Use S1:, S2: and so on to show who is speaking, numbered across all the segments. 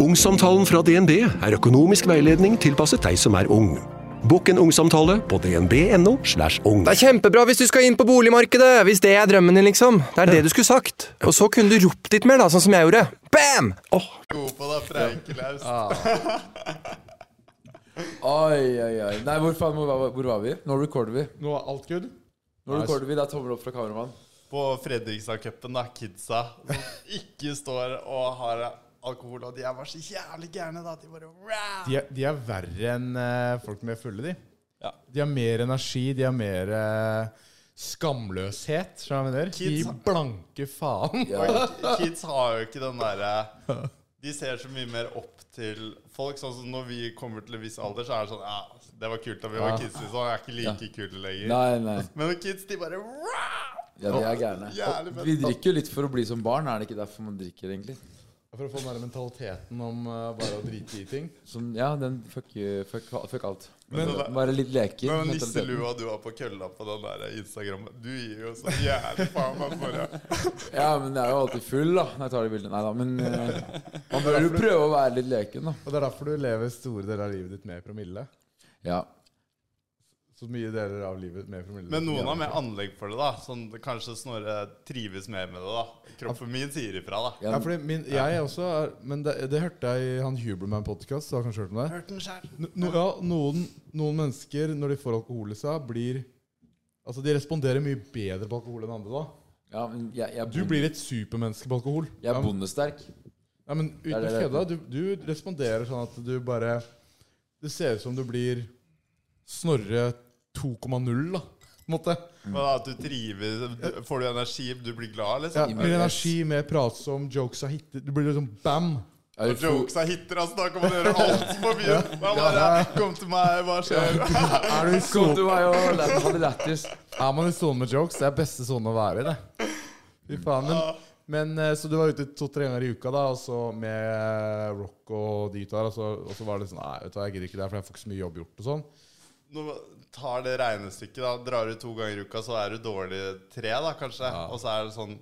S1: Ungsamtalen fra DNB er økonomisk veiledning tilpasset deg som er ung. Bokk en ungsamtale på dnb.no. slash ung.
S2: Det er kjempebra hvis du skal inn på boligmarkedet! Hvis det er drømmen din, liksom. Det er det du skulle sagt. Og så kunne du ropt litt mer, da, sånn som jeg gjorde. Bam! Åh,
S3: God på deg, preikelaus.
S4: Oi, oi, oi. Nei, hvor faen, hvor, var- hvor var vi? Nå recorder vi.
S3: Nå er alt good.
S4: Nå recorder vi, Det er tommel opp fra kameramann.
S3: På Fredrikstad-cupen, da, kidsa som ikke står og har alkohol, og de er bare så jævlig gærne, da. De bare wow.
S5: De er, de er verre enn eh, folk med fulle, de.
S3: Ja.
S5: De har mer energi, de har mer eh, skamløshet. Skjønner du hva jeg mener?
S3: Kids-
S5: De blanke faen.
S3: Kids har jo ikke den derre De ser så mye mer opp til folk. Sånn som når vi kommer til en viss alder, så er det sånn Ja, det var kult da vi
S4: Ja.
S3: var kids, liksom. Jeg er ikke like kule lenger.
S4: Nei, nei.
S3: Men kids, de bare wow.
S4: Ja, de er gærne.
S3: Jævlig fett.
S4: Vi drikker jo litt for å bli som barn. Er det ikke derfor man drikker, egentlig?
S5: For å få den der mentaliteten om eh, bare å drite i ting.
S4: Som, ja, den fuck, you, fuck, fuck alt.
S3: Men det der-
S4: Være litt leker.
S3: Men
S4: mentaliteten.
S3: nisselua du har på kølla på den der Instagram Du gir jo så jævlig faen altså, meg for det.
S4: Ja, men jeg er jo alltid full, da. Når jeg tar de bildene. Nei da, men eh, man bør jo prøve å være litt leken, da.
S5: Og det er derfor du lever store deler av livet ditt med promille.
S4: Ja.
S5: Så mye deler av livet med promille.
S3: Men noen har mer anlegg for det, da. Sånn kanskje Snorre trives mer med det, da. Kroppen min sier ifra, da.
S5: Ja, fordi min, jeg er også er, Men det, det hørte jeg i han Huberman-podkast. Du har kanskje hørt om det?
S3: Hørt den sjæl.
S5: No, no, ja, noen, noen mennesker, når de får alkohol i seg, blir Altså, de responderer mye bedre på alkohol enn andre, da.
S4: ja men jeg, jeg, er
S5: Du
S4: bonde-
S5: blir et supermenneske på alkohol.
S4: jeg er
S5: Ja,
S4: bondesterk.
S5: Ja, men uten
S4: Det
S5: å
S4: er det
S5: kødde, du, du responderer sånn at du bare Det ser ut som du blir Snorre 2,0, da. På en måte.
S3: Men at du trives du- Får du energi, du blir glad,
S5: Ja,
S3: liksom?
S5: mer energi, mer pratsom, jokes er hittet Du blir liksom bam!
S4: Jeg er
S3: Og
S4: jo fo-
S3: Jokes er hiter, altså. Da kan man gjøre alt på mye. Da bare Kom til meg, hva skjer?
S5: Er, du
S4: Kom
S5: i sonen,
S4: til meg og læ- ha det lættis.
S5: er man i sonen med jokes, det er beste sonen å være i, det. Fy faen. Men, men eh, så du var ute to-tre ganger i uka, da, og så med rock og dit og der, og så, og så var det sånn Nei, vet du hva, jeg gidder ikke det, for jeg får ikke så mye jobb gjort og sånn.
S3: Nå tar det regnestykket, da. Drar du to ganger i uka, så er du dårlig tre, da, kanskje. Og så er det sånn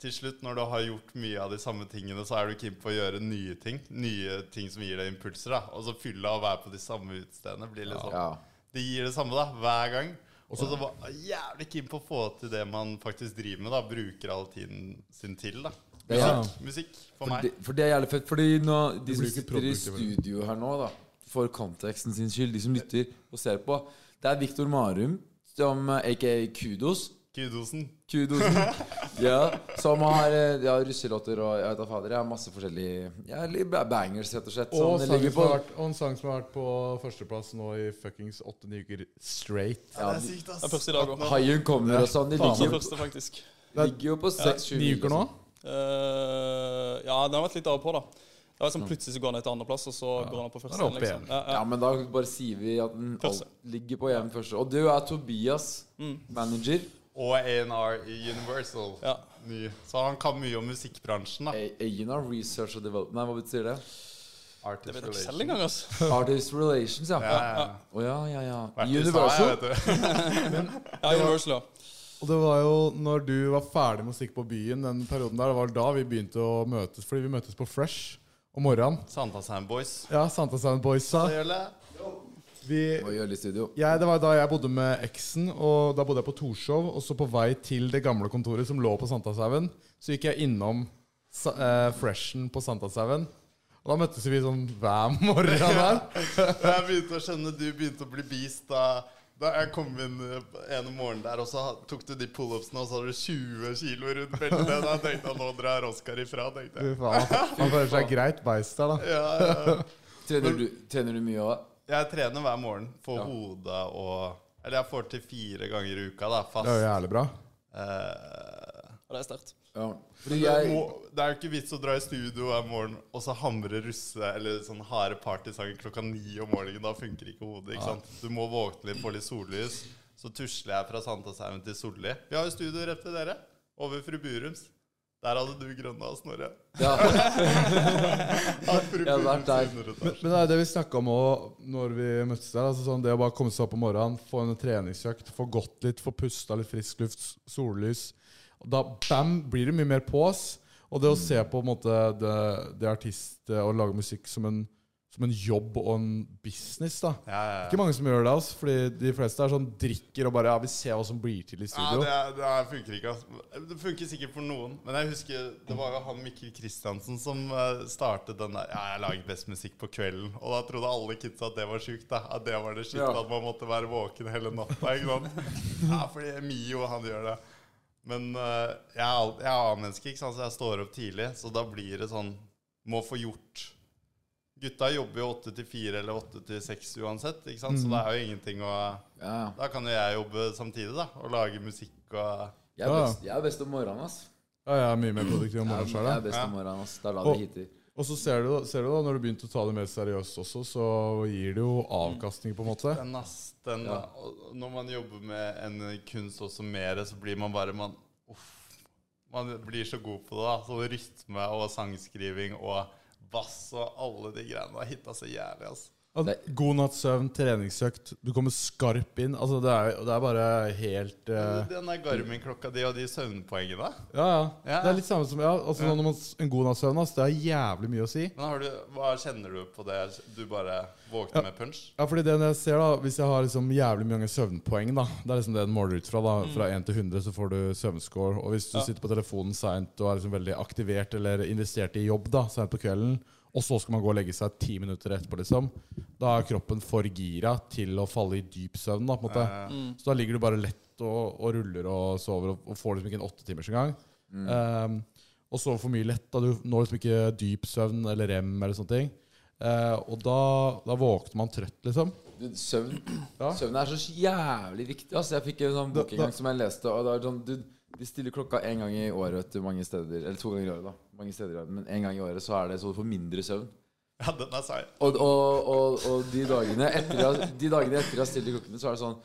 S3: Til slutt, når du har gjort mye av de samme tingene, så er du keen på å gjøre nye ting. Nye ting som gir deg impulser, da. Og så fylla og være på de samme utestedene blir litt sånn
S4: Ja.
S3: Det gir det samme, da, hver gang. Og så så var jeg jævlig keen på å få til det man faktisk driver med, da. Bruker all tiden sin til, da. Musikk,
S4: Ja.
S3: musikk for
S4: For
S3: meg.
S4: det, for det er jævlig fett. Fordi nå, de som
S5: blir ikke
S4: sitter i
S5: produktiv.
S4: studio her nå, da for konteksten sin skyld, de som lytter og ser på Det er Viktor Marum, som eh, aka Kudos.
S3: Kudosen.
S4: Kudosen. ja, som har eh, ja, russelåter og jeg vet da fader. Jeg har masse forskjellige ja, li- ba- bangers, rett og slett. Som
S5: Og,
S4: det
S5: sangen
S4: ligger
S5: som
S4: på.
S5: har vært, og en sang som har vært på førsteplass nå i fuckings åtte-ni uker straight.
S4: Ja,
S3: Det er sykt, ass.
S6: Det er første i dag òg.
S4: Haien kommer og sånn. De
S6: Faen meg
S4: ligger,
S6: første, faktisk.
S4: ligger jo på seks sju
S5: Ni uker nå?
S6: Eh, ja, den har vært litt av og på, da. Det var sånn Plutselig så går han ned til andreplass, og så går han på
S5: Mm.
S6: første.
S5: Da er det opp
S6: liksom.
S5: igjen.
S6: Ja, ja.
S4: Ja, men da bare sier vi at den
S6: Første.
S4: alt ligger på jevn første. Og du er Tobias,
S5: Mm.
S4: manager,
S3: Og A&R i Universal.
S6: Ja.
S3: Ny. Så han kan mye om musikkbransjen, da.
S4: Einar Research and Development Nei, hva betyr det?
S3: Artist
S6: Jeg vet ikke selv
S3: relation.
S6: engang, altså.
S4: Artist Relations, ja. Å ja.
S3: Ja,
S4: ja, ja, ja.
S3: Vært i USA,
S4: Universal.
S3: jeg, vet du.
S6: Ja, Universal, ja.
S5: Og det var jo når du var ferdig med å stikke på byen, den perioden der, det var da vi begynte å møtes. Fordi vi møtes på Fresh om morgenen.
S3: Santa Sandboys.
S5: Ja, Santa Sound Boysa. Vi,
S4: Og Jølle Studio.
S5: jeg, det var da jeg bodde med eksen, og da bodde jeg på Torshov. Og så på vei til det gamle kontoret som lå på Sankthanshaugen, så gikk jeg innom sa- eh, Freshen på Sankthanshaugen. Og da møttes vi sånn hver morgen der.
S3: Jeg begynte å skjønne du begynte å bli beast da, da jeg kom inn eh, ene morgenen der, og så ha- tok du de pullupsene, og så hadde du 20 kilo rundt beltet. Da tenkte jeg nå drar Oskar ifra, tenkte
S5: Fy
S3: jeg.
S5: faen, Han føler seg greit beist der, da.
S3: Ja, ja.
S4: Trener du, trener du mye òg?
S3: Jeg trener hver morgen for hodet og Eller jeg får til fire ganger i uka, da, fast.
S5: Det er jo jævlig bra.
S3: Eh,
S6: ja. Det er sterkt.
S4: Ja. Fordi
S3: det,
S4: jeg
S3: må, det er jo ikke vits å dra i studio hver morgen og så hamre russe eller sånn harde partysanger klokka ni om morgenen. Da funker ikke hodet. ikke sant? Du må våkne litt, få litt sollys. Så tusler jeg fra Sankthanshaugen til Solli. Vi har jo studio rett ved dere. Over fru Burums. Der hadde du grønna og Snorre.
S4: ja,
S3: Ja, fru
S4: Jeg har
S3: Burums
S4: vært der.
S3: under et
S5: Men,
S3: år.
S5: men det er det vi snakka om òg når vi møttes der. Altså sånn, det å bare komme seg opp om morgenen, få en treningsøkt, få gått litt, få pusta litt frisk luft, s- sollys. Og Da bam, blir det mye mer på oss. Og det å se på, på en måte, det, det artist og lage musikk som en, som en jobb og en business, da.
S3: Ja, ja,
S5: Ikke
S3: ja.
S5: mange som gjør det, altså, fordi de fleste er sånn drikker og bare Ja, vi ser hva som blir til
S3: Ja,
S5: i studio.
S3: det, er- det er- funker ikke. Altså. Det funker sikkert for noen. Men jeg husker det var jo han Mikkel Kristiansen som eh, startet den der Ja, jeg lager best musikk på kvelden. Og da trodde alle kidsa at det var sjukt. da. At det var det shit,
S4: Ja.
S3: at man måtte være våken hele natta. ikke sant? Ja, fordi Mio, han gjør det. Men eh, jeg er, al- jeg er A-menneske, ikke sant? så jeg står opp tidlig. Så da blir det sånn Må få gjort. Gutta jobber jo åtte til fire eller åtte til seks uansett, ikke sant? så det er jo ingenting å
S4: Ja, ja.
S3: da kan jo jeg jobbe samtidig, da. Og lage musikk og
S4: Jeg er
S5: Ja, ja.
S4: best, jeg er best om morgenen, ass.
S5: Ja, jeg er mye mer produktiv
S4: Jeg er,
S5: om morgenen sjøl.
S4: jeg er best om morgenen, ass. Da lader
S5: Og-
S4: vi hiter.
S5: Og så ser du, ser du da, når du begynte å ta det mer seriøst også, så gir det jo avkastning, på en måte.
S3: den, ass, den, og Når man jobber med en kunst også mer, så blir man bare man, uff, man blir så god på det. da Så rytme og sangskriving og bass og alle de greiene. Det har hitta så jævlig, altså. ass.
S5: At
S4: Det-
S5: God natts søvn, treningsøkt, du kommer skarp inn. Altså, det er, det er bare helt eh,
S3: Den der Garmin-klokka di og de søvnpoengene.
S5: ja, ja,
S3: Ja.
S5: Det er litt samme som ja, altså, når man, s- En god natts søvn, ass, det er jævlig mye å si.
S3: Men har du, hva kjenner du på det? Du bare våkner med punch?
S5: Ja, fordi det jeg ser da Hvis jeg har liksom jævlig mange søvnpoeng, da Det er liksom det den måler ut fra. da Fra 1 til 100 så får du søvnscore. Og hvis du sitter på telefonen seint og er liksom veldig aktivert eller investert i jobb da seint på kvelden, og så skal man gå og legge seg ti minutter etterpå, liksom da er kroppen for gira til å falle i dyp søvn. da på en måte Så da ligger du bare lett og, og ruller og sover og, og får liksom ikke en åtte timers engang. Um, og sover for mye lett. da Du når liksom ikke dyp søvn eller rem eller sånne ting. Eh, og da, da våkner man trøtt, liksom.
S4: Du, Søvn
S5: Ja.
S4: Søvn er så jævlig viktig. Altså, jeg fikk en sånn bok en gang som jeg leste. Og det var sånn, du, De stiller klokka én gang i året vet du, mange steder. Eller to ganger i året, da. Mange steder i året, Men én gang i året så er det så du får mindre søvn.
S3: Ja, den er seig.
S4: Og, og, og, og de dagene etter jeg, de dagene etter jeg har stilt i klokkene, så er det sånn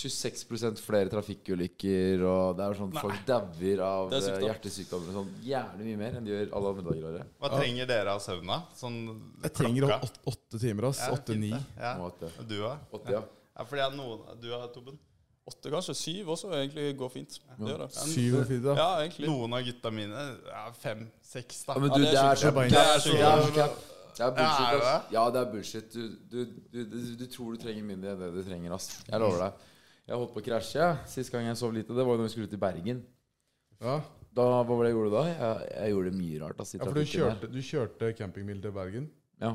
S4: 26 flere trafikkulykker, og det er jo sånn folk dauer av
S6: Det er sykt,
S4: eh,
S6: da.
S4: hjertesykdommer og sånn jævlig mye mer enn de gjør alle andre dager i året.
S3: Hva trenger dere av søvn, da? Sånn
S5: Jeg trenger
S3: klokka?
S5: åtte, åtte timer. ass
S3: Ja, fint,
S5: Åtte-ni.
S3: det. Ja.
S4: Må at det-
S3: Og Du òg?
S4: Åtte, ja.
S3: Ja, fordi jeg, noen, du har Tobben?
S6: Åtte, kanskje. Syv også egentlig går fint. Det gjør det.
S5: Syv og fire. da.
S6: Ja, egentlig.
S3: Noen av gutta mine er fem-seks, da.
S4: Ja, men du, det er så
S6: sjukt.
S4: bullshit.
S6: Det er sjukt.
S4: Det er så cap. Det er
S3: Ja, er
S4: bullshit,
S3: det
S4: ass. Ja, det er bullshit. Du, du, du, du, du tror du trenger mindre enn det du trenger, ass. Jeg lover deg. Jeg holdt på å krasje jeg. sist gang jeg sov lite. Det var jo når vi skulle ut i Bergen.
S5: Ja.
S4: Da, hva var det jeg gjorde da? Jeg, jeg gjorde mye rart, ass. i
S5: ja, for du
S4: trafikken der.
S5: kjørte, du kjørte campingbil til Bergen.
S4: Ja.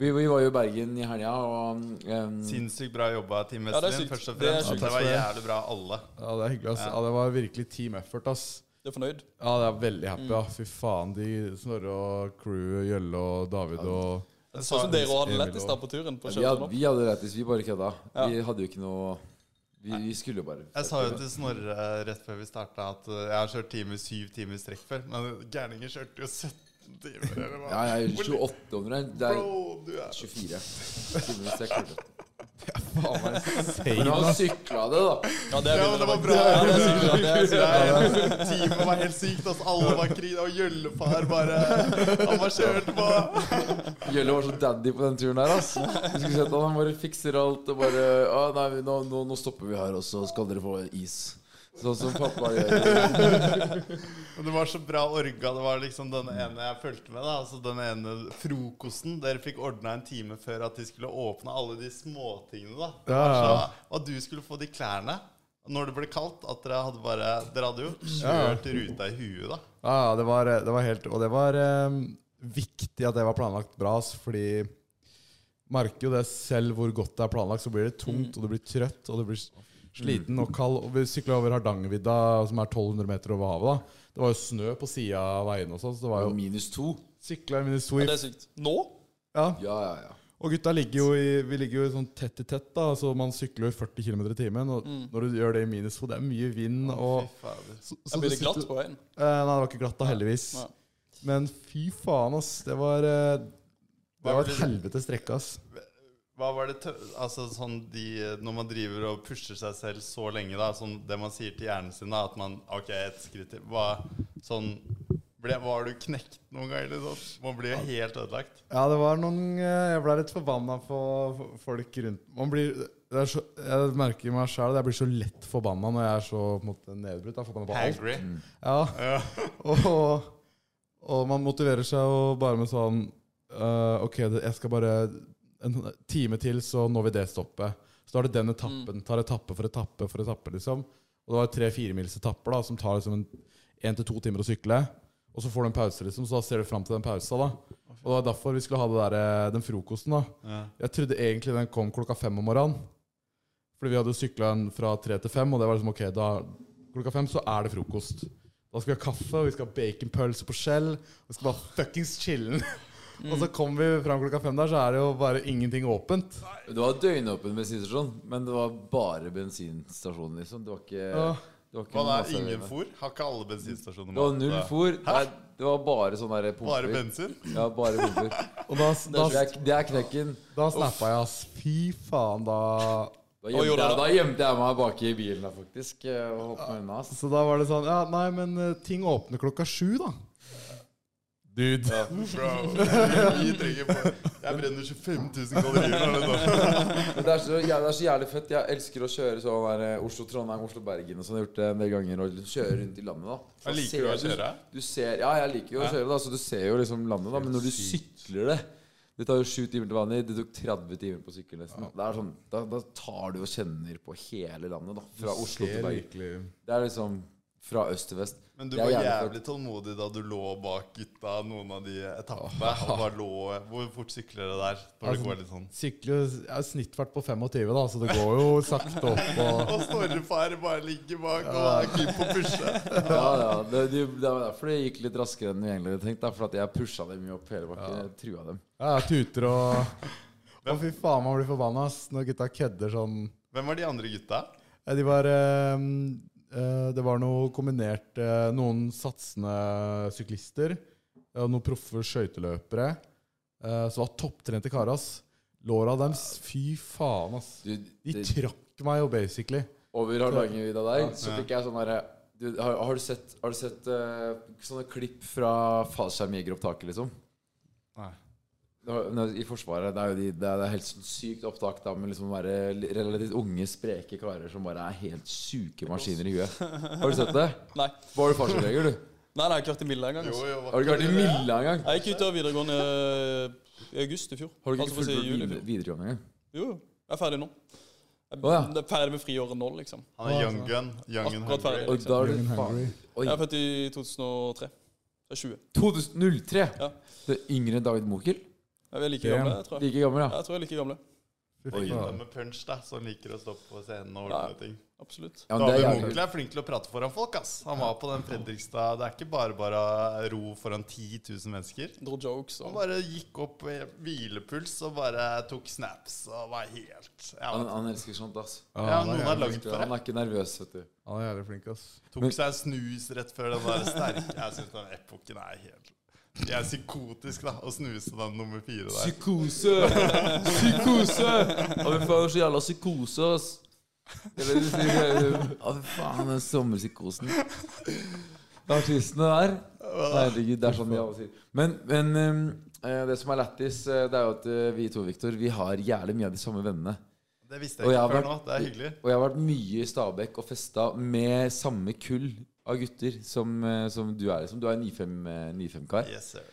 S4: Vi, vi var jo i Bergen i helga, og um,
S3: Sinnssykt bra jobba, Team
S6: Ja, det er
S3: Westlin,
S6: sykt.
S3: først og
S6: Det er
S3: fremst. Det,
S6: sykt.
S3: var jævlig bra, alle.
S5: Ja, Det er hyggelig ass Ja, Det var virkelig team effort. ass
S6: Du er fornøyd?
S5: Ja, det er veldig
S3: Mm.
S5: happy. ja Fy faen, de Snorre og crew, Gjølle og David og
S6: Det så ut som dere hadde det lettest der på turen. på
S4: vi, hadde,
S6: Kjøtland.
S4: vi hadde lættis, vi bare kødda. Vi hadde jo ikke noe Vi, vi skulle jo bare
S3: Jeg sa jo til Snorre eh, rett før vi starta at eh, jeg har kjørt time syv timer i strekk før, men gærninger kjørte jo 17 timer. Eller hva?
S4: Ja, jeg er 28 om det. Det er
S3: Bro, du er
S4: 24. Timer hvis jeg klarte.
S5: Faen meg
S4: Men
S5: insane,
S4: han
S5: ass.
S4: sykla det, da.
S6: Ja, det, er
S3: Ja, men det var bra.
S6: Ja, det er sykt bra. Det er sykt bra.
S3: Teamet var helt sykt. Altså, alle var krina, og Gjøllefar bare Han var kjørt på.
S4: Gjølle var så daddy på den turen her, ass. Du skulle sett han, han bare fikser alt og bare Å, nei, vi- nå, nå, nå stopper vi her, og så skal dere få is. Sånn som pappa gjør.
S3: Og det var så bra orga. Det var liksom den ene jeg fulgte med. da Altså Den ene frokosten. Dere fikk ordna en time før at de skulle åpne alle de småtingene. da Det var
S5: Ja, ja.
S3: så- Og at du skulle få de klærne når det ble kaldt. At dere hadde bare Dere hadde jo kjørt ruta i huet, da.
S5: Ja, ja, det var, det var helt Og det var eh, viktig at det var planlagt bra, ass, fordi merker jo det selv hvor godt det er planlagt, så blir det
S6: Mm.
S5: tungt, og du blir trøtt, og du blir sliten og kald. Og vi sykla over Hardangervidda, som er 1200 meter over havet, da. Det var jo snø på sida av veiene og sånn, så det var jo
S4: Minus to.
S5: sykla i minus
S6: Mm. Ja, det
S5: sweep.
S6: er sykt. Nå?
S5: Ja.
S4: Ja, ja, ja.
S5: Og gutta ligger jo i, vi ligger jo i sånn tett i tett, da, så man sykler jo i 40 km i timen. Og
S6: Mm.
S5: når du gjør det i minus, så det er mye vind og
S3: Fy fader.
S5: så, så
S6: Jeg
S5: du
S6: blir det glatt
S5: sitter-
S6: på veien.
S5: Eh, nei, det var ikke glatt da, heldigvis.
S6: Nei.
S5: Men fy faen, ass. Det var, eh, det
S3: Hva
S5: var et
S3: ble
S5: helvete strekke, ass.
S3: Hva var det tø Altså sånn de Når man driver og pusher seg selv så lenge, da sånn det man sier til hjernen sin, da at man OK, ett skritt til. Hva sånn ble, Var du knekt noen gang? Eller sånn? Man blir jo helt ødelagt.
S5: Ja, det var noen eh, Jeg ble litt forbanna på f- folk rundt Man blir det er så, Jeg merker meg sjæl at jeg blir så lett forbanna når jeg er så på en måte, nedbrutt. da, forbanna på alt.
S3: Hangry.
S5: Ja. Og, Og man motiverer seg jo bare med sånn eh, Ok, det- jeg skal bare en time til, så når vi det stoppet. Så da er det den etappen. Tar etappe for etappe for etappe, liksom. Og det var tre-fire mils etapper da, som tar liksom en- en til to timer å sykle. Og så får du en pause, liksom, så da ser du fram til den pausa. da. Og det var derfor vi skulle ha det der, eh, den frokosten. da. Jeg trodde egentlig den kom klokka fem om morgenen. Fordi vi hadde sykla den fra tre til fem, og det var liksom ok, da klokka fem så er det frokost. Da skal vi ha kaffe, og vi skal ha baconpølse på skjell. Og vi skal bare fuckings chille'n. og så kommer vi fram klokka fem der, så er det jo bare ingenting åpent.
S4: Det var døgnåpen bensinstasjon, men det var bare bensinstasjon, liksom. Det var ikke,
S5: Ja.
S4: det var
S3: Hva
S4: ikke
S3: da?
S4: noe masse-
S3: Ingen fôr? Har ikke alle bensinstasjoner
S4: Det var null
S3: mat?
S4: fôr. Nei, det var bare sånn derre pumper.
S3: Bare bensin?
S4: Ja, bare pumper.
S5: Og da, da,
S4: Det er, det er knekken.
S5: da snappa jeg, ass. Fy faen, da
S4: Da
S6: Oi, oi, oi.
S4: gjemte, jeg, da gjemte jeg meg bak i bilen da, faktisk. eh, Og holdt meg unna. ass.
S5: Så da var det sånn Ja, nei, men eh, ting åpner klokka sju, da. Dude.
S3: Bro, vi trenger på- Jeg brenner 25 000 kalorier nå. liksom.
S4: Men det er, så, jæ- det er så jævlig fett. Jeg elsker å kjøre sånn der eh, Oslo-Trondheim, Oslo-Bergen og sånn. Jeg har gjort det en del ganger. Og liksom kjøre rundt i landet, da.
S3: Jeg liker
S4: ser
S3: å kjøre.
S4: Du, du ser, ja, jeg liker jo å kjøre, da, så du ser jo liksom landet, da. Men når du sykler det Det tar jo sju timer til vanlig. Det tok 30 timer på sykkel nesten. Det er sånn, da, da tar du og kjenner på hele landet, da. Fra Oslo til Bergen. Det er liksom fra øst til vest.
S3: Men du
S4: Det
S3: var
S4: er jævlig
S3: jævlig tålmodig da du lå bak gutta noen av de etappene. Og bare lå Hvor fort sykler det der? Når det
S5: Altså,
S3: går litt sånn
S5: Sykler ja, snittfart på 25, da, så det går jo sakte opp. Og
S3: Og Snorrefar bare ligger bak og er keen på å pushe.
S4: Ja, ja. Det, det, det var derfor det gikk litt raskere enn vi egentlig hadde tenkt. Da, for at jeg pusha dem jo opp hele bakken. Jeg trua dem.
S5: ja, tuter og Å, fy faen, man blir forbanna ass, når gutta kødder sånn.
S3: Hvem var de andre gutta?
S5: Ja, De var eh, eh, Det var noe kombinert eh, Noen satsende syklister og noen proffe skøyteløpere. eh, som var topptrente karer, ass. Låra deres, fy faen, ass.
S4: Du,
S5: De
S4: det,
S5: trakk meg jo, basically.
S4: over Hardangervidda der, så fikk jeg sånn derre du, har, har du sett, har du sett eh, sånne klipp fra fallskjermjegeropptaket, liksom?
S3: Nei.
S4: Det var- nå, I Forsvaret det er jo de, det er, det er helt sånn sykt opptak da, med liksom bare li- relativt unge, spreke karer som bare er helt syke maskiner i huet. Har du sett det?
S6: Nei,
S4: Var du fallskjermjeger, du?
S6: nei, nei jeg klarte Milla en gang.
S3: Jo,
S6: Altså.
S3: jo, hva-
S4: Har du ikke vært i Milla engang?
S6: Jeg gikk ut av videregående i august i fjor.
S4: Har du
S6: Altså,
S4: ikke
S6: for å si
S4: fullført
S6: juli i
S4: vide-
S6: fjor.
S4: videregående engang?
S6: Jo, jo. Jeg er ferdig nå. Jeg
S4: Å, ja.
S6: jeg er ferdig med friåret nå, liksom.
S3: Han er young gun. Young and
S6: Akkurat ferdig.
S3: hungry.
S4: Og da er du
S5: Young and
S4: faen
S5: hungry.
S4: Oi,
S6: Jeg er født i 2003. Jeg er 20.
S4: 2003!
S6: Ja.
S4: Det er yngre enn David Mokel?
S6: Jeg er like
S5: Damn.
S6: gamle, jeg tror jeg.
S4: Like gammel,
S6: Ja,
S4: ja.
S6: Jeg tror jeg er like gamle.
S5: Fy
S3: Det er gutta
S5: faen.
S3: med punch da, som liker å stå på scenen og ordne
S6: Ja.
S3: ting.
S6: Absolutt.
S4: ja men det
S3: David
S4: er jævlig.
S3: Munkel er flink til å prate foran folk, ass. Han var på den Fredrikstad Det er ikke bare bare ro foran 10 000 mennesker.
S6: Dro jokes
S3: Han
S6: og
S3: bare gikk opp i hvilepuls og bare tok snaps og var helt Ja,
S4: Han, han elsker sånt, ass.
S3: ja noen har lagd for
S4: Han
S3: det.
S4: er ikke nervøs, vet du.
S5: Han er jævlig flink, ass.
S3: Tok seg en snus rett før den der sterke Jeg syns den epoken er helt Jeg er psykotisk, da, å snuse den nummer fire der.
S4: Psykose! Psykose! Å, fy faen, så jævla psykose, ass. Eller du sier Å, fy faen, den sommerpsykosen. Artistene der. Herregud, det er sånn de alle sier. Men, men eh, det som er lættis, eh, det er jo at eh, vi to, Victor, vi har jævlig mye av de samme vennene.
S3: Det visste
S4: Og
S3: jeg
S4: jeg
S3: ikke
S4: har
S3: før nå.
S4: vært-
S3: Det er hyggelig.
S4: Og jeg har vært mye i Stabekk og festa med samme kull av gutter som, eh, som du er. liksom Du er en 95-kar.
S3: Yes, sir.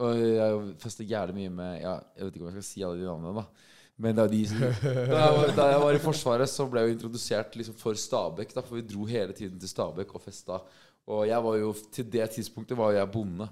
S4: Og jeg fester jævlig mye med ja, Jeg vet ikke om jeg skal si alle de navnene, da. Men da, de, som- da, jeg var, da jeg var i Forsvaret, så ble jeg jo introdusert liksom for Stabekk. da, For vi dro hele tiden til Stabekk og festa. Og jeg var jo, til det tidspunktet var jeg bonde.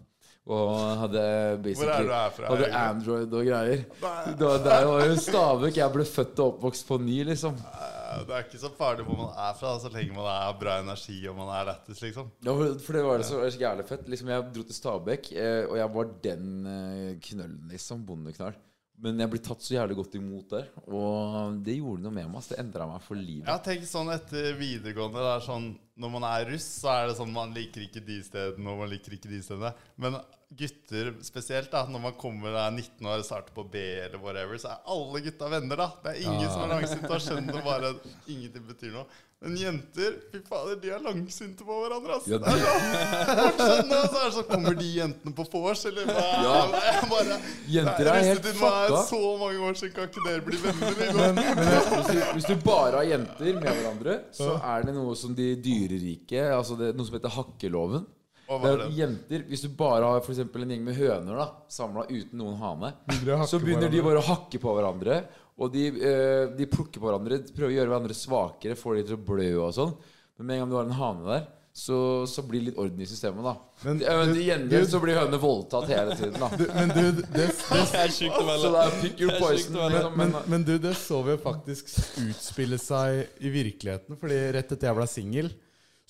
S4: Og hadde
S3: Hvor er du
S4: basically
S3: her fra?
S4: Hadde
S3: egentlig?
S4: Android og greier. Det var, det var jo Stabekk. Jeg ble født og oppvokst på ny, liksom.
S3: Eh, Det er ikke så farlig hvor man er fra, så lenge man har bra energi og man er lættis, liksom.
S4: Ja, for, for det var det så så jævlig fett. Liksom, jeg dro til Stabekk, eh, og jeg var den eh, knøllen, liksom. Bondeknall. Men jeg ble tatt så jævlig godt imot der, og det gjorde noe med meg. ass. Det endra meg for livet.
S3: Ja, tenk sånn etter videregående. Det er sånn, når man er russ, så er det sånn man liker ikke de stedene, og man liker ikke de stedene. Men gutter spesielt, da, når man kommer da er 19 år og starter på B eller whatever, så er alle gutta venner, da. Det er ingen
S4: Ah.
S3: som er langsinte og skjønner bare at ingenting betyr noe. Men jenter, fy fader, de er langsinte på hverandre, ass.
S4: Ja,
S3: det... er sånn, fortsatt nå, så er det sånn, kommer de jentene på vors, eller hva?
S4: Ja.
S3: Jeg bare,
S4: Jenter er helt
S3: russetiden var
S4: fucka.
S3: Så mange år siden kan ikke dere bli venner, liksom.
S5: Men, men
S4: Hvis du, hvis du bare har jenter med hverandre, så er det noe som de dyrerike Altså det, noe som heter hakkeloven.
S3: Og hva
S4: Det er
S3: er
S4: at
S3: det?
S4: jenter, Hvis du bare har for eksempel en gjeng med høner da samla uten noen hane,
S5: Begynner å hakke
S4: så
S5: på
S4: begynner de
S5: hverandre.
S4: bare å hakke på hverandre. Og de, eh, de plukker på hverandre, de prøver å gjøre hverandre svakere, får de til å blø og sånn. Men med en gang du har en hane der, så, så blir det litt orden i systemet, da.
S5: Men
S4: Men, men
S5: du-
S4: til gjengjeld
S5: du-
S4: så blir hønene voldtatt hele tiden, da.
S5: Men du, det, det,
S6: Det er sjukt å
S4: Så
S6: velge.
S4: det er pick your
S6: Det er sykt
S4: poison.
S6: å være-
S4: Liksom,
S5: men,
S4: men,
S5: men du, det så vi jo faktisk utspille seg i virkeligheten. Fordi rett etter jeg ble singel,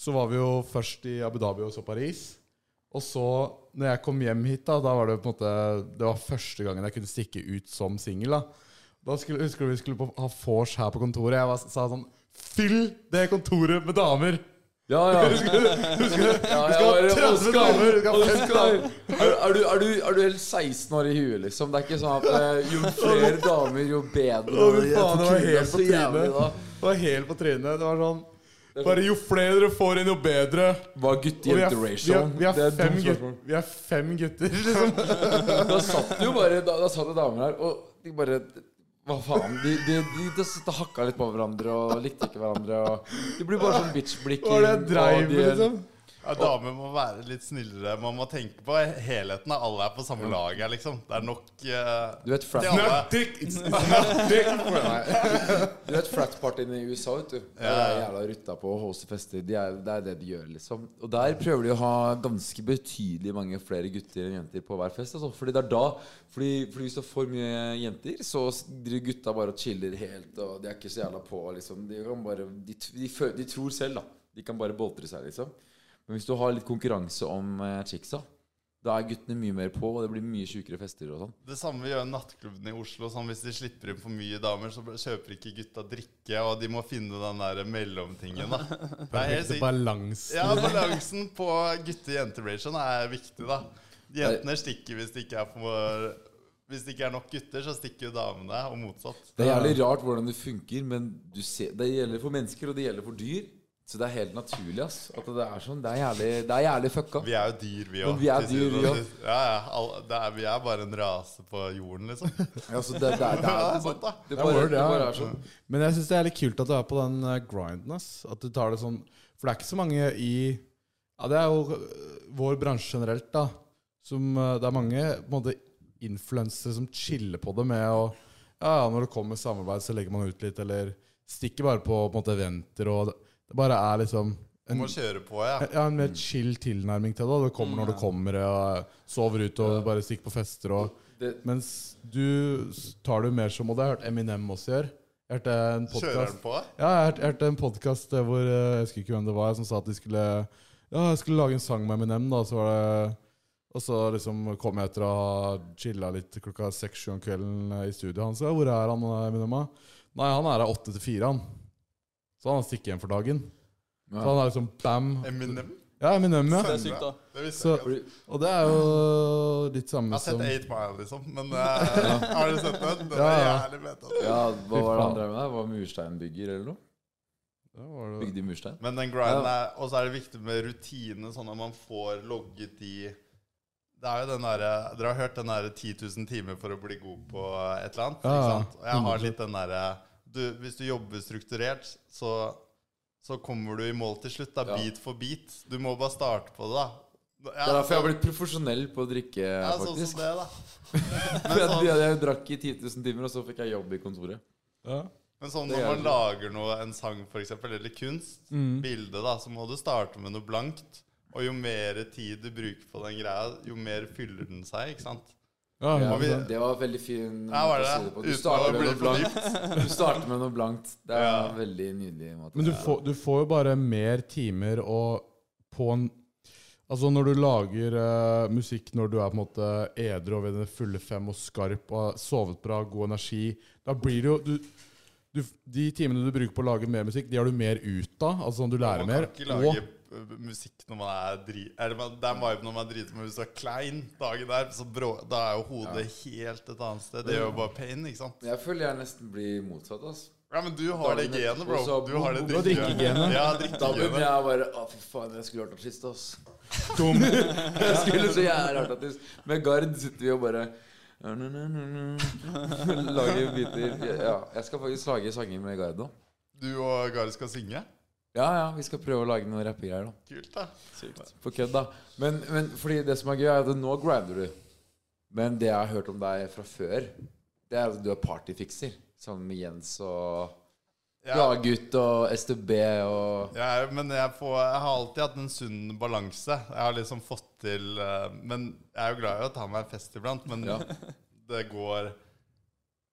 S5: så var vi jo først i Abu Dhabi og så Paris. Og så, når jeg kom hjem hit, da, da var det på en måte Det var første gangen jeg kunne stikke ut som singel. Da, da skulle, husker du vi skulle på, ha vors her på kontoret. Jeg var, sa sånn Fyll det kontoret med damer!
S4: ja, ja. Ja,
S5: Vi
S4: jeg bare,
S5: skal ha 30
S4: Oskar,
S5: damer! Vi skal ha 50
S4: Oskar,
S5: damer!
S4: er, er, du, er, du, er du helt 16 år i huet, liksom? Det er ikke sånn at eh, jo flere damer, jo bedre.
S5: Å, fy
S4: Jeg
S5: faen, det var
S4: forkuler
S5: helt på
S4: så jævlig
S5: trynet.
S4: da.
S5: Det var helt på trynet. Det var sånn Bare jo flere dere får inn, jo bedre.
S4: Hva er
S5: Og vi er, vi er,
S4: gutte-jente-ration?
S5: vi er,
S4: Det er et
S5: fem,
S4: dumt
S5: gutter,
S4: spørsmål.
S5: vi er fem gutter, liksom.
S4: Da satt det jo bare Da, da satt det damer her, og de bare hva faen? De, de, de, de, satt og hakka litt på hverandre og likte ikke hverandre. Og de blir bare sånn bitch-blikk.
S5: Hva
S4: inn,
S5: er det jeg
S4: og
S5: dreiv
S4: de
S5: med,
S4: er-
S5: liksom?
S3: Ja, damer må være litt snillere. Man må tenke på helheten. da. Alle er på samme lag her, liksom. Det er nok eh,
S4: Du vet frat-
S3: til alle.
S5: dick! It's not dick! Nei.
S4: Du vet frat-partyen i USA, vet du. Der er jævla rutta på å hoste fester. De er, det er det de gjør, liksom. Og der prøver de å ha ganske betydelig mange flere gutter enn jenter på hver fest. Altså. Fordi det er da fordi, fordi hvis du har for mye jenter, så driver gutta bare og chiller helt, og de er ikke så jævla på, liksom. De, kan bare, de, t- de, fø- de tror selv, da. De kan bare boltre seg, liksom. Men hvis du har litt konkurranse om eh, chicksa, da er guttene mye mer på, og det blir mye sjukere fester og sånn.
S3: Det samme gjør nattklubbene i Oslo. Sånn, hvis de slipper inn for mye damer, så kjøper ikke gutta drikke, og de må finne den der mellomtingen, da. Det er helt sykt.
S5: Balanse.
S3: Ja, balansen på gutte-jente-ration er viktig, da. Jentene stikker hvis det ikke er for Hvis det ikke er nok gutter, så stikker jo damene, og motsatt.
S4: Det er jævlig rart hvordan det funker, men du ser, det gjelder for mennesker, og det gjelder for dyr. Så det er helt naturlig, ass. At det er sånn. Det er jævlig, det er jævlig fucka.
S3: Vi er jo dyr, vi òg.
S4: Men vi er dyr, vi også.
S3: sånn. Ja, ja, all- det er- vi er bare en rase på jorden, liksom.
S4: Altså, det, det,
S3: Ja,
S4: er- det,
S3: det er
S4: er-
S3: sant, da.
S4: det, bare,
S5: word,
S4: det
S5: ja.
S4: bare er sånn.
S5: Men jeg syns det er litt kult at du er på den eh, grinden. ass. At du tar det sånn For det er ikke så mange i Ja, det er jo eh, vår bransje generelt, da. Som eh, Det er mange på en måte influensere som chiller på det med å Ja, ja, når det kommer samarbeid, så legger man ut litt, eller stikker bare på på en måte eventer og Det det bare er liksom en,
S3: Må kjøre på, ja.
S5: ja, en mer chill tilnærming til det. og Det kommer når det
S3: Mm.
S5: kommer, og sover ute og bare stikker på fester og
S4: Det-
S5: Mens du s- tar det jo mer som Og det har jeg hørt Eminem også gjør. Jeg hørte en
S3: Kjører
S5: podcast
S3: den på?
S5: ja, jeg hørte, jeg hørte en podkast hvor eh, Jeg husker ikke hvem det var som sa at de skulle Ja, jeg skulle lage en sang med Eminem, da, så var det Og så liksom kom jeg etter å ha chilla litt klokka seks-sju om kvelden eh, i studioet hans. Ja, hvor er han, eh, Eminem? da? Nei, han er her åtte til fire, han. Så han har stikket hjem for dagen. Så han er liksom bam.
S3: Eminem?
S5: Ja, Eminem,
S6: Det
S5: ja.
S6: er sykt, da.
S3: Det visste
S5: Så,
S3: jeg ikke.
S5: og det er jo litt
S3: Jeg
S5: samme
S3: har
S5: som
S3: sett 8 Mile, liksom. Men eh, har du sett den? Den
S5: Ja,
S3: er
S5: ja.
S3: jævlig altså. fett.
S4: Ja, hva
S5: Fy
S4: var det
S5: faen.
S4: han drev med der? Var mursteinbygger eller noe?
S5: Ja, var det-
S4: Bygde i murstein?
S3: Men den grinden er Og så er det viktig med rutine, sånn at man får logget de Det er jo den derre Dere har hørt den derre 10 000 timer for å bli god på et eller annet?
S5: Ja,
S3: Ikke
S5: ja.
S3: sant? Og jeg har litt den derre du, Hvis du jobber strukturert, så, så kommer du i mål til slutt. Da,
S4: Ja.
S3: Bit for bit. Du må bare starte på det, da.
S4: Det er derfor jeg har blitt profesjonell på å drikke,
S3: sånn- ja, sånn som
S4: faktisk.
S3: det, sånn- da.
S4: For jeg, jeg, jeg drakk i 10 000 timer, og så fikk jeg jobb i kontoret.
S5: Ja.
S3: Men sånn
S4: Det
S3: når
S4: er
S3: man
S4: det. Mm.
S3: lager noe, en sang for eksempel, eller kunst, bilde, da, så må du starte med noe blankt. Og jo mer tid du bruker på den greia, jo mer fyller den seg, ikke sant?
S5: Ja,
S4: Ja,
S5: ja,
S4: det var veldig fin
S3: Ja, var det
S4: måte å
S3: det?
S4: si på.
S3: Uten å
S4: Du starter
S3: bli
S4: med noe
S3: for
S4: blankt. Du starter med noe blankt. Det er
S3: Ja.
S4: en veldig nydelig måte.
S5: Men du får, du får jo bare mer timer og på en Altså når du lager eh, musikk når du er på en måte edru og ved den fulle fem og skarp og har sovet bra, god energi Da blir det jo du, du, De timene du bruker på å lage mer musikk, de har du mer ut av. Altså sånn du lærer
S3: Man
S5: mer.
S3: kan ikke lage eh, musikk når man er dri... Eller man- det er en vibe når man er drita, men hvis du er klein dagen der, så brå, da er jo hodet helt et annet sted. Det gjør jo bare pain, ikke sant?
S4: Jeg føler jeg nesten blir motsatt. ass
S3: Ja, men du har det
S4: Dagene-
S3: genet, bro.
S4: Også-
S3: Du har det
S4: Du har
S3: drikkegenet. Ja,
S4: Da begynner
S3: drikkegenet.
S4: jeg bare Å, fy faen, jeg skulle vært artist, ass.
S5: og dum.
S4: Jeg skulle så jævlig vært artist. Med Gard sitter vi og bare Lager biter. Ja, jeg skal faktisk lage sanger med Gard nå.
S3: Du og Gard skal synge?
S4: Ja, ja, vi skal prøve å lage noen rappegreier, da.
S3: Kult, da.
S6: Sykt.
S4: På kødd, da. Men, men fordi det som er gøy, er at nå grinder du. Men det jeg har hørt om deg fra før, det er at du er partyfikser. Sammen med Jens og
S3: Jeg,
S4: Gladgutt og STB og
S3: jeg, er- men jeg, får, jeg har alltid hatt en sunn balanse. Jeg har liksom fått til eh, Men jeg er jo glad i å ta meg en fest iblant, men
S4: Ja.
S3: det går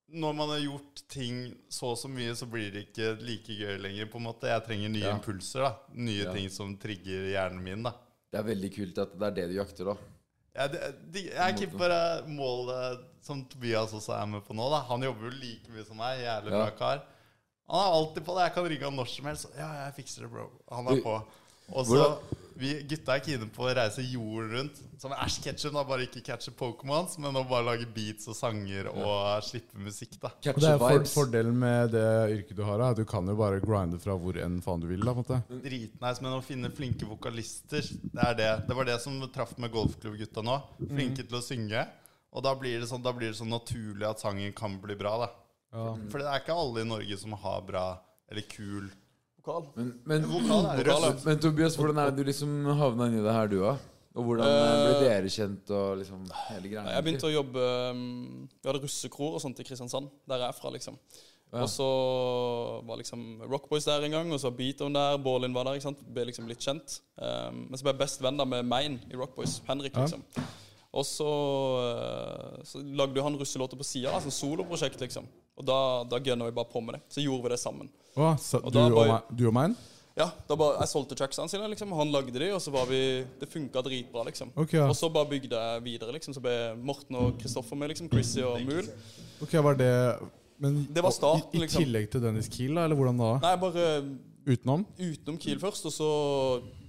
S3: Når man har gjort ting så og så mye, så blir det ikke like gøy lenger, på en måte. Jeg trenger nye
S4: Ja.
S3: impulser, da. Nye
S4: Ja.
S3: ting som trigger hjernen min, da.
S4: Det er veldig kult at det er det du jakter, da.
S3: Jeg, det- de, jeg keeper eh, målet som Tobias også er med på nå. Da. Han jobber jo like mye som meg. Jævlig
S4: Ja.
S3: bra kar. Han er alltid på det. Jeg kan ringe han når som helst. Ja, jeg fikser det, bro. Han er
S4: Du-
S3: på. Og så vi gutta er kine på å reise jorden rundt. Som Ash Ketchum, da. Bare ikke catche Pokémons, men å bare lage beats og sanger og slippe musikk, da.
S5: Og det
S4: Catche
S5: er for,
S4: vibes.
S5: Fordelen med det yrket du har, er at du kan jo bare grinde fra hvor enn faen du vil. Da, på en måte.
S3: Dritnice, men å finne flinke vokalister, det er det. Det var det som traff med golfklubbgutta nå. Flinke til å synge. Og da blir, det sånn, da blir det sånn naturlig at sangen kan bli bra, da. For det er ikke alle i Norge som har bra eller kul
S6: Vokal.
S4: Men, men,
S3: vokal. er røst.
S4: men Tobias, hvordan er det du liksom havna inni det her, du, da? Og hvordan eh, ble dere kjent og liksom hele greia?
S6: Nei, Jeg begynte å jobbe um, Vi hadde russekror og sånt i Kristiansand, der jeg er fra, liksom.
S4: Ja.
S6: Og så var liksom Rockboys der en gang, og så Beaton der, Borlin var der. ikke sant? Ble liksom litt kjent. Um, men så ble jeg best venn da med Main i Rockboys, Henrik, liksom. Og så, eh, så lagde jo han russelåter på sida, som soloprosjekt, liksom. Og da, da gunna vi bare på med det. Så gjorde vi det sammen.
S5: Å, så,
S6: Og
S5: du,
S6: da
S5: og
S6: bare-
S5: meg, du og meg?
S6: Ja, da bare, Jeg solgte tracksene sine, liksom. og Han lagde de, og så var vi Det funka dritbra, liksom.
S5: Ok, ja.
S6: Og så bare bygde jeg videre, liksom. Så ble Morten og Kristoffer med, liksom. Chrissy og Mool.
S5: Ok, var det men,
S6: Det var starten,
S5: i, I
S6: liksom.
S5: tillegg til Dennis Kiel, da? Eller hvordan da?
S6: Nei, bare
S5: Utenom?
S6: utenom Kiel først, og så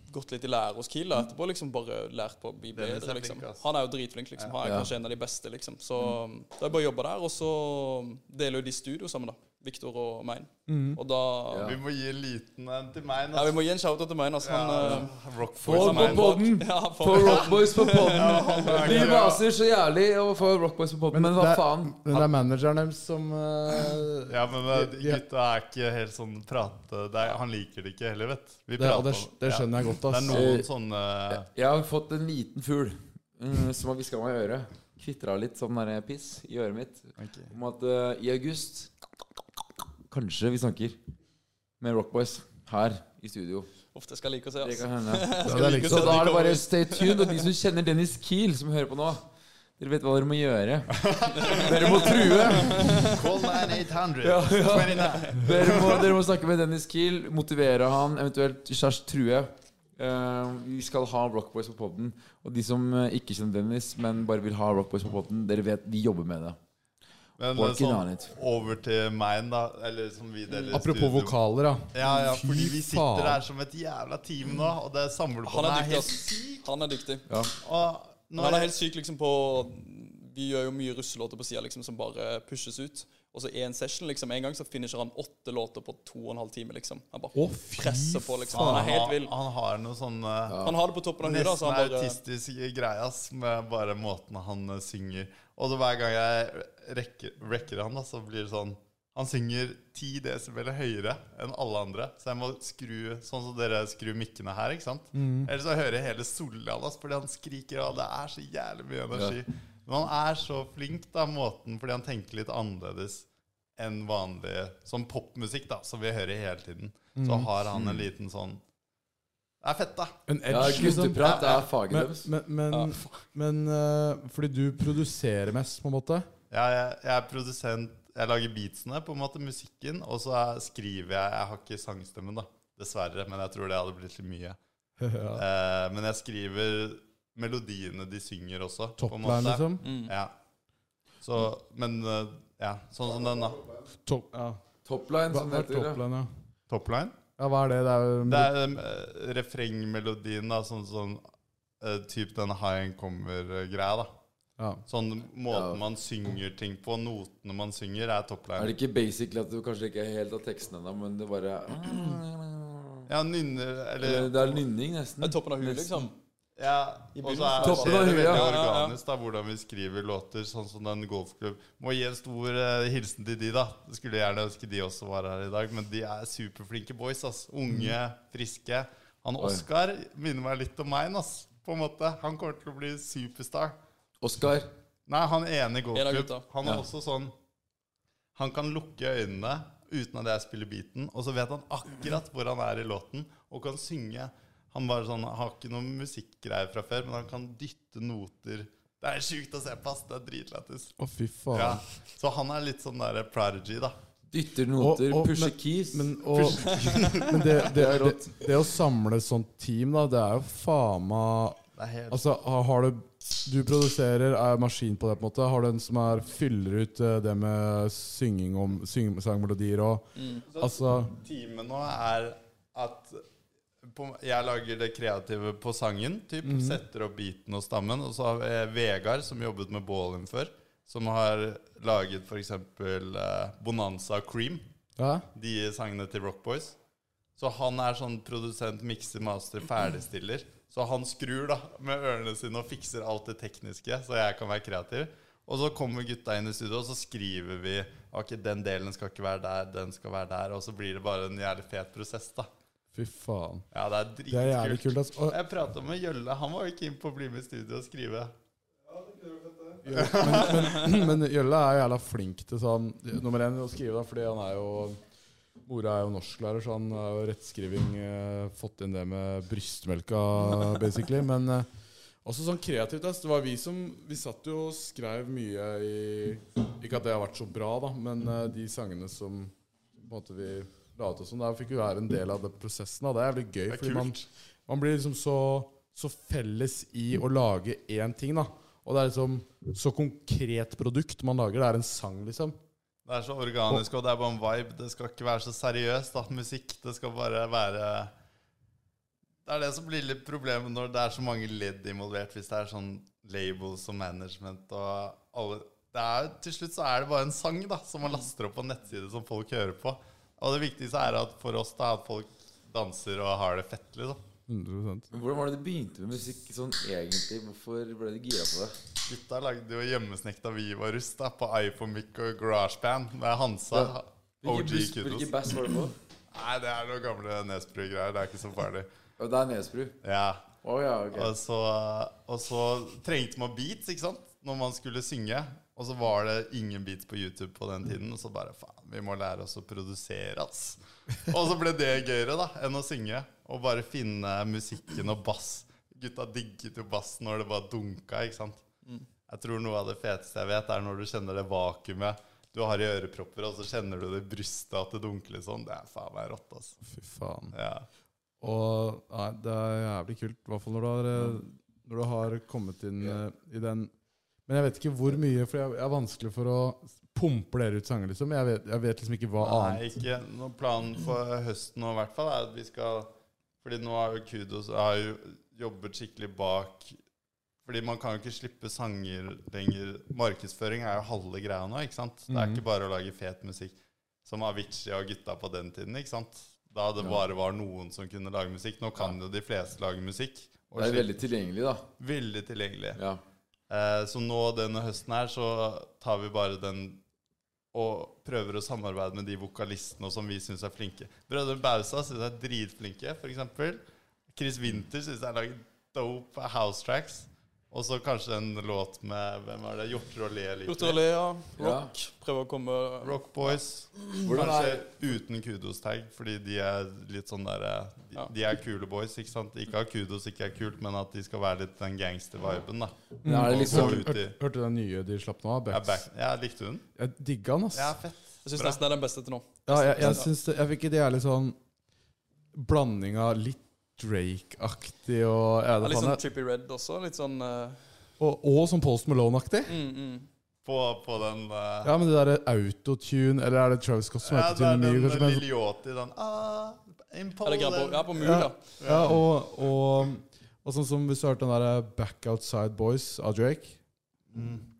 S6: gått litt i lære hos Kiel da, etterpå. liksom Bare lært på å bli
S3: Dennis er
S6: bedre,
S3: flink,
S6: liksom.
S3: ass.
S6: Han er jo dritflink, liksom. Han er
S4: Ja.
S6: kanskje en av de beste, liksom. Så da har jeg bare jobba der, og så deler jo de studio sammen, da. Victor og Mein. Og da
S4: Ja.
S3: Vi må gi en liten en til meg.
S6: Ja,
S3: nå.
S6: vi må gi en shout-out til Mein, altså. Han, eh,
S3: Rock
S4: Få
S3: Force er
S4: på
S3: meg.
S4: podden!
S6: Ja,
S4: Få Rockboys på podden! Vi maser så jævlig å få Rockboys på podden, men hva
S5: det er-
S4: faen?
S5: Men det er manageren deres som eh,
S3: Ja, men eh, de
S5: Ja.
S3: gutta er ikke helt sånn prate... Det er, han liker det ikke heller, vet du. Vi
S5: det, og det,
S3: prater om-
S5: det
S3: ja.
S5: skjønner jeg godt,
S3: Det er
S5: ass.
S3: noen sånne
S4: Jeg har fått en liten fugl mm, som har hviska meg i øret. Kvitra litt sånn der piss i øret mitt om at eh, i august Kanskje vi snakker med Rockboys her i studio.
S6: Ofte skal jeg like å se,
S4: Det
S6: ass.
S4: kan hende.
S5: Ja, det er liksom,
S4: Så da er det bare stay tuned. Og de som kjenner Dennis Kiel, som hører på nå, dere vet hva dere må gjøre. Dere må true.
S3: Call 9800.
S4: Ja, ja.
S3: 29.
S4: Dere må, dere må snakke med Dennis Kiel, motivere han, eventuelt Kjærs True. Eh, vi skal ha Rockboys på podden. Og de som eh, ikke kjenner Dennis, men bare vil ha Rockboys på podden, dere vet vi jobber med det.
S3: Men
S4: Working on
S3: sånn,
S4: it.
S3: over til meg, da. Eller som vi deler
S5: Apropos
S3: studio.
S5: vokaler, da.
S3: Ja, ja, fordi vi
S5: faen.
S3: sitter her som et jævla team nå, og det
S6: Han
S3: samlebåndet er
S6: er dyktig,
S3: helt
S6: ass. Han er dyktig.
S3: og nå
S6: Men han
S3: er
S6: er helt syk liksom på Vi gjør jo mye russelåter på sida liksom, som bare pushes ut. Og så én session, liksom. En gang så finisher han åtte låter på to og en halv time, liksom. Han bare
S5: Å, fy
S6: presser på, liksom.
S3: han,
S6: Han er helt
S3: har-
S6: vill.
S3: han har noe sånn eh,
S6: Han har det på toppen av huet, da,
S3: nesten
S6: så altså. han bare
S3: autistisk greie, ass, med bare måten han eh, synger Og så hver gang jeg rekker, rekker han, da, så blir det sånn Han synger 10 dB høyere enn alle andre, så jeg må skru sånn som dere skrur mikkene her, ikke sant?
S5: Mm.
S3: Ellers så hører jeg hele Solland, ass, fordi han skriker, og det er så jævlig mye energi. Men han er så flink, da, måten, fordi han tenker litt annerledes enn vanlig Som popmusikk, da, som vi hører hele tiden. Så har han en liten sånn Det er fett, da.
S5: En
S4: Ja,
S5: edge, liksom.
S4: Gutteprat er faget
S5: Men,
S4: deres.
S5: men, men, men eh, fordi du produserer mest, på en måte.
S3: Ja, jeg, jeg er produsent. Jeg lager beatsene, på en måte, musikken. Og så er- skriver jeg Jeg har ikke sangstemmen, da. Dessverre. Men jeg tror det hadde blitt litt mye.
S5: ja.
S3: Eh, men jeg skriver melodiene de synger også. på en
S5: Topline,
S3: måte. Mm.
S5: liksom.
S3: Ja. Så, men eh, ja, sånn som den, da.
S5: Top, ja.
S4: Topline,
S5: Hva,
S4: som
S5: hva
S4: det
S5: er
S4: heter. ja.
S5: topline, ja?
S3: Topline?
S5: Ja, hva er det? Det er jo
S3: Det er eh, refrengmelodien, da. Sånn sånn eh, Typ den high end kommer-greia, da.
S5: ja.
S3: Sånn
S4: Ja.
S3: måten man synger ting på, notene man synger, er topline.
S4: Er det ikke basically at du kanskje ikke er helt av teksten ennå, men det bare
S3: Ja, nynner
S4: Eller
S3: Eller
S4: Det er nynning, nesten.
S6: Det er toppen av huet,
S4: Nesten.
S6: liksom.
S3: Ja, og så er,
S4: Toppen
S3: skjer
S4: av
S3: det
S4: hylla.
S3: veldig
S4: Ja,
S6: ja, ja.
S3: organisk da, hvordan vi skriver låter, sånn som den golfklubb. Må gi en stor eh, hilsen til de, da. Skulle gjerne ønske de også var her i dag, men de er superflinke boys. ass. Unge, friske. Han Oskar minner meg litt om meg, ass. På en måte. Han kommer til å bli superstar.
S4: Oskar.
S3: Nei, han ene i
S6: En av
S3: golfklubb.
S6: gutta.
S3: Han er også sånn Han kan lukke øynene uten at jeg spiller beaten, og så vet han akkurat hvor han er i låten, og kan synge. Han bare sånn, har ikke noen musikkgreier fra før, men han kan dytte noter. Det er sjukt å se på, ass. Det er dritlættis.
S5: Å, fy faen.
S3: Ja. Så han er litt sånn der prodigy, da.
S4: Dytter noter,
S5: Og- og-
S4: pusher
S5: men-
S4: keys.
S5: Men, og, men det, det, det, det å samle et sånt team, da, det er jo faen meg
S3: Det er helt
S5: Altså, har- har du Du produserer, er maskin på det, på en måte. Har du en som er, fyller ut eh, det med synging om syng- sangmelodier og
S3: Mm.
S5: Altså
S3: teamet nå er at på, jeg lager det kreative på sangen, typ, setter opp beaten og stammen. Og så har vi eh, Vegard, som jobbet med Ballin før, som har laget f.eks. Eh, Bonanza og Cream,
S5: Ja,
S3: de sangene til Rock Boys. Så han er sånn produsent, mikser, master, ferdigstiller. Så han skrur da med ørene sine og fikser alt det tekniske, så jeg kan være kreativ. Og så kommer gutta inn i studio, og så skriver vi Ok, den delen skal ikke være der, den skal være der. Og så blir det bare en jævlig fet prosess, da.
S5: fy faen.
S3: Ja, det er
S5: Det er jævlig
S3: dritkult.
S5: kult. altså. ass. Og,
S3: Jeg prata med Jølle. Han var jo keen på å bli med i studio og skrive.
S5: men Jølle er jo jævla flink til sånn Nummer én å skrive, da, fordi han er jo Mora er jo norsklærer, så han har jo rettskriving eh, fått inn det med brystmelka, basically. Men eh, også sånn kreativt. ass. Det var vi som Vi satt jo og skrev mye i Ikke at det har vært så bra, da, men eh, de sangene som på en måte vi la ut og sånn, der fikk jo være en del av den prosessen. Da. Det er jævlig gøy.
S3: Det er
S5: fordi man,
S3: kult.
S5: man blir liksom så, så felles i å lage én ting, da. Og det er liksom så konkret produkt man lager. Det er en sang, liksom.
S3: Det er så organisk, og det er bare en vibe. Det skal ikke være så seriøst, da. Musikk. Det skal bare være Det er det som blir litt problemet når det er så mange ledd involvert, hvis det er sånn labels og management og alle det er, Til slutt så er det bare en sang da som man laster opp på en nettside som folk hører på. Og det viktigste er at for oss da at folk danser og har det fett, liksom.
S5: 100
S4: Men Hvordan var det du begynte med musikk sånn egentlig? Hvorfor ble du gira på det?
S3: Gutta lagde jo hjemmesnekta vi var russ da, på iPhone Mic og GarageBand med Hansa.
S4: Ja.
S3: OG
S4: Hvilken buss,
S3: Kudos.
S4: hvilken bass var det på?
S3: Nei, det er noen gamle Nesbru-greier. Det er ikke så farlig.
S4: Ja, det er Nesbru.
S3: Ja,
S4: Å ja, ok.
S3: og så, og så trengte man beats, ikke sant? Når man skulle synge. Og så var det ingen beats på YouTube på den tiden. Og så bare faen, vi må lære oss å produsere, ass. Og så ble det gøyere da, enn å synge. Og bare finne musikken og bass. Gutta digget jo bass når det bare dunka, ikke sant. Jeg tror noe av det feteste jeg vet, er når du kjenner det vakuumet du har i ørepropper, og så kjenner du det i brystet at det dunker litt sånn. Det er faen meg rått, ass.
S5: Fy faen.
S3: Ja.
S5: Og nei, det er jævlig kult, i hvert fall når du har, eh, når du har kommet inn eh, i den Men jeg vet ikke hvor mye, for jeg jeg er vanskelig for å pumpe dere ut sanger, liksom. Jeg vet, jeg vet liksom ikke hva annet.
S3: Nei, ikke noe plan for høsten nå, i hvert fall. Er at vi skal Fordi nå har jo Kudos har jo jobbet skikkelig bak Fordi man kan jo ikke slippe sanger lenger. Markedsføring er jo halve greia nå, ikke sant? Det
S4: Mhm.
S3: er ikke bare å lage fet musikk som Avicii og gutta på den tiden, ikke sant? Da det bare var noen som kunne lage musikk. Nå kan jo de fleste lage musikk. Og
S4: Det er
S3: slipp-
S4: veldig tilgjengelig, da.
S3: veldig tilgjengelig.
S4: Ja.
S3: Eh, Så nå denne høsten her så tar vi bare den og prøver å samarbeide med de vokalistene og som vi syns er flinke. Brødrene Bausa syns jeg er dritflinke, f.eks. Chris Winther syns jeg lager dope house tracks. Og så kanskje en låt med Hvem er det? Hjorter og Le liker.
S6: Hjorter og Lea, rock.
S4: Ja.
S6: Prøve å komme
S3: Rock Boys.
S4: Hvordan
S3: Kanskje
S4: er
S3: uten kudos-tag, fordi de er litt sånn derre de,
S6: Ja.
S3: de er kule boys, ikke sant? Ikke har kudos, ikke er kult, men at de skal være litt den gangster-viben, da.
S4: Men er det
S3: Og
S4: liksom
S3: gå ut i
S5: Hørte, hørte du den nye de slapp nå?
S3: Ja,
S5: Bex?
S3: back- ja, likte du den?
S5: Jeg digga den, ass.
S3: Ja, fett.
S6: Jeg syns
S3: Bra.
S6: nesten det er den beste til nå.
S5: Ja, jeg, jeg, syns det, jeg fikk en jævlig sånn blanding av litt Drake-aktig og ja, liksom-
S6: Det
S5: det
S6: er litt
S5: faen
S6: sånn
S5: jeg-
S6: Trippy Red også. Litt sånn eh,
S5: Og, og sånn Post Malone-aktig.
S6: mm, mm.
S3: På, på den eh,
S5: Ja, men det derre autotune Eller er det Travis Scott som
S3: ja,
S5: heter Tune
S3: den,
S5: mye, kanskje?
S3: den
S5: Men,
S3: Lille Yachty, den ah,
S6: Ja, det er greit på, ja,
S3: Impala.
S6: på mur, ja.
S5: ja, og, og, og sånn som hvis du hørte den derre Back Outside Boys av Drake.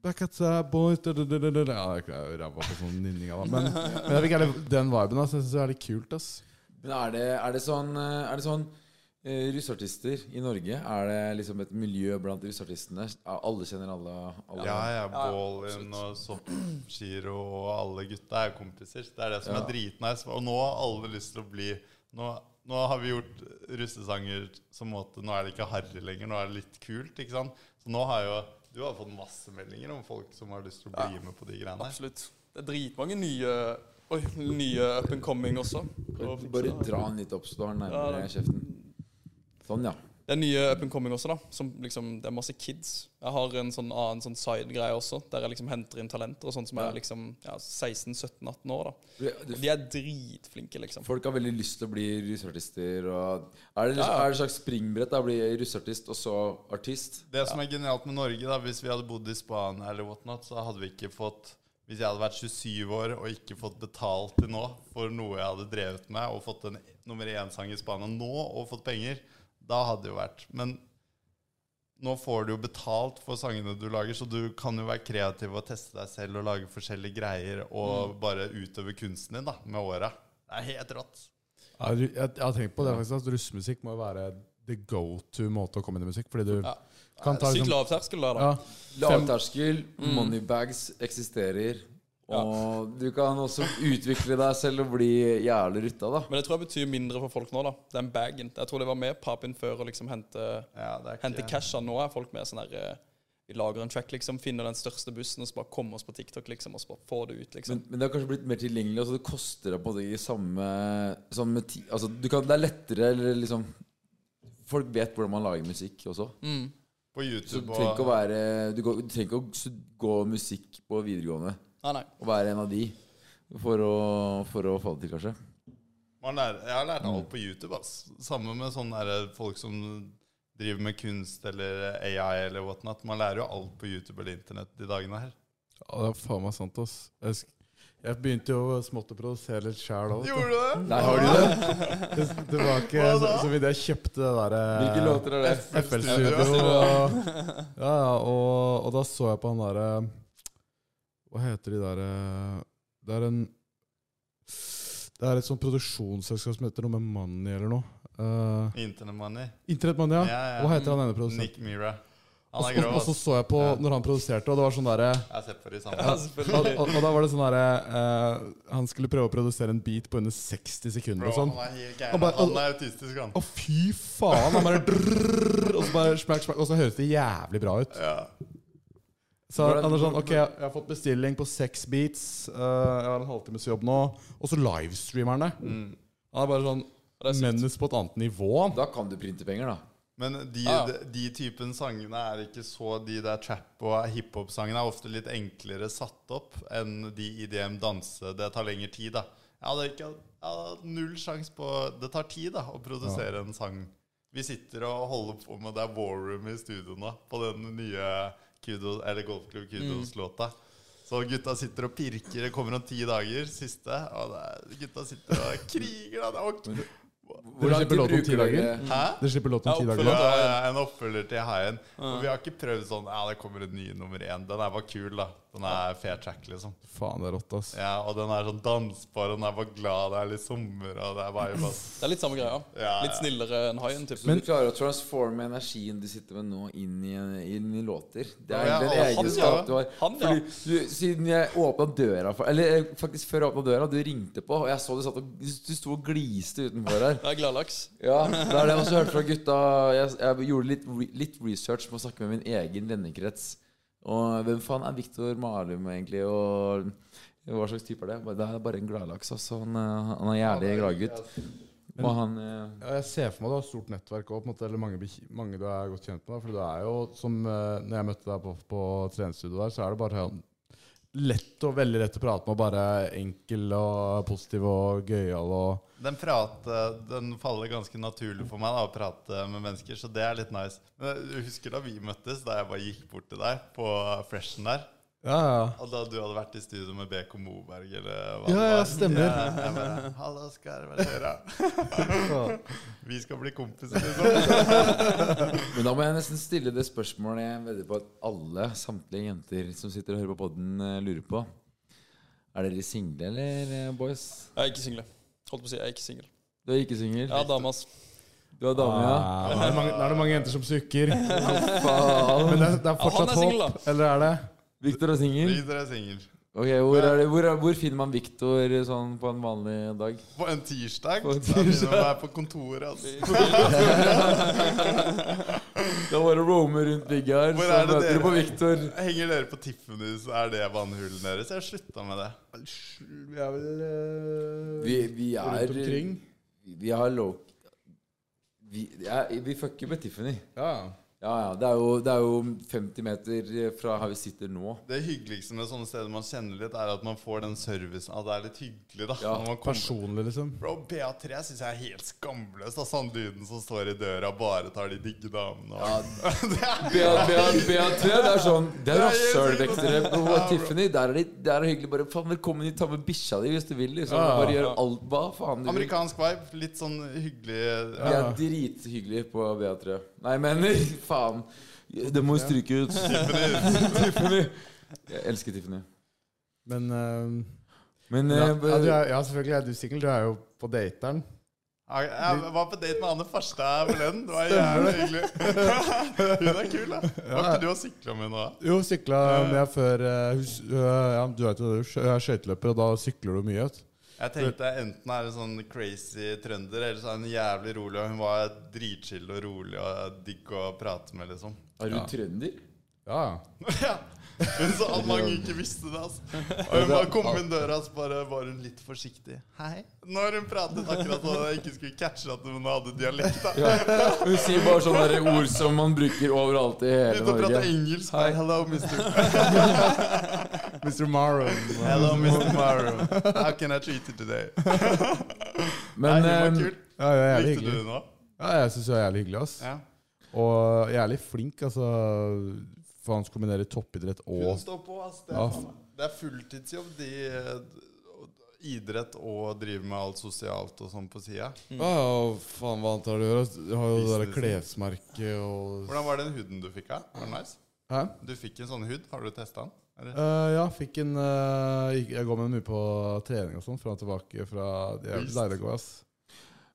S5: Back outside boys da, da, da, da, da. Ja, jeg er jo ræva på sånn nynning av det. Men, altså. men jeg fikk jævlig den viben. ass. Jeg syns det er litt kult. ass
S4: Men er det, er det sånn eh, Er det sånn eh, russeartister i Norge? Er det liksom et miljø blant russeartistene? Ja, Alle kjenner alle? alle.
S3: Ja, ja, Ballin og Sopp, Giro og alle gutta er kompiser. Det er det som
S4: Ja.
S3: er dritnice. Og nå har alle lyst til å bli Nå, nå har vi gjort russesanger som måte Nå er det ikke harry lenger, nå er det litt kult, ikke sant? Så nå har jo Du har fått masse meldinger om folk som har lyst til å bli med på de greiene her.
S6: Absolutt. Det er dritmange nye Oi, nye up and coming også. Og-
S4: Bare, bare dra den litt opp, så du har den nærmere kjeften. Sånn, ja.
S6: Det er nye up and coming også, da. Som liksom, det er masse kids. Jeg har en sånn annen sånn side-greie også, der jeg liksom henter inn talenter og sånt som
S4: Ja.
S6: er liksom ja, 16-17-18 år. da.
S4: Du-
S6: Og de er dritflinke, liksom.
S4: Folk har veldig lyst til å bli russeartister. Og er, det liksom, er det et slags springbrett da, å bli russeartist og så artist?
S3: Det som er genialt med Norge, da hvis vi hadde bodd i Spania eller whatnot, så hadde vi ikke fått Hvis jeg hadde vært 27 år og ikke fått betalt til nå for noe jeg hadde drevet med, og fått en nummer én-sang i Spania nå og fått penger, da hadde det jo vært Men nå får du jo betalt for sangene du lager, så du kan jo være kreativ og teste deg selv og lage forskjellige greier og
S4: Mm.
S3: bare utøve kunsten din da, med åra. Det er helt rått.
S5: Ja, du- jeg, jeg har tenkt på det faktisk at Russmusikk må jo være the go to måte å komme inn i musikk. Fordi du kan ta
S6: Eh, Sykt
S5: liksom,
S6: lav terskel der, da.
S5: ja,
S4: Lavterskel, moneybags eksisterer. Og du kan også utvikle deg selv og bli jævlig rutta, da.
S6: Men det tror jeg betyr mindre for folk nå, da. Den bagen. Jeg tror det var med papen før og liksom hente,
S3: Ja, det er
S6: hente casha. Nå er folk mer sånn der eh, Vi lager en track, liksom. Finner den største bussen og så bare kommer oss på TikTok, liksom. Og så bare får det ut, liksom.
S4: Men, men det har kanskje blitt mer tilgjengelig. Altså det koster deg på det i samme, samme ti, altså du kan, Det er lettere eller liksom Folk vet hvordan man lager musikk også.
S6: Mm.
S3: På
S4: Så du
S3: YouTube
S4: trenger ikke å
S3: og
S4: være Du, går, du trenger ikke å stud- gå musikk på videregående
S6: Ah, Nei, nei.
S4: og være en av de for å, for å få det til, kanskje.
S3: Man lærer, jeg har lært
S5: Mm.
S3: alt på YouTube. Ass. Samme med sånne der eh, folk som driver med kunst eller AI eller whatnot. Man lærer jo alt på YouTube eller internett de dagene her.
S5: ja, Det er faen meg sant, ass. Jeg, sk- jeg begynte jo smått å produsere litt sjæl òg.
S3: Gjorde du det?
S4: Nei, har du det?
S5: Det, det var ikke
S3: Hva
S5: så,
S3: da?
S5: så vidt jeg kjøpte det
S4: Hvilke
S5: derre
S4: låter er det?
S5: FL Studio. Og, ja, ja, og, og da så jeg på han derre Hva heter de derre Det er en Det er et sånt produksjonsselskap som heter noe med Money eller noe. Uh,
S3: Internet money.
S5: Internettmania.
S3: Ja, ja.
S5: Hva heter han ene produsenten?
S3: Nick Mira.
S5: Og
S3: Han er
S5: så-
S3: grov.
S5: Og så
S3: ass.
S5: så jeg på
S3: Ja.
S5: når han produserte, og det var sånn derre
S3: Jeg har sett på de
S6: Ja,
S3: samme.
S5: og,
S6: selvfølgelig.
S5: og, og da var det sånn derre eh, Han skulle prøve å produsere en beat på under 60 sekunder
S3: Bro,
S5: og sånn.
S3: han er helt
S5: Og
S3: gæren.
S5: bare-
S3: Han er autistisk, han.
S5: Å, fy faen! Han bare drrrr, Og så bare smakk, smakk, og så høres det jævlig bra ut.
S3: Ja.
S5: Så han er sånn Ok, jeg jeg har fått bestilling på seks beats. eh, jeg har en halvtimes jobb nå. Og så livestreamer han det. Han er bare sånn
S6: Det er sykt.
S5: Mennes på et annet nivå. han.
S4: Da kan du printe penger, da.
S3: Men de,
S6: Ja.
S3: de, de typen sangene er ikke så De der trap- og hiphop-sangene er ofte litt enklere satt opp enn de IDM danse. Det tar lengre tid, da. Jeg hadde ikke jeg hadde hatt null sjanse på Det tar tid da å produsere en sang. Vi sitter og holder på med Det er war room i studio nå på den nye Kudos, eller Golfklubb Kudos-låta. Så gutta sitter og pirker. Det kommer om ti dager, siste. Og det er, gutta sitter og kriger. Da. Det er ok.
S5: Dere slipper låt om ti dager?
S3: Hæ?
S5: Dere slipper låt om ti
S6: Ja,
S5: dager.
S3: Ja,
S5: nå.
S3: ja, ja, en oppfølger til Haien. Og vi har ikke prøvd sånn Ja, det kommer en ny nummer én. Den her var kul, da. Den er fair track, liksom.
S5: Faen, det er rått, ass.
S3: Ja, Og den er sånn dansbar, og den er bare glad, det er litt sommer, og det er bare bare
S6: Det er litt samme greia.
S3: Ja,
S6: Litt
S3: ja.
S6: snillere enn haien, typ.
S4: Så du klarer å transforme energien du sitter med nå, inn i, inn i låter. Det er
S3: Ja,
S4: egentlig en
S3: ja, han,
S4: egenskap
S6: ja.
S4: du har.
S6: Han, ja.
S4: Fordi du, siden jeg åpna døra for Eller eh, faktisk før jeg åpna døra, du ringte på, og jeg så du satt og Du sto og gliste utenfor her.
S6: Det er gladlaks.
S4: Ja, det er det jeg også hørte fra gutta. Jeg, jeg gjorde litt, re- litt research med å snakke med min egen vennekrets. Og hvem faen er Victor Malum, egentlig? Og hva slags type er det? Bare- Det er bare en gladlaks. Altså. Han, eh, han er jævlig gladgutt. Og han eh,
S5: Ja, jeg ser for meg du har et stort nettverk òg, eller mange, bek- mange du er godt kjent med. da, For du er jo, som eh, når jeg møtte deg på, på treningsstudioet der, så er det bare sånn lett og veldig lett å prate med. og Bare enkel og positiv og gøyal og
S3: Den, prate, den faller ganske naturlig for meg da, å prate med mennesker, så det er litt nice. Men jeg husker da vi møttes, da jeg bare gikk bort til deg på freshen der.
S5: Ja, ja.
S3: Og da du hadde vært i studio med BK Moberg, eller hva
S5: Ja,
S3: det
S5: ja,
S3: var.
S5: stemmer.
S3: Ja, jeg bare, Hallo, Oskar, hva skjer da? Vi skal bli kompiser, liksom.
S4: Men da må jeg nesten stille det spørsmålet jeg vedder på at alle samtlige jenter som sitter og hører på podden, eh, lurer på. Er dere single, eller eh, boys?
S6: Jeg er ikke single. Holdt på å si, jeg er ikke singel.
S4: Du er ikke singel?
S6: Ja, damas.
S4: Du har dame, ja?
S5: Ja, da er det mange, da er det mange jenter som sukker.
S4: Faen.
S5: Men det, er- det er
S6: han
S5: fortsatt
S6: er single,
S5: håp. Eller er det?
S4: Victor er singel.
S3: Victor er singel.
S4: Ok, hvor, er det, hvor, er, hvor finner man Victor sånn på en vanlig dag?
S3: På en tirsdag.
S4: På en
S3: Da begynner man å
S4: tirsdag.
S3: være på kontoret. Altså.
S4: Da bare roamer rundt bygget her,
S3: Hvor
S4: så
S3: er det
S4: møter du
S3: dere-
S4: på Victor.
S3: Henger dere på Tiffany, så er det vannhulen deres. Jeg har slutta med det.
S5: Vi er vel eh,
S4: Vi, vi er
S5: rundt omkring.
S4: Vi har low... Vi, ja, vi fucker med Tiffany.
S5: Ja.
S4: Ja, ja. Det er, jo, det er jo 50 meter eh, fra her vi sitter nå.
S3: Det hyggeligste med sånne steder man kjenner litt, er at man får den servicen. At det er litt hyggelig, da.
S4: Ja,
S3: når man kommer
S5: Personlig, liksom.
S3: Bro, BA3 syns jeg er helt skamløst. av Sanddyden som står i døra og bare tar de digge damene. Og...
S4: BA3, det er sånn Det er
S3: Nei, jeg sier det.
S4: rasshølvektere. på Tiffany, der er det, der er det hyggelig. Bare faen, velkommen hit, ta med bikkja di hvis du vil. Liksom. Bare gjør alt hva faen du vil.
S3: Amerikansk vibe. Litt sånn hyggelig
S4: Vi er drithyggelige på BA3. Nei, jeg mener faen. Det må jo stryke ut. Tiffany. Jeg elsker Tiffany.
S5: Men eh,
S4: Men
S5: ja,
S4: eh,
S5: ja, du er, ja, selvfølgelig er du singel. Du er jo på dateren.
S3: Ja, Jeg var på date med Anne Farstad forleden. Det var jævlig hyggelig. Hun er kul, da. Var ikke du og sykla med henne da?
S5: Jo, sykla med før eh, hus- øh, Ja, du vet jo det, skø- jeg er skøyteløper, og da sykler du mye. vet du.
S3: Jeg tenkte enten er det sånn crazy trønder, eller så er hun jævlig rolig. Og hun var dritchill og rolig og digg å prate med, liksom.
S4: Er du trønder?
S5: Ja, ja.
S3: Ja. Hun sa at mange ikke visste det, altså. Og hun bare kom inn døra, så bare var hun litt forsiktig. Hei. Når hun pratet akkurat sånn at jeg ikke skulle catche at hun hadde dialekt, da.
S4: Hun sier bare sånne der ord som man bruker overalt i hele
S3: Begynte å prate
S4: Norge.
S3: engelsk. Hei. Hello, Mr.
S5: Mr. Morrow.
S3: Hello, Mr. Mario. How can I treat you today? Nei,
S4: Men
S3: hun var
S4: eh,
S3: kul.
S5: Ja, jeg er jævlig
S3: Likte du
S5: hyggelig.
S3: det nå?
S5: Ja, jeg syns hun er jævlig hyggelig. ass.
S3: Ja.
S5: Og jævlig flink, altså. For han kombinerer toppidrett
S3: Hun
S5: og
S3: står på, ass. Det er,
S5: Ja.
S3: faen meg- det er fulltidsjobb. De eh, idrett og driver med alt sosialt og sånn på sida.
S5: Ja, og faen, hva annet har du å gjøre? ass? Du har jo det der
S3: Business.
S5: klesmerket og
S3: Hvordan var den huden du fikk av? Var den nice?
S5: Hæ?
S3: Du fikk en sånn hud. Har du testa den? Eller?
S5: Eh, ja, fikk en eh, gikk- Jeg går med mye på trening og sånn, fra og tilbake fra Det er
S3: Beast.
S5: deilig å gå, ass.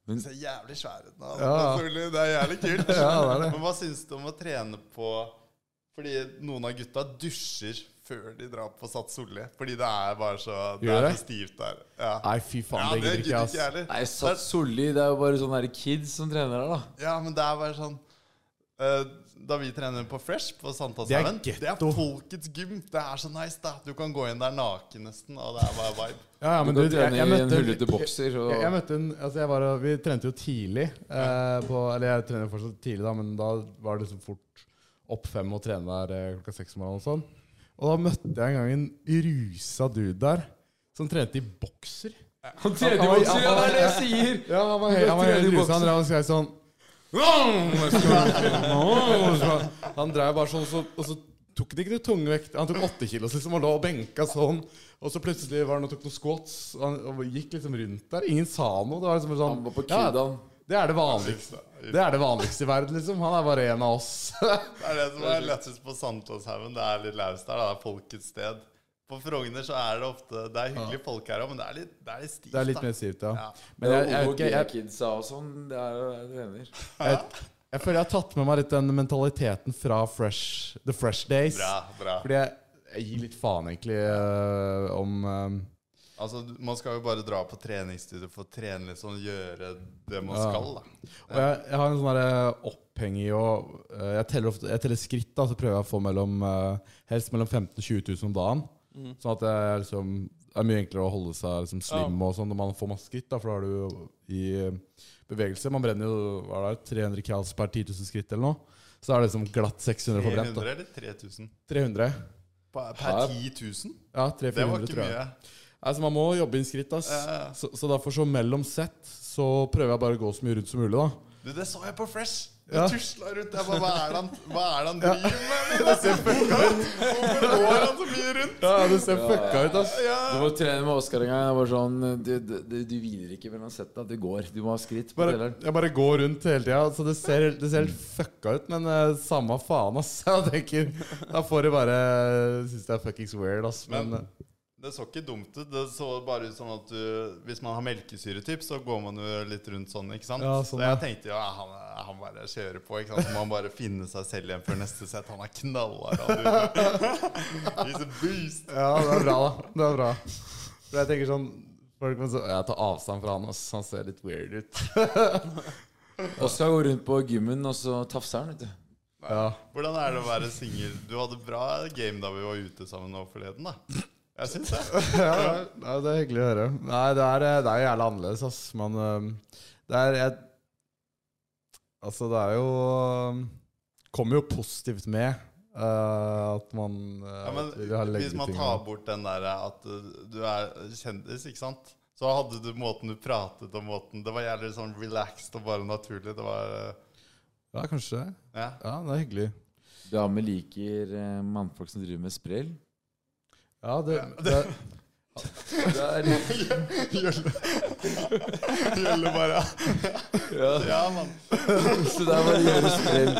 S3: Den ser jævlig svær ut nå. altså.
S5: Ja.
S3: Selvfølgelig, Det er jævlig kult.
S5: Ja, det er det.
S3: Men hva syns du om å trene på Fordi noen av gutta dusjer før de drar på Sats Solli. Fordi det er bare så Det
S5: Gjør
S3: er
S5: det?
S3: så stivt der. Ja,
S5: Nei, fy faen,
S3: ja
S5: det gidder ikke jeg, ass.
S3: jeg heller.
S4: Nei, Sats Solli, det er jo bare sånne der kids som trener her, da.
S3: Ja, men det er bare sånn eh, Da vi trener på Fresh på Sankthanshaugen
S5: Det er
S3: Det er folkets gym. Det er så nice, da. Du kan gå inn der naken nesten, og det er bare vibe.
S5: Ja, ja, men
S4: Du
S5: du,
S4: kan
S5: jeg,
S4: trene
S5: jeg
S4: i en
S5: møtte
S4: hullete bokser og
S5: Jeg, jeg møtte en, altså jeg var, Vi trente jo tidlig eh, på, Eller jeg trener fortsatt tidlig da Men da var det liksom fort opp fem Og trene der eh, klokka seks om morgenen og sånn Og da møtte jeg en gang en rusa dude der Som trente i bokser
S4: Han trener jo også, ja, det er det jeg sier!
S5: Ja, han var, he- han var
S4: Trente
S5: helt
S4: i
S5: rusa
S4: bokser.
S5: Han drev og skrev sånn Han drev bare sånn så, Og så tok det ikke det tungvekt Han tok åtte kilos liksom Og lå og benka sånn Og så plutselig var han og tok noen squats og Han og gikk liksom rundt der Ingen sa noe Det var liksom bare sånn
S4: Han var på
S5: ja,
S4: Kudan.
S5: det er det vanligste Det er det vanligste i verden liksom Han er bare en av oss
S3: Det er det som er lettest på Sankthanshaugen. Det er litt laust der. da. Det er folkets sted. På Frogner så er det ofte Det er hyggelige folk her òg, men det er litt, det er litt stivt.
S5: Det er litt
S3: da.
S5: mer stivt, ja
S3: Ja.
S5: Men jeg, jeg, jeg, jeg,
S4: Kidsa og sånn, det er jo jeg trener.
S5: jeg, jeg føler jeg har tatt med meg litt den mentaliteten Fra fresh, The Fresh Days
S3: Bra, bra.
S5: Fordi jeg, jeg gir litt faen egentlig øh, om øh,
S3: Altså, du- man skal jo bare dra på treningsstudio for å trene litt sånn, gjøre det man
S5: Ja.
S3: skal, da.
S5: Og jeg, jeg har en sånn derre oppheng i å eh, jeg, teller ofte, jeg teller skritt, da, så prøver jeg å få mellom eh, helst mellom 15 000 og 20 000 om dagen. Sånn at det er liksom det er mye enklere å holde seg liksom slim og sånn når man får masse skritt, da, for da er du jo i eh, bevegelse. Man brenner jo hva er det, 300 kals per 10 000 skritt eller noe. Så da er det liksom glatt 600 forbrent.
S3: 300
S5: da.
S3: eller 3000?
S5: 300.
S3: Per,
S4: Hæ?
S3: per 10 000?
S5: Ja,
S3: Det var
S5: 300-400,
S3: ikke
S5: tror jeg.
S3: mye.
S5: Altså, man må jobbe inn skritt, ass.
S3: Ja, ja.
S5: Så, så derfor, så mellom sett, så prøver jeg bare å gå så mye rundt som mulig, da.
S3: Du, det så jeg på Fresh! Du
S5: Ja.
S3: tusla rundt. Jeg bare, Hva er det han, hva er det han driver med? Det ser fucka ut! Hvorfor går han så mye rundt?
S5: Ja, det ser fucka ut, ass.
S3: Ja.
S4: Du må trene med Oskar en gang. Det var sånn, du, du, du, du hviler ikke mellom setta. Du går. Du må ha skritt på
S5: bare,
S4: deleren.
S5: jeg bare går rundt hele tida. Så det ser, det ser helt fucka ut, men eh, samme eh, faen, ass. Jeg tenker, Da får de bare synes det er fuckings weird, ass. Men, eh,
S3: Men- Det så ikke dumt ut. Det så bare ut sånn at du Hvis man har melkesyretyp, så går man jo litt rundt sånn, ikke sant?
S5: Ja, sånn,
S3: så jeg
S5: ja.
S3: tenkte jo ja, han, han bare kjører på, ikke sant? Så må han bare finne seg selv igjen før neste sett. Han er knalla radio. He's a beast.
S5: Ja, det er bra, da. Det er bra. For jeg tenker sånn folk må så, Jeg tar avstand fra han, ass. Han ser litt weird ut.
S4: Oskar går rundt på gymmen, og så tafser han, vet du.
S5: Ja.
S3: Hvordan er det å være singel? Du hadde bra game da vi var ute sammen nå forleden, da. Jeg syns det.
S5: ja, nei, det er hyggelig å høre. Nei, det er, eh, det er jo jævlig annerledes, ass. Men øhm, det er jeg, Altså, det er jo øhm, Kommer jo positivt med eh, at man eh,
S3: Ja, men
S5: vil ha legge
S3: hvis man
S5: ting-
S3: tar bort den der at uh, du er kjendis, ikke sant? Så hadde du måten du pratet om måten Det var jævlig sånn relaxed og bare naturlig. Det var uh,
S5: Ja, kanskje det.
S3: Ja.
S5: Ja, det er hyggelig.
S4: Damer liker eh, mannfolk som driver med sprell.
S5: Ja, det, det,
S4: Det er,
S3: Gjølle bare Ja, mann.
S4: så det er bare å gjøre sprell.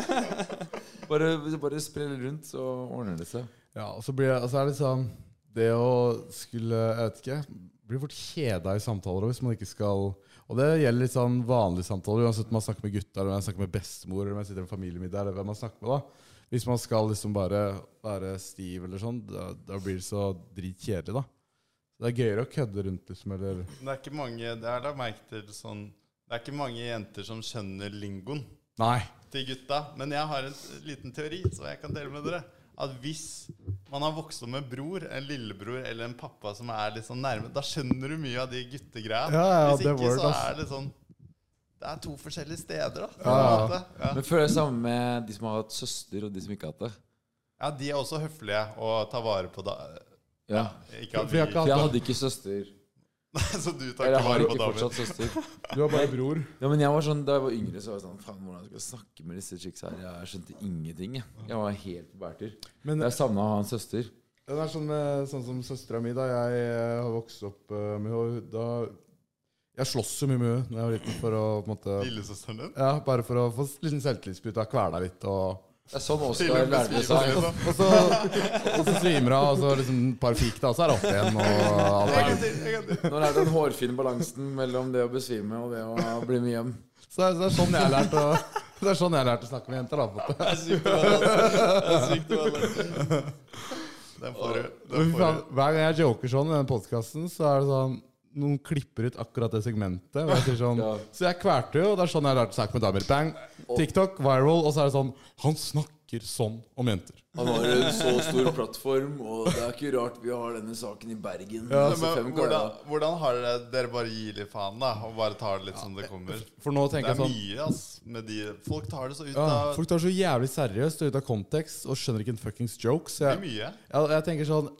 S4: Bare, bare sprell rundt, så ordner det seg.
S5: Ja, og så blir det, altså er det liksom Det å skulle, jeg vet ikke Blir fort kjeda i samtaler hvis man ikke skal Og det gjelder litt sånn vanlige samtaler Uansett om man snakker med gutta, eller om man snakker med bestemor Eller om man sitter i en familiemiddag, eller hvem man snakker med da Hvis man skal liksom bare være stiv eller sånn Da, da blir det så dritkjedelig da Så det er gøyere å kødde rundt liksom, eller
S3: Det er ikke mange Det har jeg lagt merke til sånn Det er ikke mange jenter som skjønner lingoen
S5: Nei
S3: til gutta. Men jeg har en liten teori som jeg kan dele med dere. At hvis man har vokst opp med bror, en lillebror eller en pappa som er litt sånn nærme, da skjønner du mye av de guttegreia.
S5: Ja, ja,
S3: hvis
S5: det
S3: ikke,
S5: word,
S3: så
S5: ass.
S3: er det sånn Det er to forskjellige steder, da. på en
S5: Ja, ja.
S3: måte. Ja.
S4: Men føler jeg samme med de som har hatt søster, og de som ikke har hatt det.
S3: ja, de er også høflige og tar vare på da.
S4: Ja.
S3: Ikke at
S5: For jeg har ikke
S3: vi
S5: hatt-
S4: For jeg hadde ikke søster.
S3: Så du tar
S4: Eller
S3: ikke
S4: jeg har
S3: vare på
S4: ikke
S3: damer.
S4: fortsatt søster.
S5: Du har bare bror
S4: Ja, men jeg var sånn, Da jeg var yngre, så var jeg sånn Faen, hvordan skal jeg snakke med disse chicks her? Jeg skjønte ingenting. Jeg, jeg var helt på bærtur.
S5: Men-
S4: Jeg savna å ha en søster.
S5: Den er sånn, med, sånn som søstera mi. Da jeg eh, har vokst opp eh, med henne da, Jeg slåss så mye med henne da jeg var liten for å på en måte,
S3: Lillesøsteren din?
S5: ja, Bare for å få s- liten selvtillitsbrudd. Kvele deg litt. Og,
S4: Det er sånn
S3: Til og
S4: Oskar
S3: med
S4: lærte
S3: beskriver
S4: seg
S3: det, da.
S5: og, så, og så svimer hun av, og så liksom et par fik, da, og så er det opp igjen. Og alt
S3: En
S5: er
S3: gang
S5: good.
S3: til, en gang til.
S4: Nå lærte jeg den hårfine balansen mellom det å besvime og det å bli med hjem.
S5: så, det er- så det er sånn jeg har lært å det er sånn jeg har lært å snakke med jenter. da på en måte.
S3: Det er sykt å være Det er sykt å være Den får du. Den
S5: Men fy
S3: får
S5: faen,
S3: du.
S5: Hver gang jeg joker sånn i den podkasten, så er det sånn noen klipper ut akkurat det segmentet. Og jeg sier sånn,
S4: Ja.
S5: Så jeg kvalte jo, og det er sånn jeg har lært å snakke med damer. Bang! TikTok, viral, og så er det sånn Han snakker sånn om jenter.
S4: Han har en så stor plattform, og det er ikke rart vi har denne saken i Bergen. Altså,
S3: Men
S4: fem
S3: hvordan,
S4: karer.
S3: hvordan har dere Dere bare gir litt faen, da? Og bare tar det litt som det kommer?
S5: For nå
S3: Det er
S5: tenker jeg sånn
S3: mye, ass. Med de Folk tar det så ut
S5: ja,
S3: av
S5: Folk tar så jævlig seriøst og ut av kontekst og skjønner ikke en fuckings joke. Så
S3: Det er
S5: jeg,
S3: mye.
S5: jeg, jeg tenker sånn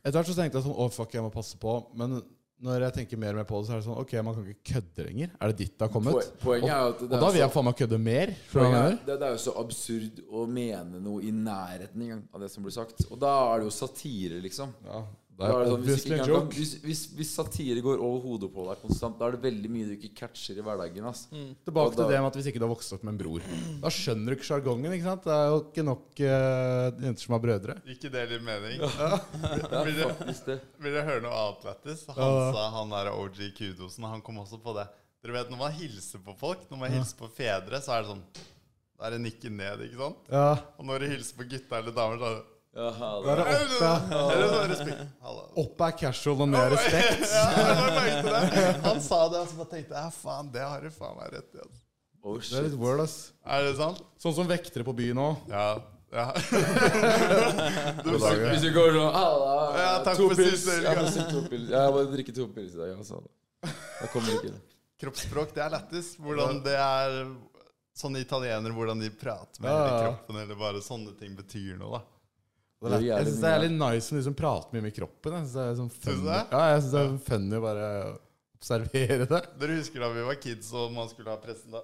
S5: Etter hvert så tenkte jeg sånn Å, fuck, jeg må passe på. Men når jeg tenker mer og mer på det, så er det sånn Ok, man kan ikke kødde lenger. Er det ditt det har kommet?
S4: Poen- Poenget er jo at
S5: Og
S4: det
S5: da
S4: er,
S5: vil jeg
S4: så,
S5: faen meg kødde mer. skjønner
S4: poenget
S5: du hva
S4: er,
S5: jeg mener?
S4: det, det er jo så absurd å mene noe i nærheten engang av det som blir sagt. Og da er det jo satire, liksom.
S5: Ja,
S4: Da er det sånn, hvis,
S5: obviously
S4: ikke
S5: en
S4: engang,
S5: joke.
S4: hvis, hvis, hvis satire går over hodet på deg konstant, da er det veldig mye du ikke catcher i hverdagen. ass.
S3: Mm.
S5: Tilbake
S4: Og da-
S5: til det med at hvis ikke du har vokst opp med en bror, da skjønner du ikke sjargongen. ikke sant? Det er jo ikke nok eh, jenter som har brødre.
S3: Ikke det litt mening?
S4: Det
S3: Vil
S4: er
S3: dere-
S4: faktisk det.
S3: vil dere høre noe annet lættis? Han sa han der OG Kudosen, han kom også på det. Dere vet når man hilser på folk, når man hilser på fedre, så er det sånn Da er det nikke ned, ikke sant?
S5: Ja,
S3: Og når du hilser på gutter eller damer, så er det
S4: Jaha,
S5: Da er det opp, ja.
S3: Eller så er det respekt. Hallo.
S5: Opp er casual og ned er respekt.
S3: Ja, jeg bare merkte det. Han sa det, og så bare tenkte jeg ja, faen, det har du faen meg rett i. altså.
S4: oh,
S5: Det er
S4: shit.
S5: litt word, ass.
S3: Er det sant?
S5: Sånn som vektere på byen òg.
S3: Ja. ja.
S4: Hvis vi går sånn Halla!
S3: Ja, takk
S4: to
S3: for
S4: pils.
S3: sist, Erik.
S4: Jeg må si to pils. Jeg må drikke to pils i dag. Altså. Jeg kommer ikke
S3: Kroppsspråk, det er lættis. Hvordan det er Sånne italienere, hvordan de prater med
S5: Ja,
S3: hele
S5: ja.
S3: kroppen, eller bare sånne ting betyr noe, da.
S5: Jeg
S4: Det er jævlig
S5: syns det er
S4: mye.
S5: litt nice med de som prater mye med kroppen. Jeg synes det er sånn
S3: Synes du
S5: funny.
S3: det?
S5: Ja, jeg syns det er sånn funny å bare observere det.
S3: Dere husker da vi var kids og man skulle ha presenta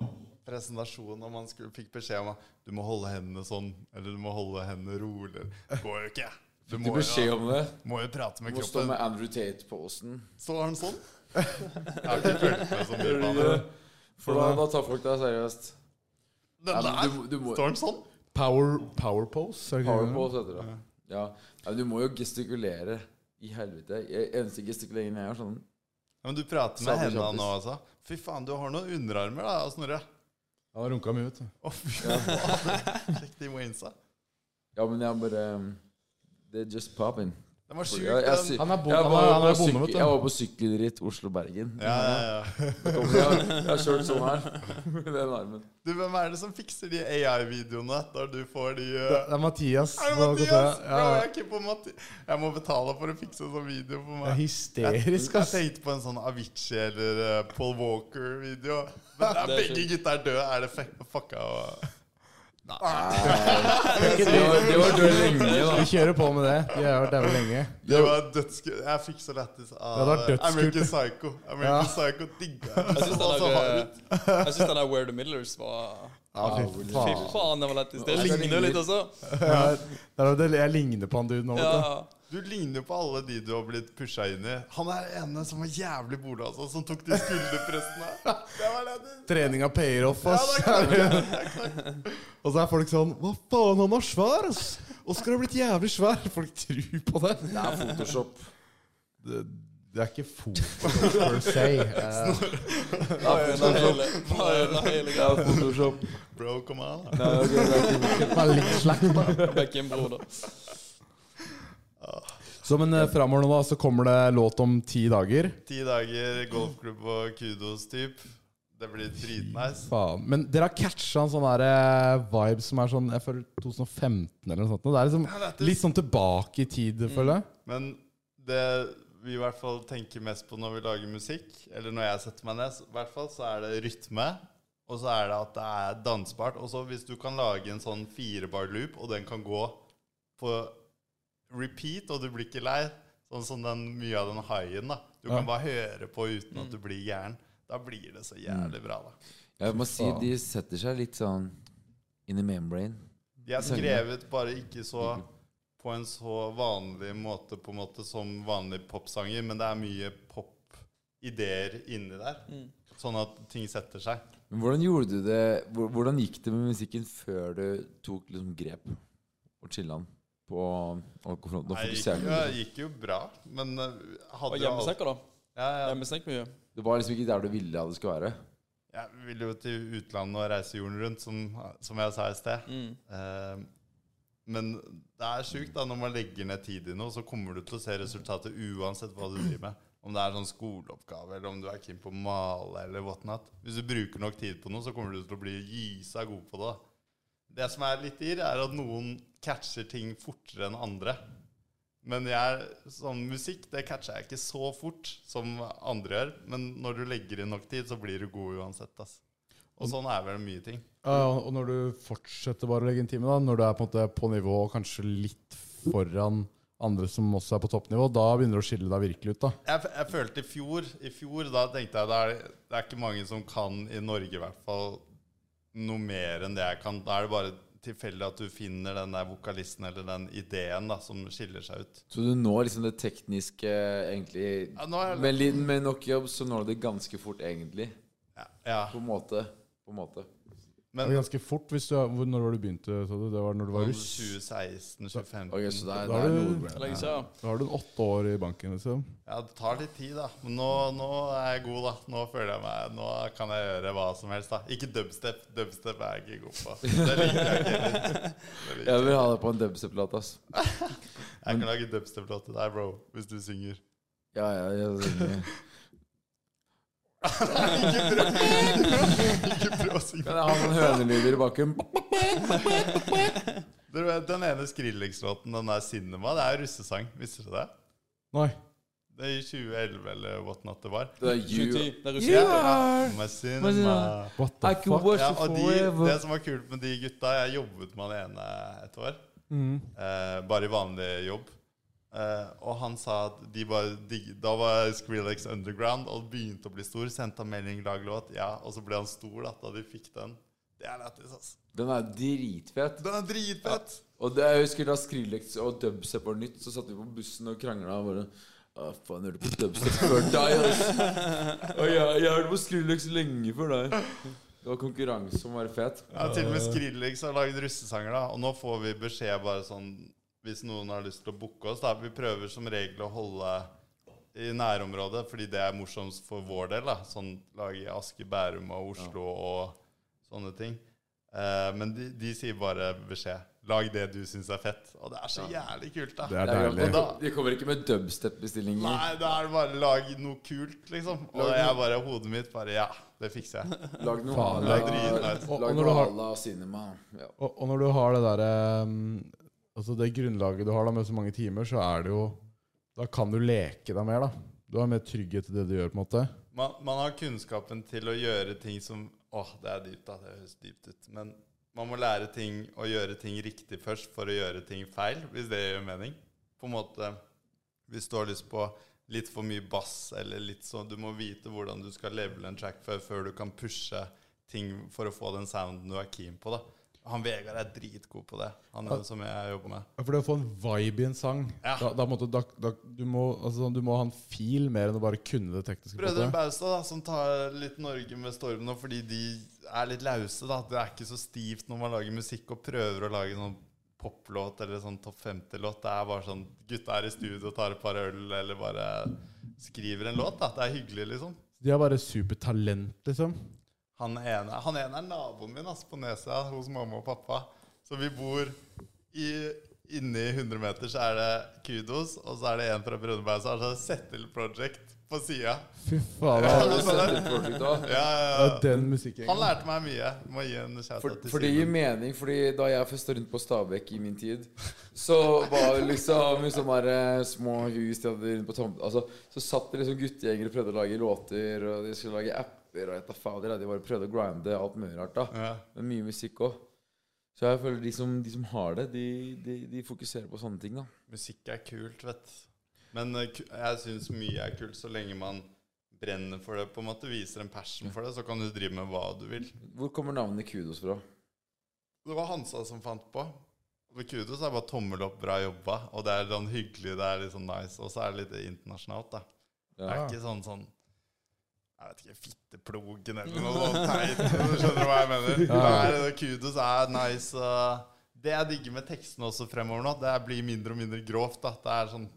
S3: presentasjon, og man skulle, fikk beskjed om at du må holde hendene sånn, eller du må holde hendene rolig. Det går jo ikke. Du
S4: Du
S3: må
S4: beskjed
S3: jo,
S4: om det.
S3: må jo prate med
S4: Må stå
S3: kroppen.
S4: med Andrew Tate-posen.
S3: Står han sånn? Jeg har ikke følt meg så mye på han.
S4: For da, da tar folk deg seriøst. Ja,
S3: Den
S4: men
S3: der!
S4: du, du må,
S3: Står han sånn?
S5: Power, power pose? er det ikke det?
S4: power pose heter det. Ja. Ja, men du må jo gestikulere. I helvete. Jeg, eneste gestikuleringen jeg gjør, sånn
S3: Ja, men du prater med
S4: Sabel
S3: henda
S4: kjappis.
S3: nå, altså. Fy faen, du har noen underarmer da, Snorre.
S5: Jeg har runka mye, vet du.
S3: Å, fy faen. Sjekk de wainsa.
S4: Ja, men jeg bare um, Det er just popping.
S3: Den var sjuk,
S4: Jeg, jeg,
S3: den.
S4: sy-
S5: Han er bonde,
S4: jeg
S5: han
S4: var
S5: er- han er
S4: på
S5: bonde,
S4: sykkel-
S5: vet du.
S4: Jeg var på sykkelritt Oslo-Bergen.
S3: Ja, ja, ja.
S4: Jeg, jeg har kjørt sånn her. Med den armen.
S3: Du, hvem er det som fikser de AI-videoene når du får de
S5: Det
S3: uh...
S5: er Mathias.
S3: Er det
S5: på
S3: Mathias?
S5: kontoret.
S3: Bro,
S5: Ja,
S3: jeg,
S5: ja.
S3: er ikke på Matti... jeg må betale for å fikse en sånn video for
S5: Det er
S3: meg.
S5: hysterisk,
S3: Jeg
S5: ass.
S3: tenkte på en sånn Avicii eller uh, Paul Walker-video. Men der
S6: Det er
S3: begge
S6: sjukt.
S3: gutta er døde. Er det fuck- fucka og
S4: Det var, det var død lenge, da.
S5: Vi kjører på med det. De har vært der lenge.
S3: Det var dødskult. Jeg fikk så lættis
S5: Det
S3: av
S5: hadde vært dødskult.
S3: American Psycho.
S5: Ja.
S3: American Psycho digga jeg.
S6: Jeg
S3: Det
S6: syns
S3: var
S6: den
S3: så
S6: der,
S3: hard ut.
S6: eh, jeg syns den der Where the Millers var
S5: Ja, fy
S6: Fy
S5: faen.
S6: faen, den var lættis. Det ligner jo litt også.
S5: Ja, det er det- Jeg ligner på han dude nå. vet du.
S6: Ja.
S3: Du ligner på alle de du har blitt pusha inn i. Han er ene som var jævlig bolig, altså, som tok de skulderpressene. Det var lættis.
S5: Treninga payer off,
S3: Ja,
S5: ass.
S3: det er klart.
S5: Og så er folk sånn Hva faen, han er svær, ass! Oskar har blitt jævlig svær. Folk tror på det.
S4: Det er Photoshop.
S5: Det, det er ikke fotball per se. Eh,
S4: Det er
S6: Den
S4: Photoshop.
S6: hele, den hele
S4: Det
S6: greia.
S4: er Photoshop.
S3: Bro, kom an. da.
S4: Nei, ok, det er ikke-
S5: bare litt slack, da.
S6: Beckham-bror, da.
S5: Så men eh, fremover nå, da, så kommer det låt om ti dager.
S3: Ti dager golfklubb og kudos-typ. Det blir dritnice.
S5: Faen. Men dere har catcha en sånn der, eh, vibe som er sånn jeg føler 2015 eller noe sånt. nå. Det Mm. er liksom litt sånn tilbake i tid, føler jeg.
S3: Men det vi i hvert fall tenker mest på når vi lager musikk, eller når jeg setter meg ned, så- i hvert fall, så er det rytme. Og så er det at det er dansbart. Og så hvis du kan lage en sånn firebar-loop, og den kan gå på repeat, og du blir ikke lei, sånn som den, mye av den haien, da. Du kan bare høre på uten at du blir gæren. Da blir det så jævlig bra, da.
S4: Jeg må si de setter seg litt sånn in the membrane.
S3: De er skrevet bare ikke så på en så vanlig måte på en måte som vanlige popsanger, men det er mye pop-ideer inni der.
S6: Mm.
S3: Sånn at ting setter seg.
S4: Men hvordan gjorde du det hvor- Hvordan gikk det med musikken før du tok liksom grep og chilla den på alkoholfronten? og
S3: Nei, Det
S4: fokuserte
S3: gikk,
S4: du
S3: jo,
S4: liksom?
S3: gikk jo bra, men eh,
S6: Og
S3: hadde jo alt
S6: hjemmesnekka, da.
S3: ja, ja.
S6: Hjemmesnekk mye.
S4: Det var liksom ikke der du ville at det skulle være.
S3: Jeg ville jo til utlandet og reise jorden rundt, som, som jeg sa i sted.
S6: Mm.
S3: Eh, men det er sjukt da, når man legger ned tid i noe, så kommer du til å se resultatet uansett hva du driver med. Om det er sånn skoleoppgave, eller om du er keen på å male, eller whatnot. Hvis du bruker nok tid på noe, så kommer du til å bli gysa god på det. da. Det som er litt irr, er at noen catcher ting fortere enn andre. Men jeg, er- sånn musikk det catcher jeg ikke så fort som andre gjør. Men når du legger inn nok tid, så blir du god uansett. Ass. Og sånn er vel mye ting.
S5: Ja, og- og når du fortsetter bare å legge en time, da, når du er på en måte på nivå og kanskje litt foran andre som også er på toppnivå, da begynner du å skille deg virkelig ut. da
S3: jeg, f- jeg følte i fjor I fjor da tenkte jeg det er, det er ikke mange som kan i Norge i hvert fall noe mer enn det jeg kan. Da er det bare tilfeldig at du finner den der vokalisten eller den ideen da som skiller seg ut.
S4: Så du når liksom det tekniske egentlig
S3: Ja, nå er jeg-
S4: med, litt- med nok jobb så når du det ganske fort, egentlig.
S3: Ja, ja.
S4: På en måte. På en måte.
S5: Det
S3: Men
S5: er ganske fort hvis du er, hvor, Når var det du begynte? sa du? altså, Det var når du var russ? altså.
S3: 2016-2015
S4: Ok, så det er, det
S5: Da har
S4: er
S5: du-
S4: noe
S6: Det legger seg, ja.
S5: Da har du en åtte år i banken. liksom
S3: Ja, det tar litt tid, da. Men nå, nå er jeg god, da. Nå føler jeg meg Nå kan jeg gjøre hva som helst, da. Ikke dubstep. Dubstep er jeg ikke god på. Det liker jeg ikke heller. Det liker
S4: Jeg
S3: Jeg
S4: vil ha det på en dubstep-plate, ass.
S3: Jeg kan lage dubstep-låt til deg, bro, hvis du synger.
S4: Ja, ja, ja, det-
S3: Ikke prøv å synge.
S4: Kan jeg ha noen hønelyder i bakken?
S3: Du vet, Den ene Skrillex-låten, den der 'Cinema', det er russesang. Visste du det?
S5: Nei.
S3: Det er I 2011 eller whatnot det var.
S4: Det er
S6: 2010.
S4: you.
S6: Det er russisk.
S3: My cinema.
S5: What
S4: I
S5: the
S4: can
S5: fuck?
S4: watch
S3: Ja,
S4: you
S3: og de,
S4: forever.
S3: det som var kult med de gutta Jeg jobbet med han ene et år.
S4: Mm.
S3: Eh, bare i vanlig jobb. Eh, og han sa at de bare digg- Da var Skrillex underground og begynte å bli stor. Sendte han melding, lag låt. Ja, og så ble han stor da, da de fikk den. Det er lættis, ass.
S4: Den er dritfet.
S3: Den er dritfett!
S4: Og det, jeg husker da Skrillex og dubstep var nytt, så satt vi på bussen og krangla. Og bare Å, faen, hørte på dubstep før deg, ass. Og jeg, jeg hørte på Skrillex lenge før deg. Det var konkurranse om å være fet.
S3: Ja, til og med Skrillex har lagd russesanger, da. Og nå får vi beskjed bare sånn hvis noen har lyst til å booke oss. Da. Vi prøver som regel å holde i nærområdet, fordi det er morsomst for vår del. Da. Sånn lag i Aske, Bærum og Oslo og sånne ting. Eh, men de, de sier bare beskjed. Lag det du syns er fett. Og det er så jævlig kult, da.
S5: Det er
S4: Og
S5: deilig.
S4: da, de kommer ikke med dubstep-bestillinger.
S3: Nei, da er det bare lag noe kult, liksom. Og jeg bare, hodet mitt bare Ja, det fikser jeg.
S4: Lag noe
S5: Faen,
S4: Hala
S3: det er dritnice.
S5: Og-
S4: Lag
S5: og når
S4: noe
S5: du har-
S4: Hala Cinema. Ja.
S5: Og, og når du har det derre Altså det grunnlaget du har da med så mange timer, så er det jo Da kan du leke deg mer, da. Du har mer trygghet i det du gjør, på en måte.
S3: Man, man har kunnskapen til å gjøre ting som Åh, det er dypt, da. Det høres dypt ut. Men man må lære ting å gjøre ting riktig først for å gjøre ting feil, hvis det gjør mening. På en måte Hvis du har lyst på litt for mye bass eller litt sånn Du må vite hvordan du skal levele en track før, før du kan pushe ting for å få den sounden du er keen på, da. Han Vegard er dritgod på det, han er, som jeg jobber med.
S5: Ja, For det å få en vibe i en sang
S3: Ja.
S5: da, da, måtte, da, da, du, må, altså, sånn, du må ha en fil mer enn å bare kunne det tekniske. på en
S3: Brødrene
S5: måte.
S3: Baustad, da, som tar litt Norge med storm nå, fordi de er litt lause. da Det er ikke så stivt når man lager musikk og prøver å lage noen poplåt eller sånn topp 50-låt. Det er bare sånn gutta er i studio og tar et par øl eller bare skriver en låt. da Det er hyggelig, liksom.
S5: De er bare supertalent, liksom.
S3: Han ene, han ene er naboen min ass, på Nesa hos mamma og pappa. Så vi bor i Inni 100 meter så er det Kudos, og så er det en fra Brønnøyberg som har sånn Settle Project på sida.
S5: Fy faen. altså.
S3: Ja,
S5: da.
S4: Har
S3: det er det.
S4: du sett et projekt da?
S3: Ja, ja,
S5: Det
S3: ja.
S5: er den musikken.
S3: Han lærte meg mye. Må gi en shout
S4: For,
S3: til
S4: for det gir
S3: Simen.
S4: mening, fordi da jeg første rundt på Stabekk i min tid, så var det liksom i sånne der, eh, små hus de hadde rundt på tomt, altså, Så satt det liksom guttegjengere og prøvde å lage låter, og de skulle lage apper og et av fader, ja, De bare prøvde å grinde alt mulig rart, da.
S3: Ja.
S4: Men mye musikk òg. Så jeg føler de som, de som har det, de, de, de fokuserer på sånne ting, da.
S3: Musikk er kult, vet Men eh, ku- jeg syns mye er kult så lenge man brenner for det. På en måte Viser en passion for det, så kan du drive med hva du vil.
S4: Hvor kommer navnet Kudos fra?
S3: Det var Hansa som fant på. Og Med Kudos er bare tommel opp, bra jobba. Og det er sånn hyggelig, det er litt sånn nice. Og så er det litt internasjonalt, da. Det er
S4: Ja.
S3: ikke sånn sånn jeg vet ikke, fitteplogen eller noe sånt teit. Du skjønner hva jeg mener? Nei, det- kudos er nice. og Det jeg digger med tekstene også fremover nå, det er blir mindre og mindre grovt. Da. Det er sånn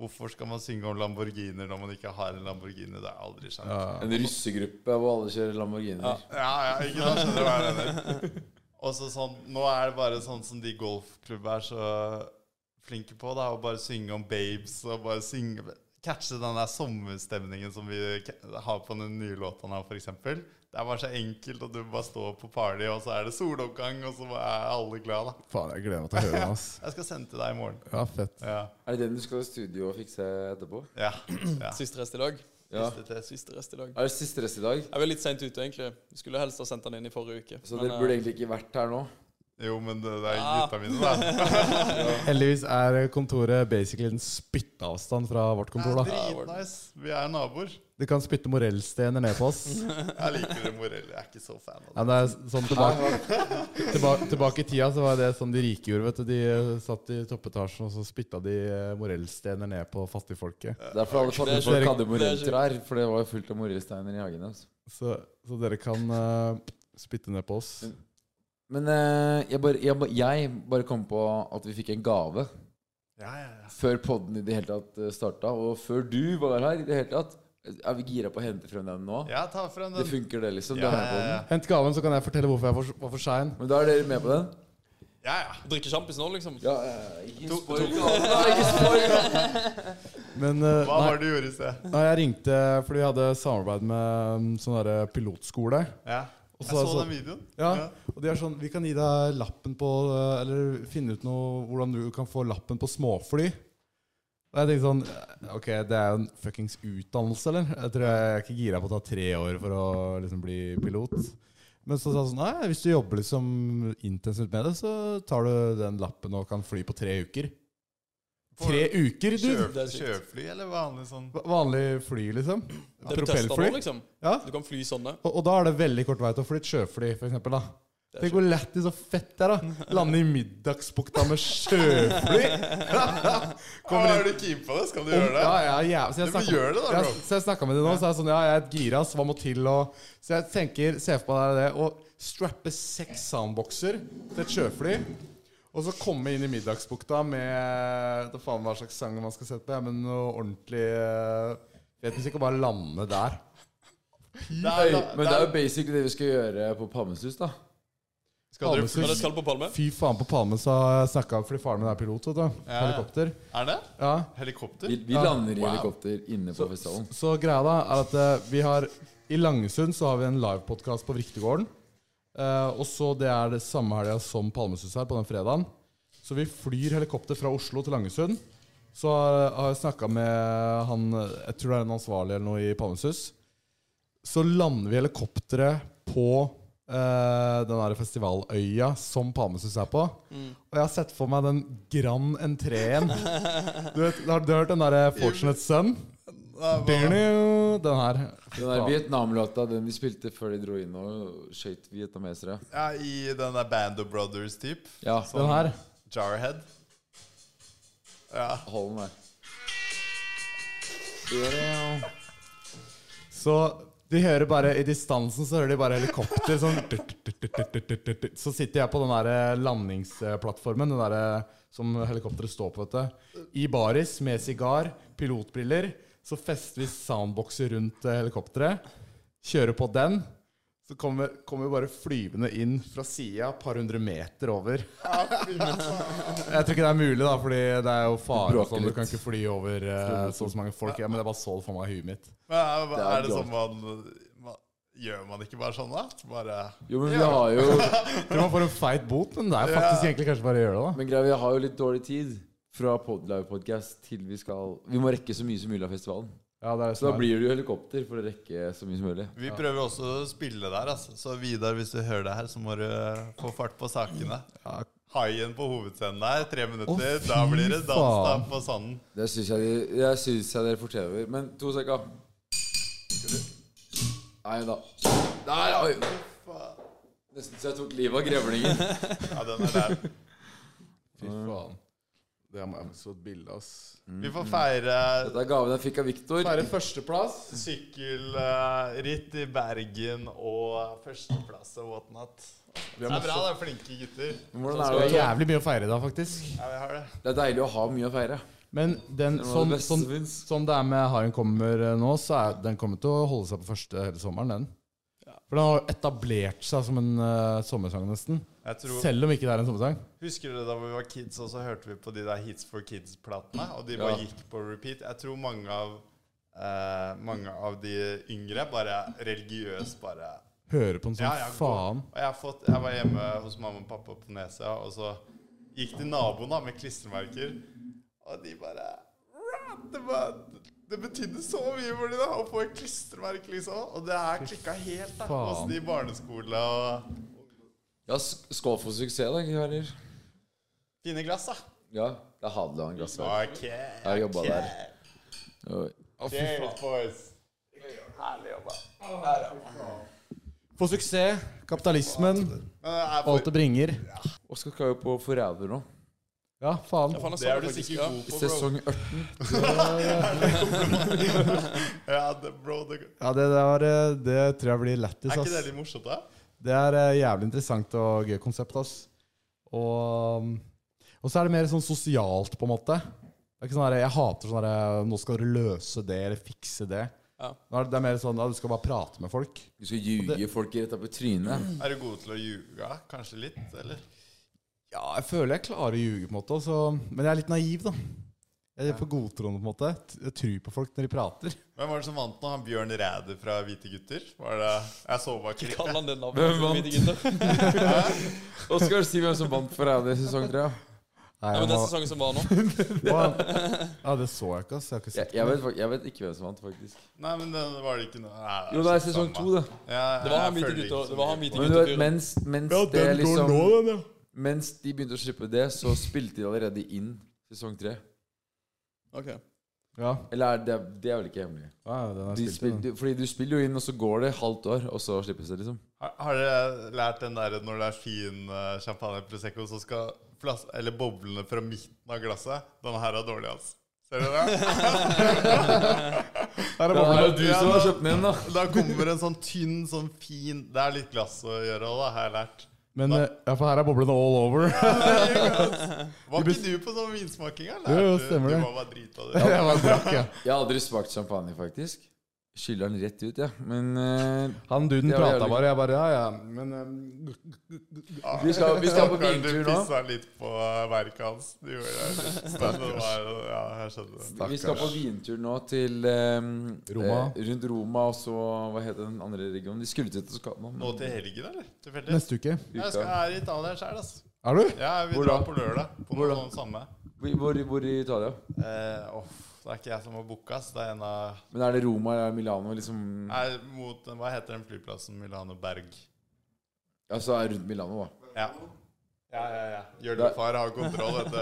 S3: Hvorfor skal man synge om Lamborghiner når man ikke har en Lamborghini? Det har jeg aldri skjønt. Ja.
S4: En russegruppe hvor alle kjører Lamborghiner.
S3: Ja, ikke sant? Skjønner du hva jeg mener? Og så sånn, nå er det bare sånn som de golfklubber er så flinke på, da, å bare synge om babes og bare synge Catche den der sommerstemningen som vi ke- har på den nye låta nå, f.eks. Det er bare så enkelt, og du bare står på party, og så er det soloppgang, og så er alle glade, da.
S5: Faen, jeg gleder meg til å høre den, ass.
S3: Jeg skal sende til deg i morgen.
S5: Ja, fett.
S3: Ja.
S4: Er det den du skal i studio og fikse etterpå?
S3: ja, ja.
S6: Siste rest i dag.
S4: Ja.
S3: Siste test.
S6: Siste rest i dag.
S4: Er det siste rest i dag?
S6: Jeg var litt seint ute, egentlig. Skulle helst ha sendt den inn i forrige uke.
S4: Så
S6: men,
S4: dere burde
S6: eh,
S4: egentlig ikke vært her nå?
S3: Jo, men det, det er
S6: Ah.
S3: gutta mine, da.
S5: Heldigvis er kontoret basically en spytteavstand fra vårt
S3: Det
S5: kontor.
S3: er
S5: da
S3: dritnice. Vi er naboer.
S5: De kan spytte morellstener ned på oss.
S3: Jeg liker det Morell. Jeg er ikke så fan av det.
S5: Ja, det er sånn tilbake, tilbake, tilbake i tida så var det sånn de rike gjorde. vet du De eh, satt i toppetasjen og så spytta de eh, morellstener ned på fattigfolket.
S4: Derfor alle
S6: Det
S4: fattige
S6: er
S4: folk
S5: sjukt.
S4: hadde
S6: Det
S4: morelltrær, for det var jo fullt av morellsteiner i hagen deres.
S5: Så, så dere kan eh, spytte ned på oss.
S4: Men eh, jeg, bare, jeg, ba- jeg bare kom på at vi fikk en gave
S3: Ja, ja, ja.
S4: før podden i det hele tatt starta, og før du var her i det hele tatt. Er vi gira på å hente frem den nå?
S3: Ja, ta frem
S4: Det
S3: den.
S4: funker, det, liksom? Du
S3: Ja,
S4: er med på
S3: ja, ja.
S4: den?
S5: Hent gaven, så kan jeg fortelle hvorfor jeg var for- var for sein.
S4: Men da er dere med på den?
S3: Ja, ja.
S6: Drikke sjampis nå, liksom?
S4: Ja, eh, ikke
S3: To-
S4: spoil
S3: to-
S4: gaven, da, ikke spoil gaven.
S5: Men eh,
S3: Hva
S5: nei,
S3: var det du gjorde i sted?
S5: nei, jeg ringte fordi vi hadde samarbeid med mm, sånn derre pilotskole.
S3: Ja.
S5: Og
S3: Jeg
S5: så er
S3: så
S5: det sånn-
S3: den videoen.
S5: Ja, og de er sånn Vi kan gi deg lappen på eh, Eller finne ut noe hvordan du kan få lappen på småfly. Og jeg tenkte sånn eh, Ok, det er jo en fuckings utdannelse, eller? Jeg tror jeg er ikke gira på å ta tre år for å liksom bli pilot. Men så sa han sånn Nei, hvis du jobber liksom intensivt med det, så tar du den lappen og kan fly på tre uker. Tre uker, du!
S3: Sjø-
S6: Det er sykt.
S3: Sjøfly eller vanlig sånn?
S5: Va- Vanlig fly, liksom.
S6: Det er testa nå,
S5: Propellfly.
S6: liksom.
S5: Ja.
S6: Du kan fly sånne.
S5: Og, og da er det veldig kort vei til å fly et sjøfly, for eksempel, da.
S6: Det er
S5: Tenk hvor lættis og fett det er, da. Lande i middagsbukta med sjøfly.
S3: Kommer er du keen på det? Skal du gjøre det?
S5: Ja, ja, ja. Så jeg
S3: Ja, men
S5: snakka-
S3: gjør det da,
S5: jeg-
S3: bro.
S5: Så jeg snakka med de nå, så er jeg sånn Ja, jeg er et gira, så hva må til, og Så jeg tenker, se for meg det, det å strappe seks soundboxer til et sjøfly. Og så komme inn i Middagsbukta med det faen hva slags sang man skal sette på, ja, men noe ordentlig eh, Vet musikk, og bare lande der.
S3: Det
S4: Oi,
S3: er,
S4: men det er jo basically det vi skal gjøre på Palmesus, da.
S3: Skal dere-
S5: Palmesus.
S6: Når det skal på Palme?
S5: Fy faen, på Palme så har jeg snakka fordi faren min er pilot, vet du.
S3: Ja, ja.
S5: Helikopter.
S3: Er det?
S5: Ja.
S3: Helikopter?
S4: Vi, vi lander i helikopter inne på festivalen.
S5: Så greia da er at eh, vi har I Langesund så har vi en livepodkast på Vriktegården. Eh, og så det er det samme helga som Palmesus her, på den fredagen. Så vi flyr helikopter fra Oslo til Langesund. Så eh, har har jeg snakka med han Jeg tror det er en ansvarlig eller noe i Palmesus. Så lander vi helikopteret på eh, den der festivaløya som Palmesus er på. Og jeg har sett for meg den grand entréen. Du vet, har du hørt den derre Fortunate Son? Den her.
S4: Den der Vietnam-låta, den de spilte før de dro inn og skøyt vietnamesere. Sånn,
S3: Ja, I den der Band of Brothers-type.
S4: Ja,
S5: Den her.
S3: Jarhead. Ja.
S4: hold den der.
S5: Så de hører bare i distansen så hører de bare helikopter sånn tut, tut, tut, tut, tut, tut, tut. Så sitter jeg på den der landingsplattformen den der, som helikopteret står på. Vet du. I baris med sigar, pilotbriller. Så fester vi soundboxer rundt eh, helikopteret. Kjører på den. Så kommer, kommer vi bare flyvende inn fra sida, par hundre meter over. Jeg tror ikke det er mulig, da, Fordi det er jo
S4: Du
S5: fare. og
S4: bråker
S5: Sånn. Du
S4: litt.
S5: kan ikke fly over eh, så og så mange folk. Ja, men jeg bare så det for meg i huet mitt.
S3: Men er,
S4: Det er
S3: er det
S4: bra.
S3: sånn man, man Gjør man ikke bare sånn, da? Bare
S4: Jo, men vi har jo
S5: tror man får en feit bot, men det er faktisk egentlig kanskje bare å gjøre det.
S4: Men greia, vi har jo litt dårlig tid fra pod live podcast til vi skal Vi må rekke så mye som mulig av festivalen.
S5: da Ja, det er
S4: Så da blir det jo helikopter for å rekke så mye som mulig.
S3: Vi prøver også å spille der, altså. Så Vidar, hvis du hører det her, så må du få fart på sakene. Haien på hovedscenen der, tre minutter.
S5: Å, fy
S3: da blir det dans da
S5: faen.
S3: på sanden.
S4: Det syns jeg, de- jeg, synes jeg dere fortjener. Men to sekunder. Nei da. Nei, oi. Nesten så jeg tok livet av grevlingen.
S3: Ja, den er der.
S5: Fy faen. Det må jeg så et bilde, ass.
S3: Vi får feire
S4: Dette er gaven jeg fikk av Viktor.
S5: Bare førsteplass.
S3: sykkelritt i Bergen og førsteplass og whatnot. Det er bra, det er flinke gutter.
S4: Hvordan er
S5: Sånn Det
S4: det?
S5: er jævlig mye å feire i dag, faktisk.
S3: Ja, vi har det.
S4: Det er deilig å ha mye å feire.
S5: Men den,
S4: Det var
S5: sånn,
S4: det beste
S5: sånn,
S4: som finnes.
S5: sånn det er med Haien kommer eh, nå, så er den kommer til å holde seg på første hele sommeren, den. For den har jo etablert seg som en eh, sommersang, nesten.
S3: Jeg tror,
S5: Selv om ikke det er en sommersang.
S3: husker dere da vi var kids, og så hørte vi på de der Hits for Kids-platene? Og de
S4: Ja.
S3: bare gikk på repeat. Jeg tror mange av, eh, mange av de yngre bare religiøst bare
S5: Hører på den som
S3: Ja, jeg går.
S5: faen.
S3: Og jeg, har fått, jeg var hjemme hos mamma og pappa på Nesøya, og så gikk de naboen da med klistremerker, og de bare det, bare det betydde så mye for dem da, å få et klistremerke, liksom. Og det er klikka helt da,
S5: faen.
S3: hos de i barneskole og
S4: Ja, s- skål for suksess, da, karer.
S3: Fine glass, da.
S4: Ja, det er Hadeland glassverk.
S3: Ok. Jeg
S4: har jobbet der. Oi.
S3: Cheers, boys. Herlig jobba.
S5: Få suksess, kapitalismen,
S3: Men det er
S5: alt det bringer.
S4: Oskar skal jo på Forræder nå.
S5: Ja, faen.
S6: Ja, faen, jeg
S3: det
S6: sa
S3: er du
S6: faktisk,
S3: sikkert god på, bro.
S4: Sesong 18.
S3: Ja, det, bro det, er
S5: Ja, det der eh, Det tror jeg blir lættis,
S3: ikke det
S5: ass.
S3: litt morsomt, da?
S5: Det er eh, jævlig interessant og gøy konsept, ass. Og, og så er det mer sånn sosialt, på en måte. Det er ikke sånn der, Jeg hater sånn der, Nå skal dere løse det, eller fikse det.
S6: Ja.
S5: Nå er det, det er mer sånn ja, du skal bare prate med folk.
S4: Du skal ljuge folk rett opp i trynet.
S3: Er du god til å ljuge? Kanskje litt, eller?
S5: Ja, jeg føler jeg klarer å ljuge, på en måte. og så- men jeg er litt naiv, da. Jeg er på godtroende, på en måte. T- Jeg tror på folk når de prater.
S3: Hvem var det som vant nå? Han Bjørn Ræder fra Hvite gutter? Var det Jeg så bare klippet.
S6: Kall han det navnet.
S4: Hvem vant?
S6: hvite gutter.
S4: Oskar, si hvem som vant Forræder sesong 3.
S5: Nei,
S6: Ja,
S5: jeg,
S6: men Den
S5: må,
S6: sesongen som var nå.
S5: ja, det så jeg ikke, ass. Jeg har
S4: Jeg,
S5: ikke sett
S4: jeg, vet, fak- jeg vet ikke hvem som vant, faktisk.
S3: Nei, men det var det ikke noe Nei,
S4: Jo, det er
S3: ikke
S4: sesong
S3: samme.
S4: 2, det.
S3: Ja,
S6: Det var
S3: jeg
S6: han hvite
S3: følger ikke
S6: gutter.
S3: så
S6: Det var han
S3: mye.
S6: hvite
S4: Men du vet,
S6: gutter-fyren.
S4: mens, mens det liksom
S5: den, ja.
S4: Mens de begynte å slippe det, så spilte de allerede inn sesong 3.
S6: Ok.
S5: Ja,
S4: Eller er det, det er vel ikke hemmelig?
S5: ja den har
S4: De
S5: jeg
S4: spil,
S5: spilt.
S4: du, fordi du spiller jo inn, og så går det halvt år, og så slippes det, liksom.
S3: Har, har dere lært den der når det er fin eh, champagne prosecco, så skal flas eller boblene fra midten av glasset Den her er dårlig, altså. Ser dere det?
S5: Her er
S4: Det er
S5: bobla.
S4: jo du som har kjøpt den inn, da.
S3: Da kommer en sånn tynn, sånn fin Det er litt glass å gjøre òg, da, har jeg lært.
S5: Men eh, ja, for her er boblene all over.
S3: Var ikke du på sånn vinsmaking? eller?
S5: Jo, jo,
S3: Du-
S5: stemmer
S3: Du
S5: det.
S3: var bare drita, du.
S5: Jeg var brakk, ja.
S4: Jeg har aldri smakt champagne, faktisk. Skyller den rett ut, jeg. Ja. Men eh,
S5: Han duden
S4: Det var
S5: prata
S4: jævlig.
S5: bare, jeg bare ja, ja. Men ehm,
S4: vi, skal, vi skal på
S3: Stakkaren,
S4: biltur
S3: Du
S4: nå.
S3: pissa litt på eh, verket hans. Du gjorde det. Men det var- Ja, jeg skjønner det.
S4: Vi skal på vintur nå til eh,
S5: Roma.
S4: eh, rundt Roma og så Hva heter den andre regionen? De skulle til Toskana. men-
S3: Nå til helgen, eller? Tilfeldig?
S5: neste uke.
S3: Jeg skal her i Italia sjøl, altså.
S5: Er du?
S3: Ja, vi
S4: Hvor
S3: drar
S4: da?
S3: på lørdag. På
S4: Hvor
S3: noe
S4: da?
S3: sånt samme.
S4: Hvor, hvor, hvor i Italia?
S3: Eh, off, det er ikke jeg som har booka, ass. Det er en av
S4: Men er det Roma eller Milano? Liksom,
S3: Nei, mot Hva heter den flyplassen? Milano Berg.
S4: altså er rundt Milano, da.
S3: Ja. Ja, ja, ja. Hjørnefar har kontroll, vet du.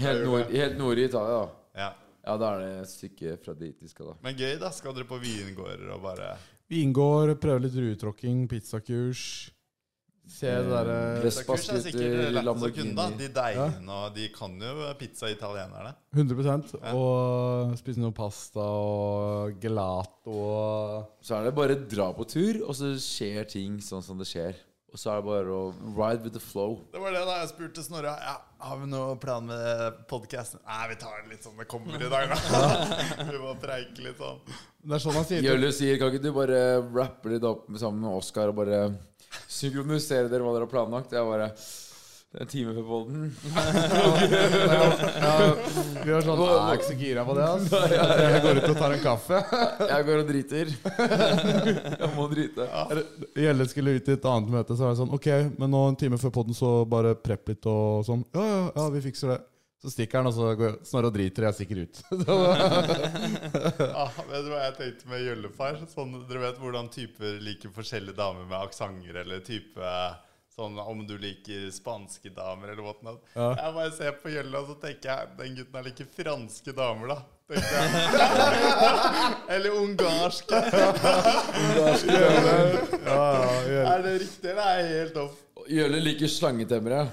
S4: Helt nord, helt nord i Italia, da.
S3: Ja.
S4: Ja, da er det et stykke fra dit de skal, da.
S3: Men gøy, da. Skal dere på vingårder og bare
S5: Vi inngår, prøver litt ruetråkking, pizzakurs. Se det eh, derre
S4: Press-
S3: Kurs er sikkert lett
S4: Spasketter,
S3: å kunne, da.
S4: Lamborghini.
S3: De deigene og De kan jo pizza, italienerne.
S5: 100 Og spise noe pasta og gelato og
S4: Så er det bare dra på tur, og så skjer ting sånn som det skjer. Og så er det bare å ride with the flow.
S3: Det var det da jeg spurte Snorre. Ja, har vi noe plan med podkasten? Nei, vi tar det litt sånn det kommer i dag, da. vi må preike litt sånn.
S5: Det er sånn han sier til
S4: Jølle sier, kan ikke du bare rappe litt opp med- sammen med Oskar og bare synkronisere dere hva dere har planlagt? Jeg bare det er en time før podden.
S5: ja, Vi var sånn Jeg er ikke så gira på det, altså. Jeg går ut og tar en kaffe.
S4: Jeg går og driter. Jeg må drite.
S5: Gjelle skulle ut i et annet møte, så var jeg sånn Ok, men nå en time før podden, så bare prepp litt og sånn. Ja, ja, ja, vi fikser det. Så stikker han, og så går jeg- Snorre og driter, og jeg stikker ut.
S3: Ah, vet du hva jeg tenkte med Gjøllefar? Sånn, dere vet hvordan typer liker forskjellige damer med aksenter, eller type Sånn, om du liker spanske damer eller whatnot. Jeg bare ser på Gjølle, og så tenker jeg den gutten her liker franske damer, da. Tenkte jeg. eller ungarske. Er det riktig, eller er jeg helt off?
S4: Jølle liker slangetemmere.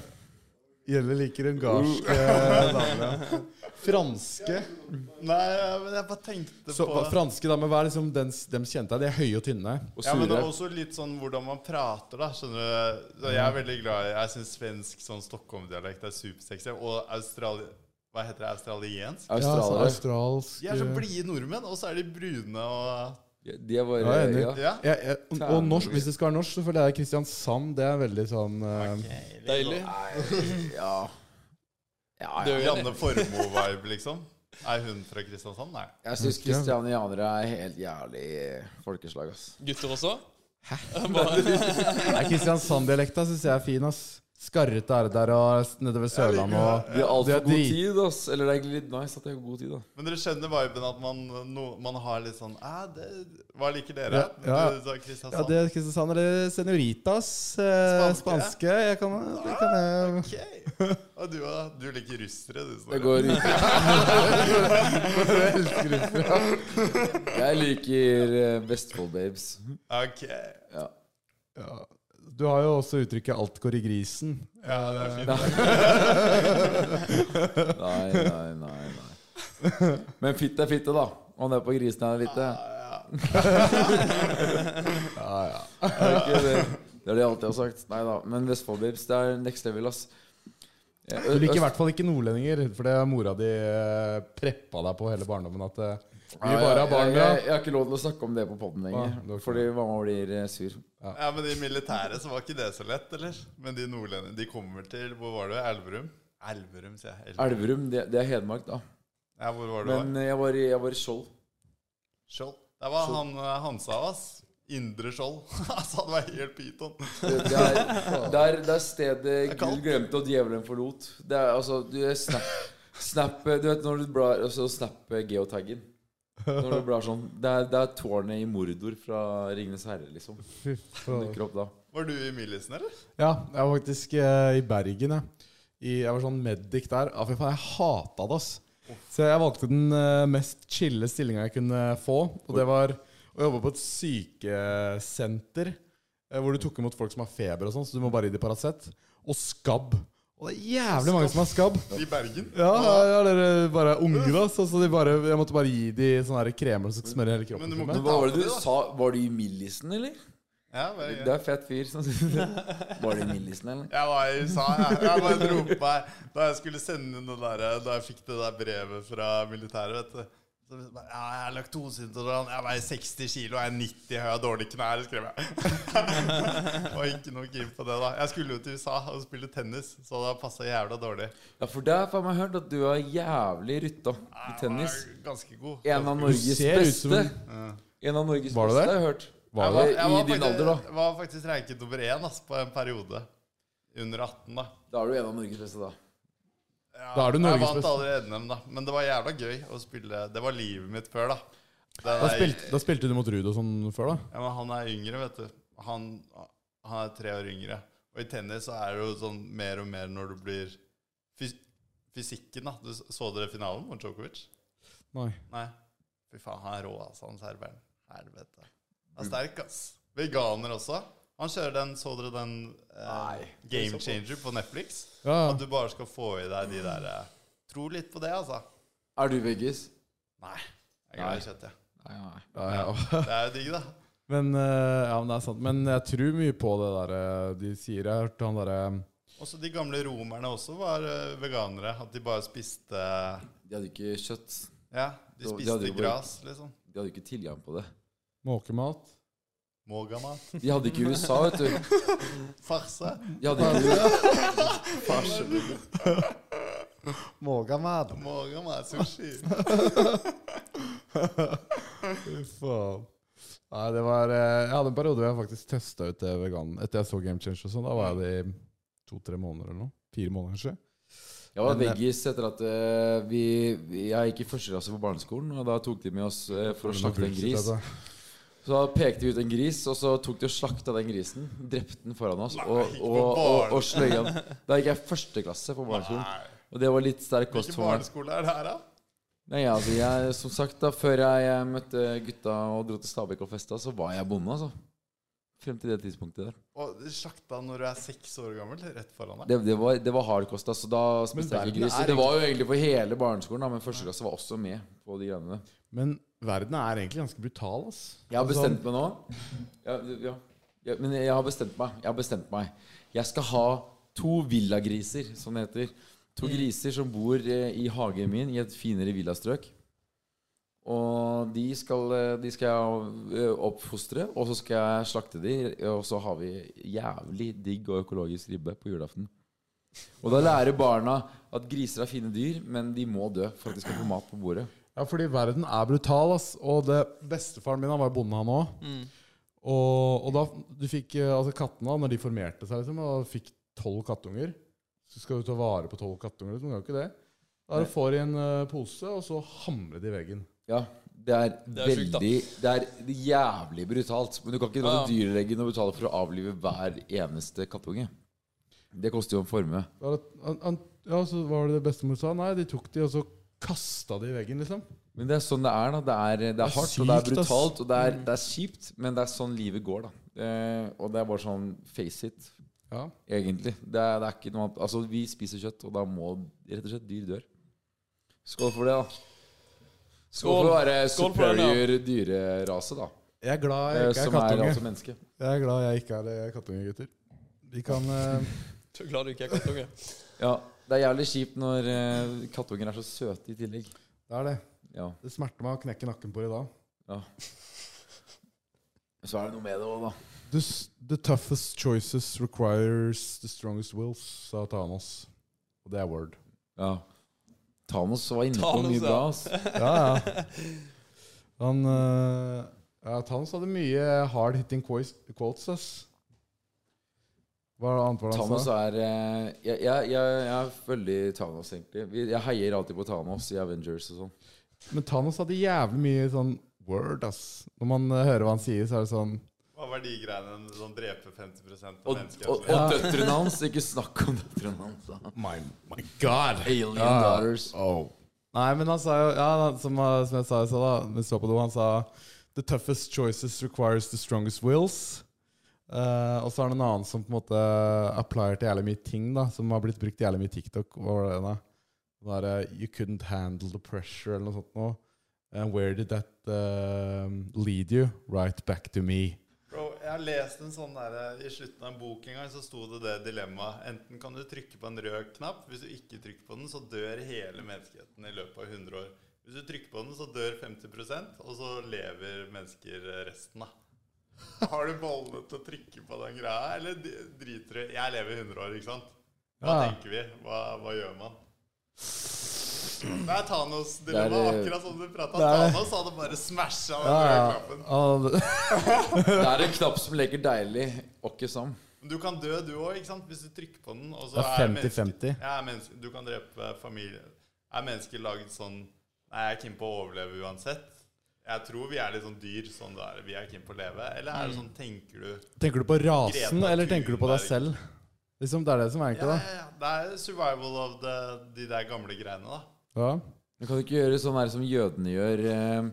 S5: Gjelle liker ungarske damer. ja. Mm. Franske.
S3: Nei, men jeg bare tenkte
S5: Så,
S3: på
S5: hva- franske damer, hva er liksom den, dem kjente jeg? De er høye og tynne.
S4: Og
S3: Ja, men det er
S4: sure.
S3: også litt sånn hvordan man prater, da. Skjønner du? Så jeg
S5: Mm.
S3: er veldig glad i Jeg syns svensk sånn Stockholm-dialekt er supersexy. Og australi... Hva heter det? Australiensk?
S5: Ja,
S4: Australiere.
S5: altså, australsk
S3: De er så blide nordmenn, og så er de brune og
S4: De er
S5: Ja, jeg er
S4: bare
S5: enig.
S4: ja.
S3: Ja.
S5: Ja, ja, og- og norsk, hvis det skal være norsk, så føler jeg Kristiansand. Det er veldig sånn eh,
S6: Deilig.
S4: Ja. Ja, ja.
S3: Janne Formoe-vibe, liksom. Er hun fra Kristiansand? Nei.
S4: Jeg syns kristianianere er helt jævlig folkeslag, ass.
S6: Gutter også?
S5: Nei, Kristiansand-dialekta syns jeg er fin, ass. Skarrete er det der, og nedover Sørlandet og
S4: De har altfor
S5: er
S4: god
S5: drit-
S4: tid, ass. Eller det er egentlig litt nice at de har god tid, da.
S3: Men dere skjønner viben at man, no, man har litt sånn Æ, det, Hva liker dere?
S5: Ja, ja.
S3: Du sa
S5: Ja,
S3: Kristiansand.
S5: det er Kristiansand eller Senoritas. Eh,
S3: altså. Spanske.
S5: spanske. Jeg kan, det kan jeg
S3: Ok. Og du, da? du liker russere, du,
S4: Det
S3: Snorre.
S4: går ut Jeg liker eh, Vestfold Babes.
S3: Ok.
S4: Ja.
S5: ja. Du har jo også uttrykket 'alt går i grisen'.
S3: Ja, det er fint.
S4: Nei, nei, nei. nei Men fitte er fitte, da. Og det er på grisen er fitte. Ja, ja. Det er det jeg alltid har sagt. Nei da. Men Vestfold Babes, det er next level, ass. Eh,
S5: Du liker i
S4: øst-
S5: hvert fall ikke nordlendinger, for det har mora di eh, preppa deg på hele barndommen. At eh, vi
S4: Nei,
S5: bare har
S4: jeg-
S5: barn,
S4: jeg, jeg, jeg har ikke lov til å snakke om det på poden lenger.
S5: Ah, det var ikke-
S4: Fordi mamma blir eh, sur.
S3: Ja, men i militæret så var ikke det så lett, eller? Men de nordlendingene De kommer til Hvor var du? Elverum? Elverum, sier jeg. Elverum.
S4: Elverum, det, det er Hedmark, da.
S3: Ja, hvor var du? da?
S4: Men eh, jeg var i, jeg var i Skjold.
S3: Skjold. Det var han eh, Hansa, ass. Indre Skjold. altså, han var helt pyton.
S4: Det det er, det er, det er stedet
S3: kaldt.
S4: Gud glemte og djevelen forlot. Det er altså du er snap, snap Du vet når du blar og så snap geotaggen. Når du blar sånn Det er, det er tårnet i Mordor fra Ringenes herre, liksom.
S5: Fy
S4: som
S5: faen.
S4: Dukker opp da.
S3: Var du i Millisen, eller?
S5: Ja, jeg var faktisk eh, i Bergen, jeg. I, jeg var sånn medic der. Ja, fy faen, jeg hata det, ass. Så jeg valgte den eh, mest chille stillinga jeg kunne få, og det var å jobbe på et sykesenter. eh, Hvor du tok imot folk som har feber og sånn, så du må bare gi dem Paracet. Og skabb. Og det er jævlig mange som har skabb.
S3: I Bergen?
S5: Ja, ja, ja, det er bare unge, da. Så, så de bare, jeg måtte bare gi dem sånne her kremer som smører hele kroppen.
S3: Men du må
S5: til meg.
S3: ikke
S4: Men hva var det du sa? Var du i Millisen, eller?
S3: Ja, bare,
S4: Du er fett fyr som synes det. Var det Millisen, eller?
S3: Jeg var i USA, jeg. Jeg bare dro på meg da jeg skulle sende inn det der eh, Da jeg fikk det der brevet fra militæret, vet du. Så bare, ja, jeg er laktoseintolerant. Jeg veier 60 kilo, jeg er 90 høy, jeg har dårlige knær, skrev jeg. og ikke noe keen på det, da. Jeg skulle jo til USA og spille tennis, så det passa jævla dårlig.
S4: Ja, for der har jeg hørt at du er jævlig rutta i tennis.
S3: Jeg var ganske god.
S4: En av Norges
S5: ser ut som
S4: beste.
S5: en-
S4: En av Norges
S5: Var
S4: beste,
S5: det det?
S4: har jeg hørt.
S5: Var
S4: det?
S3: Jeg var
S4: I din
S3: faktisk-
S4: alder, da.
S3: Var faktisk ranket nummer én ass, på en periode. Under 18, da.
S4: Da er du en av Norges beste, da.
S3: Ja,
S5: Da er du
S3: jeg
S5: Norges
S3: vant
S5: beste.
S3: allerede NM, da. Men det var jævla gøy å spille. Det var livet mitt før, da. Det
S5: Da
S3: der-
S5: spilte, da spilte du mot Ruud og sånn før,
S3: Ja,
S5: da?
S3: men han er yngre, vet du. Han, han er tre år yngre. Og i tennis så er det jo sånn mer og mer når du blir fys Fysikken, da. Du, s- så dere finalen mot Djokovic?
S5: Nei.
S3: Nei. Fy faen, han er rå, altså, han serberen. Helvete. Han er sterk, ass. Veganer også. Han kjører den Så dere den eh, Game Changer på Netflix?
S5: Ja,
S3: At
S5: ja.
S3: du bare skal få i deg de der eh, Tro litt på det, altså.
S4: Er du veggis?
S3: Nei. Jeg er glad i kjøtt, jeg.
S4: Nei, nei.
S5: ja, ja.
S3: Det er jo digg, da.
S5: Men, eh, ja, men det er sant. Men jeg tror mye på det der eh, de sier. Jeg hørte han derre eh,
S3: Også de gamle romerne også var eh, veganere. At de bare spiste
S4: De hadde ikke kjøtt.
S3: Ja, de
S4: Da- de
S3: spiste
S4: hadde jo bare-
S3: gras, liksom.
S4: De hadde ikke tilgang på det.
S5: måkemat.
S3: Mogamat.
S4: De hadde ikke USA, vet du.
S3: Farse.
S4: De hadde ikke
S5: Måkemat.
S3: Mogamat sushi.
S5: Faen. Nei, det var eh, Jeg hadde en periode hvor jeg faktisk testa ut det vegan Etter jeg så Game Change og sånn. Da var jeg det i to-tre måneder eller noe. Fire måneder, kanskje.
S4: Jeg var
S5: Men, eh,
S4: veggis etter at eh, vi, vi Jeg gikk i første klasse på barneskolen, og da tok de med oss eh, for å slakte en gris.
S5: altså.
S4: Så da pekte vi ut en gris, og så tok de og slakta den grisen. Drepte den foran oss og,
S3: ikke på
S4: og, og,
S3: barn.
S4: og sløy den. Da gikk jeg i første klasse på barneskolen,
S3: Nei.
S4: og det var litt sterk kost
S3: Hvilken
S4: for meg.
S3: barneskole er det her, da?
S4: Nei, altså, jeg, som sagt, da før jeg eh, møtte gutta og dro til Stabekk og festa, så var jeg bonde, altså. Frem til det tidspunktet der.
S3: Og de slakta når du er seks år gammel, rett foran deg.
S4: Det, det var, det var hard kost, altså. Da spiste jeg
S5: verden
S4: ikke gris.
S5: er
S4: Det var jo egentlig for hele barneskolen, da, men første klasse var også med på de greiene.
S5: Men verden er egentlig ganske brutal, ass.
S4: Jeg har
S5: Altså,
S4: bestemt meg nå. Ja, ja. Ja, men jeg har bestemt meg. Jeg har bestemt meg. Jeg skal ha to villagriser, som det heter. To griser som bor eh, i hagen min i et finere villastrøk. Og de skal, eh, de skal jeg eh, oppfostre, og så skal jeg slakte de. Og så har vi jævlig digg og økologisk ribbe på julaften. Og da lærer barna at griser er fine dyr, men de må dø for at de skal få mat på bordet.
S5: Ja, fordi verden er brutal, ass. Og det bestefaren min han var jo bonde, han òg.
S4: Mm.
S5: Og, og da du fikk eh, altså kattene, da, når de formerte seg, liksom, og fikk tolv kattunger Så skal du ta vare på tolv kattunger, liksom. Kan jo ikke det. Da er det får i en eh, pose, og så hamre de i veggen.
S4: Ja, det er,
S6: Det er sjukt, da.
S4: veldig Det er jævlig brutalt. Men du kan ikke dra
S6: Ja.
S4: til dyrlegen og betale for å avlive hver eneste kattunge. Det koster jo en formue.
S5: Da er det, han, han, ja, så var det det bestemor sa? Nei, de tok de, og så kasta de i veggen, liksom.
S4: Men det er sånn det er, da. Det er, det er,
S5: Det er
S4: hardt, og det er
S5: sykt, ass.
S4: brutalt, og det
S6: Mm.
S4: er, det er kjipt, men det er sånn livet går, da. Eh, og det er bare sånn face it,
S5: Ja.
S4: egentlig. Det er, det er ikke noe annet Altså, vi spiser kjøtt, og da må rett og slett dyr dør. Skål for det, da. Skål for å være
S6: Skål for den, ja.
S4: superior dyrerase, da.
S5: Jeg er glad
S4: Eh,
S5: jeg ikke er
S4: som er
S5: kattunge.
S4: altså menneske.
S5: Jeg er glad jeg ikke er eh, kattunge, gutter. Vi kan eh,
S6: Du er glad du ikke er kattunge?
S4: Ja, det er jævlig kjipt når eh, kattunger er så søte i tillegg.
S5: Det er det.
S4: Ja.
S5: Det smerter meg å knekke nakken på det i dag.
S4: Så er det noe med det òg, da.
S5: The, s- the toughest choices requires the strongest wills, sa Thanos. Og det er word.
S4: Ja. Thanos var inne på
S6: Thanos,
S4: mye
S6: ja.
S4: bra. ass.
S5: Ja, ja. Han eh, ja, Thanos hadde mye hard-hitting quotes, quotes, ass. Hva er det annet var det han
S4: Thanos
S5: sa?
S4: er eh, jeg, jeg, jeg, jeg er veldig Thanos, egentlig. Vi- Jeg heier alltid på Thanos i Avengers og sånn.
S5: Men Thanos hadde jævlig mye sånn word, ass. Når man eh, hører hva han sier, så er det sånn
S3: Hva var de greiene? Sånn drepe 50 av
S4: Og,
S3: mennesket?
S4: og, og døtrene hans. Ikke snakk om døtrene hans. da.
S5: My, god!
S4: Alien
S5: Ja.
S4: daughters.
S5: Oh. Nei, men han sa jo ja, han- som, eh, som jeg sa i stad, da, vi så på do, han sa The toughest choices requires the strongest wills. Eh, og så er det en annen som på en måte applier til jævlig mye ting, da, som har blitt brukt jævlig mye i TikTok. Hva var det da? Den derre You couldn't handle the pressure, eller noe sånt noe. And where did that eh, lead you? um, Right back to me.
S3: Bro, jeg har lest en sånn der, I slutten av en bok en gang så sto det det dilemmaet. Enten kan du trykke på en rød knapp. Hvis du ikke trykker på den, så dør hele menneskeheten i løpet av 100 år. Hvis du trykker på den, så dør 50 og så lever mennesker eh, resten. da. Har du bollene til å trykke på den greia, eller d- driter du Jeg lever 100 år, ikke sant? Hva
S5: Ja.
S3: tenker vi? Hva, hva gjør man? Det er Thanos'
S4: er,
S3: dilemma,
S4: eh,
S3: akkurat som du prata.
S5: det er-
S3: Thanos hadde bare smasha den
S5: Ja,
S3: røde
S5: ja.
S3: knappen.
S5: Han-
S4: Det er en knapp som leker deilig, og ikke som.
S3: Men Du kan dø du òg, ikke sant? Hvis du trykker på den. Og så
S5: Det er
S3: menneske-
S5: 50-50.
S3: Ja, er menneske- du kan drepe familie. Er mennesker laget sånn Nei, jeg er keen på å overleve uansett. Jeg tror vi er litt sånn dyr sånn det er. Vi er keen på å leve. Eller er det
S4: Mm.
S3: sånn, tenker du
S5: Tenker du på rasen,
S3: Greta
S5: eller tenker du på deg
S3: Thunberg.
S5: selv? Liksom, Det er det som
S3: Ja,
S5: er
S3: ja,
S5: egentlig,
S3: ja. Det er survival of the, de der gamle greiene, da.
S5: da. Ja.
S4: Men kan du ikke gjøre sånn her som jødene gjør? eh,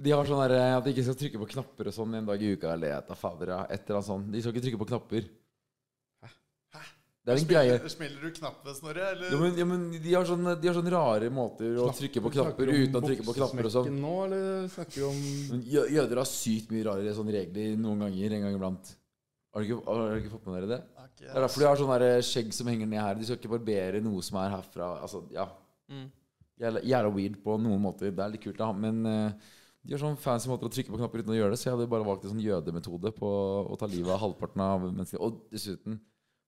S4: De har sånn her eh, at de ikke skal trykke på knapper og sånn en dag i uka. Eller et av fader, ja, et eller annet sånt. De skal ikke trykke på knapper. Det er en greie.
S3: Smiler, smiler du knappen, Snorre? Eller?
S4: Ja, men, ja, men de, har sånne, de har sånne rare måter å trykke på knapper uten å trykke på knapper og sånn.
S5: Nå, eller snakker vi om
S4: Men jø- Jøder har sykt mye rare sånne regler noen ganger, en gang iblant. Har du ikke, har dere ikke fått med dere det?
S3: Ok.
S4: Det er derfor de har sånn der skjegg som henger ned her. De skal ikke barbere noe som er herfra. Altså, ja.
S6: Mm.
S4: Jævla, jævla weird på noen måter. Det er litt kult, da. Men eh, de har sånn fancy måter å trykke på knapper uten å gjøre det, så jeg hadde bare valgt en sånn jødemetode på å ta livet av halvparten av menneskene. Og dessuten,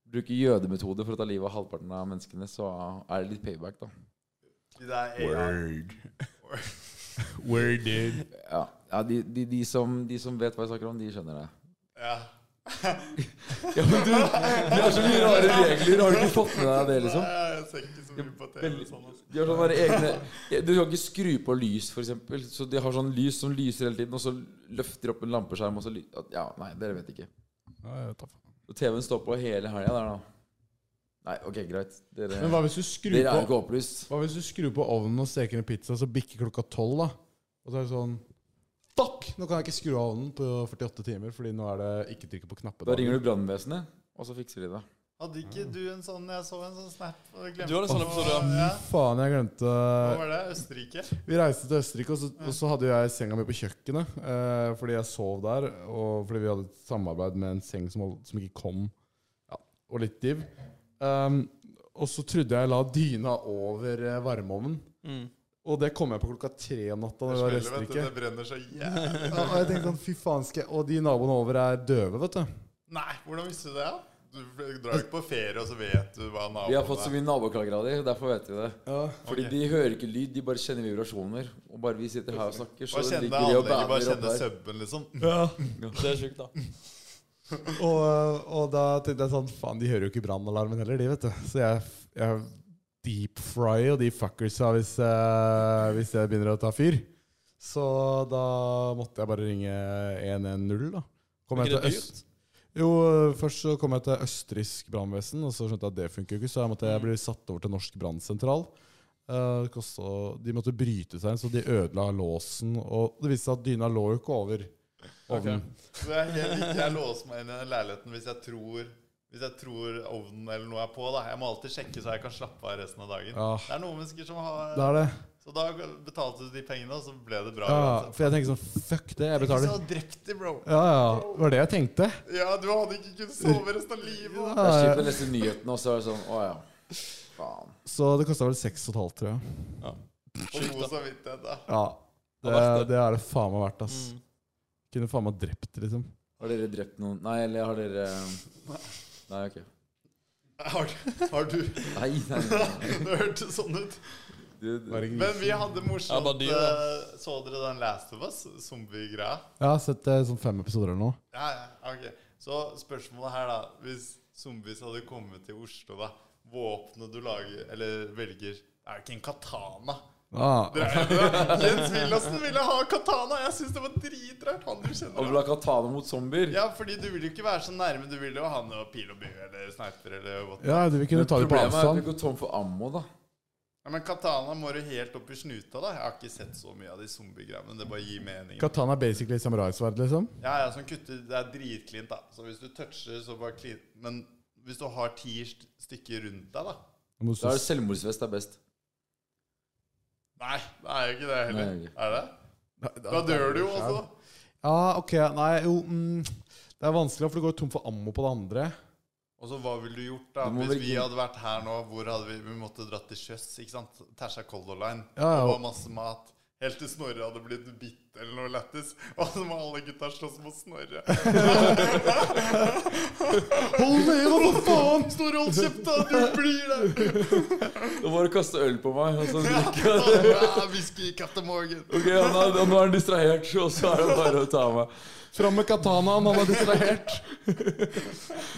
S4: bruke jødemetode for å ta livet av halvparten av menneskene, så er det litt payback, da.
S3: De der AI.
S5: Where did
S4: Ja, ja de, de, de, som, de som vet hva jeg snakker om, de skjønner det.
S3: Ja.
S4: Ja, men du, de har så mye rare regler. Har du ikke fått med deg det, liksom?
S3: Nei, jeg ser ikke så mye på TV sånn. altså.
S4: De har sånne egne Du kan ikke skru på lys, f.eks. Så de har sånn lys som lyser hele tiden, og så løfter de opp en lampeskjerm, og så ly Ja, nei, dere vet ikke. Og TV-en står på hele helga der, da. Nei, ok, greit. Dere,
S5: Men hva hvis du skrur
S4: dere er jo
S5: på
S4: ikke opplyst.
S5: Hva hvis du skrur på ovnen og steker en pizza, så bikker klokka tolv, da? Og så er det sånn Fuck! Nå kan jeg ikke skru av ovnen på 48 timer, fordi nå er det ikke trykke på knapper.
S4: Da ringer du brannvesenet, og så fikser de det.
S3: Hadde ikke du en sånn Jeg så en sånn snap. og jeg glemte
S6: Du hadde en sånn
S3: å-
S6: episode, ja.
S3: ja.
S5: Faen, jeg glemte eh,
S3: Hva var det? Østerrike?
S5: Vi reiste til Østerrike, og så, og så hadde jeg senga mi på kjøkkenet. Eh, fordi jeg sov der, og fordi vi hadde et samarbeid med en seng som, hold- som ikke kom. Ja, og litt div. Ehm, og så trodde jeg jeg la dyna over eh, varmeovnen.
S6: Mm.
S5: Og det kom jeg på klokka tre om natta. når
S3: Det
S5: jeg var i
S3: smeller, vet du.
S5: Østerrike.
S3: Det brenner så jævlig.
S5: Ja, og jeg tenkte sånn, fy faen skal jeg Og de naboene over er døve, vet du.
S3: Nei, hvordan visste du det? da? Du drar jo ikke på ferie, og så vet du hva naboen
S4: Vi har fått så mye naboklager av dem, derfor vet vi det. Fordi
S3: Ok.
S4: de hører ikke lyd, de bare kjenner vibrasjoner. Og bare vi sitter her og snakker, så
S3: Bare kjenne
S4: ligger de og
S3: anlegget, bare
S4: banner opp
S3: kjenne
S4: der.
S3: subben, liksom.
S6: Det er sjukt, da.
S5: Og, og da tenkte jeg sånn Faen, de hører jo ikke brannalarmen heller, de, vet du. Så jeg, jeg deep fryer de fuckersa hvis, eh, hvis jeg begynner å ta fyr. Så da måtte jeg bare ringe 110, da. Kom
S6: Er
S5: jeg
S6: ikke det
S5: til øst.
S6: dyrt?
S5: Jo, først så kom jeg til østerriksk brannvesen, og så skjønte jeg at det funker jo ikke, så jeg måtte jeg bli satt over til norsk brannsentral. Eh, det kostet- de måtte bryte seg inn, så de ødela låsen, og det viste seg at dyna lå jo ikke over ovnen.
S3: Så jeg, er helt lik- jeg låser meg inn i den leiligheten hvis jeg tror Hvis jeg tror ovnen eller noe er på. da Jeg må alltid sjekke så jeg kan slappe av resten av dagen.
S5: Ja.
S3: Det er noen mennesker som
S5: Det
S3: har
S5: er det.
S3: Så da betalte du de pengene, og så ble det bra.
S5: Ja,
S3: uansett.
S5: for jeg tenker sånn Fuck det,
S3: Ikke
S5: jeg betaler.
S3: så drept de, bro.
S5: Ja, ja. Det var det jeg tenkte.
S3: Ja, du hadde ikke kunnet sove resten av livet. da.
S4: Det er kjipt å lese nyhetene, og så er det sånn Å ja. Faen.
S5: Så det kosta vel 6,5, tror jeg.
S3: Og god samvittighet, da.
S5: Ja.
S6: Det
S5: Det,
S6: er verdt det.
S5: det er det faen meg verdt, ass.
S6: Mm.
S5: Kunne faen meg drept, liksom.
S4: Har dere drept noen Nei, eller har dere eh, Nei, ok.
S3: Har, har du
S4: Nei, nei, nei.
S3: Det hørtes sånn ut.
S4: Du, du.
S5: Bare gris.
S3: Men vi hadde
S6: Ja,
S3: morsomt
S6: bare dyr, da.
S3: eh, Så dere den Last of Us, zombie-greia?
S5: Jeg har sett eh, sånn fem episoder eller noe.
S3: Ja, ja, ok. Så spørsmålet her, da. Hvis zombies hadde kommet til Oslo, da. Våpenet du lager, eller velger, er jo ikke en katana.
S5: Ah,
S3: Det er jo det. Jens Wilhelmsen ville ha katana! Jeg syns det var dritrart. Han du
S4: Og
S3: kjenner
S4: vil ha katana mot zombier?
S3: Ja, fordi du vil jo ikke være så nærme. Du vil jo ha noe pil og bue eller sniper eller what.
S5: ja, du vil kunne ta det på
S4: Problemet er at vi
S5: avstand.
S4: går tom for ammo, da.
S3: Ja, men katana må du helt opp i snuta, da. Jeg har ikke sett så mye av de zombiegreiene. men Det bare gir mening.
S5: Katana er basically samuraisverd, liksom.
S3: Ja, ja, som kutter, det er dritklint da Så hvis du toucher, så bare klint Men hvis du har ti st- stykker rundt deg da
S5: Da må du
S4: Da er
S5: stå
S4: det selvmordsvest er best.
S3: Nei, det er jo ikke det heller
S4: Nei, det er
S3: Er det? Da dør du jo også
S5: Ja, ok. Nei, jo mm, Det er vanskelig, for du går tom for ammo på det andre.
S3: Og så hva ville du gjort da?
S4: Du må
S3: Hvis vi
S4: velge-
S3: hadde vært her nå, hvor hadde vi, vi måtte dratt til sjøs? ikke sant? Tersa Color Line.
S5: Ja, ja.
S3: Det var masse mat. Helt til Snorre hadde blitt bitt eller noe lættis. Og så må alle gutta slåss mot Snorre.
S5: Hold ned, da, for faen!
S3: Snorre, hold kjeft, da! Du blir der!
S4: Nå må du kaste øl på meg. Og så drikke.
S3: Ja, Whisky, Captain Morgan.
S4: Ok, han er, Nå er han distrahert, og så er det bare å ta meg.
S5: Fram med katanaen, han er distrahert.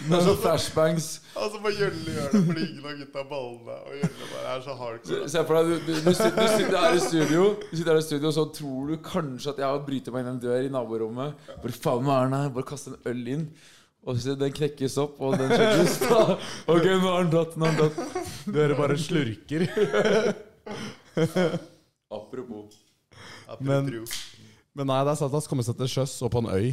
S4: Men så flashbangs.
S3: Og så må Jølle gjøre Altså, det, for ingen av gutta ballene. Og Jølle bare er så hardcore.
S4: Se for deg, du, du, du, sitter, du sitter her i studio, Du sitter her i studio og så tror du kanskje at jeg bryter meg inn en dør i naborommet. Bare faen meg er den her, bare kaste en øl inn. Og så den knekkes opp, og den sjekkes. da. Ok, nå har den datt. nå har den datt
S5: Dere bare slurker.
S4: Apropos.
S5: Men-
S3: Apropos.
S5: Men nei, det er sant, la oss komme seg til sjøs og på en øy.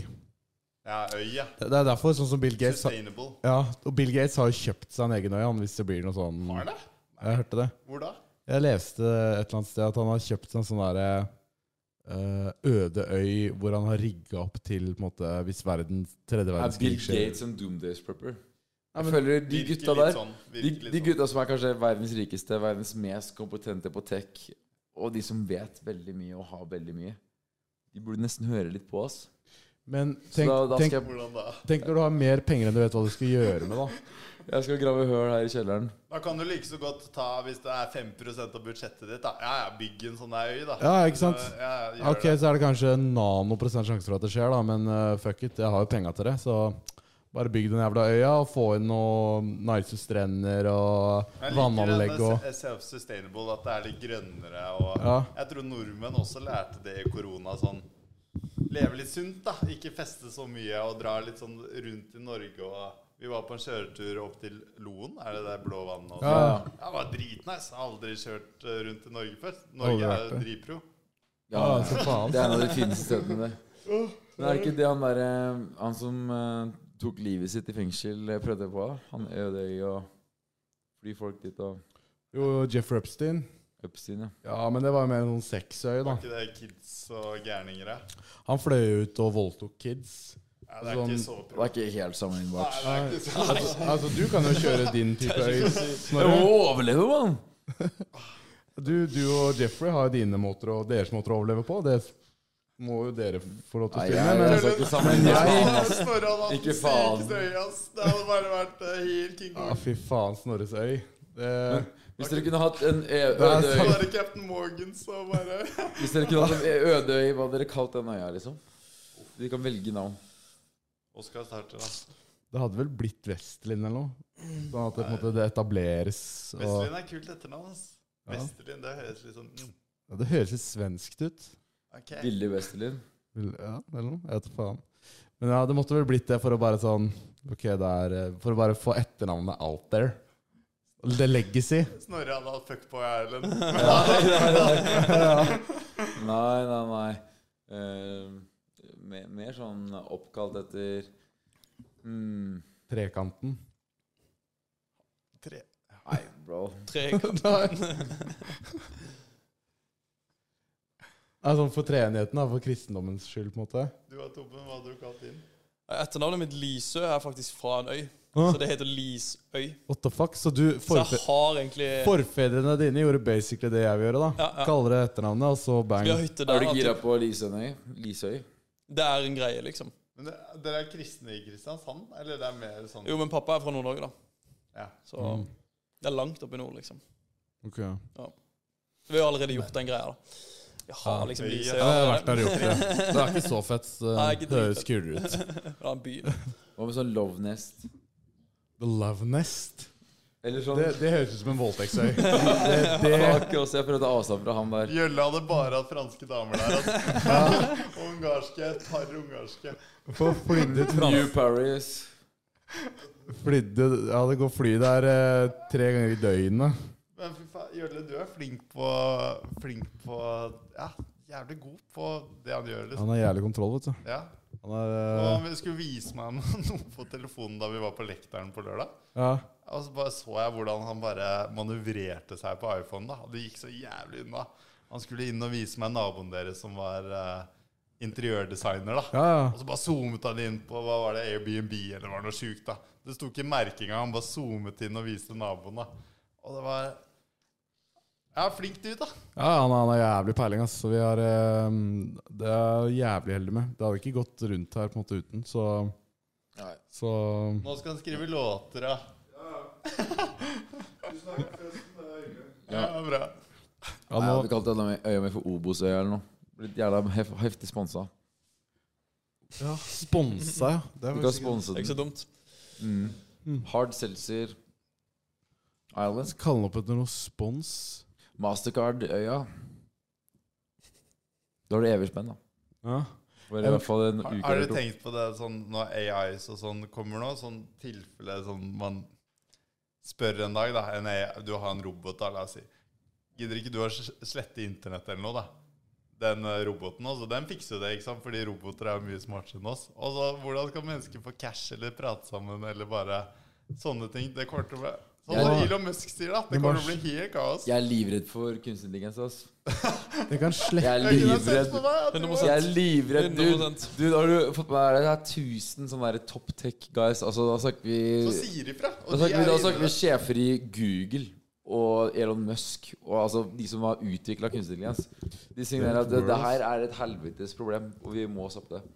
S3: Ja, øya.
S5: Det det er derfor, sånn som Bill Gates har-
S3: Sustainable.
S5: Ja, og Bill Gates har jo kjøpt seg en egen øy, han, hvis det blir noe sånn
S3: Har han det?
S5: Jeg hørte det.
S3: Hvor da?
S5: Jeg leste et eller annet sted at han har kjøpt en sånn derre eh, øde øy hvor han har rigga opp til på en måte, hvis verden, tredje
S4: Er Bill
S5: verdenskrig skjer.
S4: Gates en Doomdays prepper? Jeg føler de
S3: Virker
S4: gutta
S3: litt
S4: der
S3: Sånn,
S4: de,
S3: virker litt
S4: de gutta som er kanskje verdens rikeste, verdens mest kompetente på tech, og de som vet veldig mye og har veldig mye, de burde nesten høre litt sånn. på oss.
S5: Men
S4: Så
S5: tenk,
S4: da, da
S5: tenk,
S4: skal
S3: sånn.
S4: jeg,
S3: Hvordan da?
S5: tenk når du har mer penger enn du vet hva du skal gjøre med, da.
S4: jeg skal grave høl her i kjelleren.
S3: Da kan du like så godt ta, hvis det er 5 av budsjettet ditt, da. Ja, ja, bygg en sånn der øy, da.
S5: Ja, ikke sant?
S3: Så, Ja, ja, gjør
S5: Ok, så er det kanskje en nanoprosent sjanse for at det skjer, da, men eh, fuck it, jeg har jo penga til det, så bare bygg den jævla øya og få inn noen nice strender og
S3: det.
S5: vannanlegg og
S3: og Self-sustainable, at det er litt grønnere og
S5: Ja.
S3: Jeg tror nordmenn også lærte det i korona, sånn Leve litt sunt, da. Ikke feste så mye og dra litt sånn rundt i Norge og Vi var på en kjøretur opp til Loen, er det der blå vannet? også?
S5: Ja.
S3: Ja, det var dritnice. Jeg har aldri kjørt eh, rundt i Norge før. Norge er
S5: Aldri vært
S3: jo
S5: det.
S3: dripro.
S4: Ja,
S5: Ja, så faen.
S4: det er en av de fineste stedene. det. Men er det ikke det han derre Han som eh, tok livet sitt i fengsel, eh, prøvde på? Han Ødøy og fly folk dit og
S5: Jo, Jeff Repstein.
S4: Epstein, ja.
S5: Ja, men det var jo mer en sånn sexøy,
S3: Var
S5: da.
S3: ikke det kids og gærninger, da?
S5: Han fløy ut og voldtok kids.
S3: Ja, det er ikke
S5: Sånn-
S3: så
S4: Det er ikke helt sammenlignbart.
S3: Nei, det er ikke så
S5: Altså, altså, du kan jo kjøre din type øy.
S4: Jeg
S5: Snorre.
S4: må overleve, mann!
S5: Du, du og Jeffrey har jo dine måter og deres måter å overleve på. Det må jo dere få lov til å
S4: Nei,
S5: spille
S4: jeg, Altså, jeg
S5: med.
S4: skal ikke
S3: Nei,
S4: sammenligne.
S3: Snorre hadde hatt
S4: Ikke
S3: den
S4: faen.
S3: sykeste øya, ass. Det hadde bare vært eh, helt King
S5: Men ja,
S3: Kong.
S5: fy faen, Snorres øy. Det,
S4: Hvis dere kunne hatt en e- ø-
S5: er
S4: øde
S5: sant.
S4: øy
S3: Bare Captain Morgan så bare
S4: Hvis dere kunne hatt en ø- øde øy, hva hadde dere kalt den øya, liksom? Vi kan velge navn.
S3: Oskar starter, da.
S5: det hadde vel blitt Vestlin eller noe? Sånn at det, på en måte, det etableres. Og,
S3: Vestlin er kult etternavn, ass.
S5: Ja.
S3: Vestlin, det høres litt sånn mm,
S5: ja, det høres litt svenskt ut.
S3: OK.
S4: Ville Westerlin.
S5: Vil- Ja, eller noe. Jeg vet ikke faen. Men ja, det måtte vel blitt det for å bare sånn Ok, det er eh, For å bare få etternavnet out there. The legacy.
S3: Snorre hadde hatt Fuckboy Island.
S4: Nei, nei, nei. Nei, nei, nei. Eh, mer, mer sånn oppkalt etter mm.
S5: Trekanten.
S3: Tre.
S4: Nei, bro.
S5: Ja, sånn for treenigheten, da, for kristendommens skyld, på en måte.
S3: Du og Tobben, hva hadde du kalt inn?
S6: Etternavnet mitt Lisø er faktisk fra en øy,
S5: Ah.
S6: så det heter Lisøy.
S5: What the fuck? Så du,
S6: Så jeg
S5: forfe
S6: har egentlig
S5: forfedrene dine gjorde basically det jeg vil gjøre, da.
S6: Ja, ja.
S5: Kaller det etternavnet, og så
S6: Vi har
S5: bang.
S6: hytte
S4: Er
S6: der.
S4: du
S6: da,
S4: gira
S6: typ.
S4: på Lisøy? Lisøy?
S6: Det er en greie, liksom.
S3: Men det, Dere er kristne i Kristiansand? Eller det er mer sånn
S6: Jo, men pappa er fra Nord-Norge, da.
S3: Ja.
S6: Så det er langt opp i nord, liksom.
S5: Ok. Ja,
S6: Så vi har allerede gjort den greia, da. Jeg har liksom
S3: Ja.
S6: Lisøy.
S5: jeg har vært der og gjort det. Det er ikke så fett. så
S6: Nei, ikke
S5: Det høres
S6: dritfett.
S5: kulere ut.
S6: Ja, en by.
S4: Hva med sånn Love Nest?
S5: The Love Nest.
S4: Eller sånn
S5: Det, det høres ut som en voldtektsøy. Det, det,
S4: Fuck, også, Jeg prøvde å ta avstand fra han der.
S3: Jølle hadde bare hatt franske damer der. Altså. Og ungarske. Et par ungarske.
S5: Få flydd ut fra
S4: New Paris.
S5: flydd, Ja, det går fly der eh, tre ganger i døgnet.
S3: Men fy faen, Jølle, du er flink på Flink på Ja, jævlig god på det han gjør, liksom.
S5: Han har jævlig kontroll, vet du.
S3: Ja.
S5: Han er, eh,
S3: Og han skulle vise meg noe på telefonen da vi var på Lekteren på lørdag.
S5: ja.
S3: Og så bare så jeg hvordan han bare manøvrerte seg på iPhone. da Det gikk så jævlig unna. Han skulle inn og vise meg naboen deres som var eh, interiørdesigner, da.
S5: Ja, ja.
S3: Og så bare zoomet han inn på hva var det, Airbnb eller var det noe sjukt. da. Det sto ikke merking av, han bare zoomet inn og viste naboen. da. Og det var Ja, flink dude, da.
S5: Ja, han har, han har jævlig peiling, ass. Så vi har eh, Det er jeg jævlig heldig med. Det hadde ikke gått rundt her på en måte uten, så
S4: Nei.
S5: Så
S3: Nå skal han skrive låter, da. Ja, ja. Bra.
S5: ja,
S4: Jeg
S5: nå,
S4: hadde kalt denne øya mi for Obosøya eller noe. Blitt jævla hef heftig sponsa.
S5: ja, Sponsa, ja. Det
S4: Du
S5: er
S4: kan
S5: faktisk
S4: sponse
S6: Det er ikke så
S4: den.
S6: dumt.
S4: Mm. Hard Seltzer Island.
S5: ikke Kalle den opp etter noe spons.
S4: Mastercard-øya. Da har du evig spenn, da.
S5: Ja.
S4: Var det i hvert fall en
S3: Har,
S4: uke
S3: har
S4: eller
S3: du
S4: to.
S3: tenkt på det sånn når AIs og sånn kommer nå? Sånn tilfelle sånn man spør en dag, da. En AI, du har en robot, da, la oss si. Gidder ikke du å s- slette internett eller noe, da? Den eh, roboten også, den fikser jo det, ikke sant? Fordi roboter er jo mye smartere enn oss. Og så, hvordan skal mennesker få cash eller prate sammen eller bare sånne ting? Det kommer til å bli Sånn som
S5: Jeg-
S3: Elon Musk sier, da. Det
S5: Men
S3: kommer
S5: bare-
S3: til å bli helt kaos.
S4: Jeg er livredd for kunstig intelligens. ass.
S5: Det kan
S4: Jeg
S5: slette
S4: er
S3: Jeg kunne sett
S4: livredd.
S3: på deg at du var-
S4: Jeg er livredd, dude.
S6: 100%.
S4: Dude, har du fått med deg det er 1000 sånne der top tech guys? Altså, da snakker vi
S3: Så sier ifra.
S4: Da
S3: Og de
S4: snakker, vi,
S3: er
S4: da
S3: inne i
S4: snakker vi
S3: det.
S4: sjefer i Google og Elon Musk og altså de som har utvikla kunstig intelligens. De signerer at det, det her er et helvetes problem, og vi må stoppe det.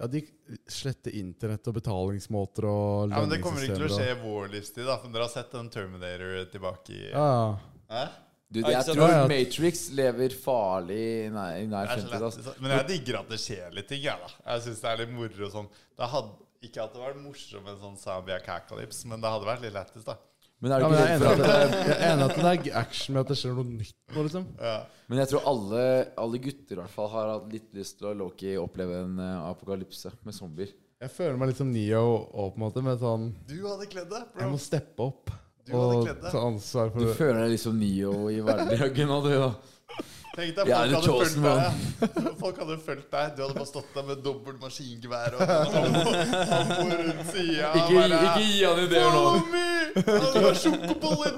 S5: Ja, de sletter internett og betalingsmåter og
S3: Ja, men Det kommer ikke til å skje
S5: lønningssystemer
S3: i vår livstid, da. For dere har sett den Terminator tilbake i
S5: og- Ja, ja.
S3: Hæ?
S4: Du,
S6: Ja,
S4: jeg
S6: ikke sant?
S4: tror
S5: Ja, ja.
S4: Matrix lever farlig i nær, i nær
S3: Det er så
S4: fremtid.
S3: lett,
S4: Altså.
S3: liksom. Men jeg digger at det skjer litt ting, jeg, da. Jeg syns det er litt moro sånn. Det hadde, ikke at det var morsomt med sånn Zambia Cacalypse, men det hadde vært litt lættis, da.
S4: Men, er
S5: Ja,
S4: du
S5: men
S4: ikke
S5: jeg, er
S4: redd
S5: enig
S4: for
S5: at
S4: at
S5: det er, jeg er enig at det er action med at det skjer noe nytt nå, liksom.
S3: Ja.
S4: men jeg tror alle, alle gutter i hvert fall har hatt litt lyst til å Loki oppleve en eh, apokalypse med zombier.
S5: Jeg føler meg litt som Neo òg, på en måte, med sånn
S3: Du hadde kledd det,
S5: Jeg
S3: bro.
S5: må steppe opp
S3: Du hadde
S5: og
S3: kledd deg.
S5: ta ansvar for
S4: Du føler deg liksom Neo i hverdagen nå, du. da.
S3: Tenk deg,
S4: Jeg
S3: folk
S4: er the
S3: hadde fulgt
S4: chosen
S3: deg. ja. Folk hadde fulgt deg. Du hadde bare stått der med dobbelt maskingevær og han bor rundt sida.
S4: Ikke, ikke gi han ideer nå.
S3: Follow me! Og det var sjokobolle,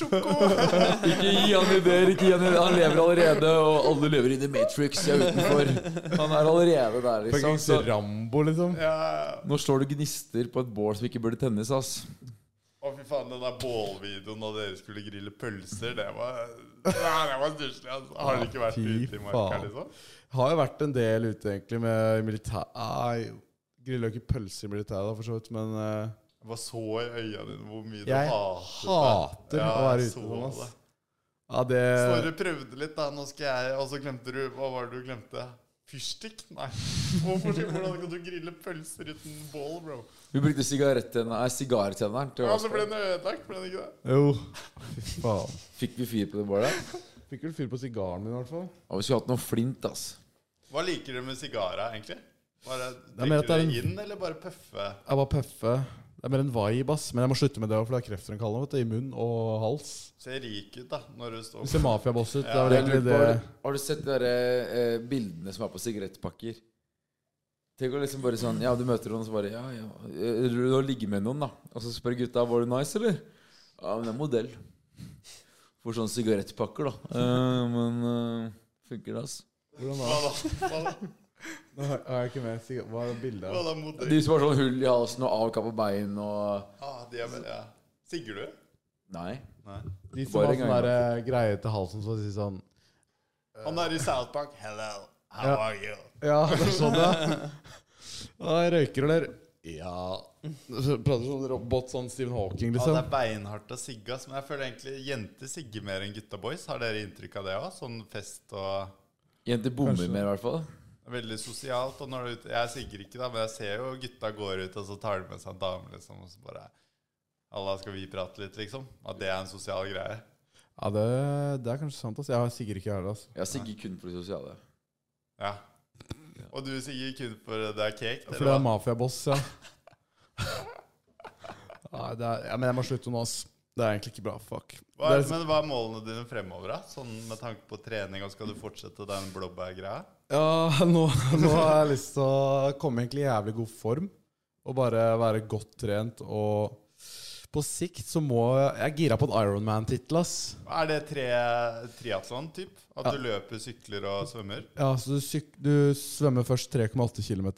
S3: trappelsjoko.
S4: Ikke gi han ideer, ikke gi han ideer. Han lever allerede, og alle lever i The Matrix. Jeg er utenfor. Han er allerede der, liksom.
S5: Fucking
S4: Så
S5: Rambo, liksom.
S3: Ja.
S4: nå slår du gnister på et bål som ikke burde tennes, ass.
S3: Å, fy faen, den der bålvideoen da dere skulle grille pølser, det var Nei, det var stusslig. Altså. Har dere ikke vært
S5: Fy
S3: ute i marka,
S5: faen.
S3: liksom?
S5: Har jo vært en del ute, egentlig, med militær... Nei, grilla ikke pølser i militæret, da, for så vidt, men eh,
S3: Jeg bare så i øya dine hvor mye du
S5: Jeg
S3: hatet
S5: hater å være ute
S3: så
S5: sånn, ass.
S3: det.
S5: Ja, det
S3: Så du prøvde litt, da. Nå skal jeg Og så glemte du Hva var det du glemte? Fyrstikk? Nei. Hvorfor, hvordan kan du grille pølser uten bål, bro?
S4: Vi brukte sigarettenneren nei, sigartenneren til å
S3: Ja, så ble den ødelagt, ble den ikke det?
S5: Jo. Fy faen.
S4: Fikk vi fyr på det bålet?
S5: Fikk vel fyr på sigaren min, i hvert fall.
S4: Og vi skulle hatt noe flint, ass.
S3: Hva liker du med sigara, egentlig? Bare
S5: er mer
S3: drikker du
S5: at det er
S3: det
S5: en-
S3: inn, eller bare pøffe?
S5: Jeg bare pøffe. Det er mer en vibe, ass. Men jeg må slutte med det, også, for det er kreftfremkallende vet du, i munn og hals.
S3: Ser rik ut, da, når du
S5: Du
S3: står
S5: ser mafiaboss ut. Det
S3: Ja,
S5: er vel
S4: Jeg
S5: egentlig
S4: lurer på,
S5: det
S4: har, du- har du sett de der, eh, bildene som er på sigarettpakker? Tenk å liksom bare sånn Ja, du møter noen, så bare Ja, ja. Eh, Du har ligget med noen, da. Og så spør gutta var du nice, eller? Ja, men jeg er modell. For sånne sigarettpakker, da. Eh, men eh, funker det, altså?
S5: Hvordan
S3: Hva
S5: da?
S3: da? Hva da?
S5: Nå har har jeg ikke med sigar... Hva er bildet?
S3: Hva
S5: her?
S3: da mot
S4: De som har sånn hull i halsen og avkappa bein og
S3: Ah, de er vel, ja. Sigger du?
S4: Nei.
S3: Nei.
S5: De som
S4: Bare
S5: har
S4: en
S5: sånn
S4: gang,
S5: der, eh, greie til halsen som sier sånn
S3: Han er i South Park. Hello, how
S5: Ja.
S3: are you?
S5: Ja, det er sånn, ja. Da røyker du der. Ja Så Prater som en robot, sånn Stephen Hawking,
S3: Ja,
S5: liksom.
S3: det er beinhardt å sigge, ass, men jeg føler egentlig jenter sigger mer enn gutta boys. Har dere inntrykk av det òg? Sånn fest og
S4: Jenter bommer mer, i hvert fall.
S3: Veldig sosialt. Og når du, er ute- jeg sigger ikke, da, men jeg ser jo gutta går ut, og så tar de med seg en dame, liksom, og så bare Alla, skal vi prate litt, liksom? At det er en sosial greie.
S5: Ja, det, det er kanskje sant. ass Jeg har sikkert ikke hørt det. ass
S4: Jeg har sikkert kun for det sosiale.
S3: Ja. Og du sigger kun for det er cake?
S5: For det er mafiaboss, ja. Nei, det er, ja. Men jeg må slutte nå, ass. Det er egentlig ikke bra. Fuck.
S3: Hva er,
S5: Det er-
S3: men hva er målene dine fremover, da? Sånn med tanke på trening, og skal du fortsette den blåbærgreia?
S5: Ja, nå, nå har jeg lyst til å komme egentlig i jævlig god form. Og bare være godt trent og på sikt så må Jeg er gira på en Ironman-tittel, ass.
S3: Er det tre triatlon-typ? At du løper, sykler og svømmer?
S5: Ja, så du, syk, du svømmer først 3,8 km,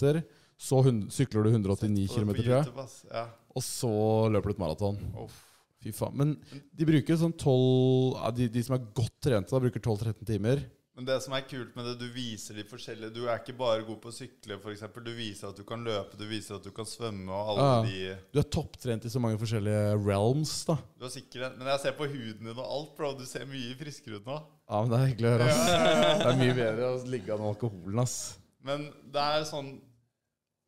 S5: så hun, sykler du 189 km,
S3: På
S5: tror jeg.
S3: YouTube, ass. Ja.
S5: Og så løper du et maraton.
S3: Uff.
S5: Fy faen. Men de bruker sånn 12 ja, de, de som er godt trente, da bruker 12-13 timer.
S3: Men det som er kult med det, du viser de forskjellige Du er ikke bare god på å sykle, f.eks. Du viser at du kan løpe, du viser at du kan svømme og alle
S5: Ja.
S3: de
S5: Du er topptrent i så mange forskjellige realms, da.
S3: Du er sikker, men jeg ser på huden din og alt, bro. Du ser mye friskere ut nå.
S5: Ja, men det er hyggelig å høre, ass. Det er mye bedre å ligge an alkoholen, ass.
S3: Men det er sånn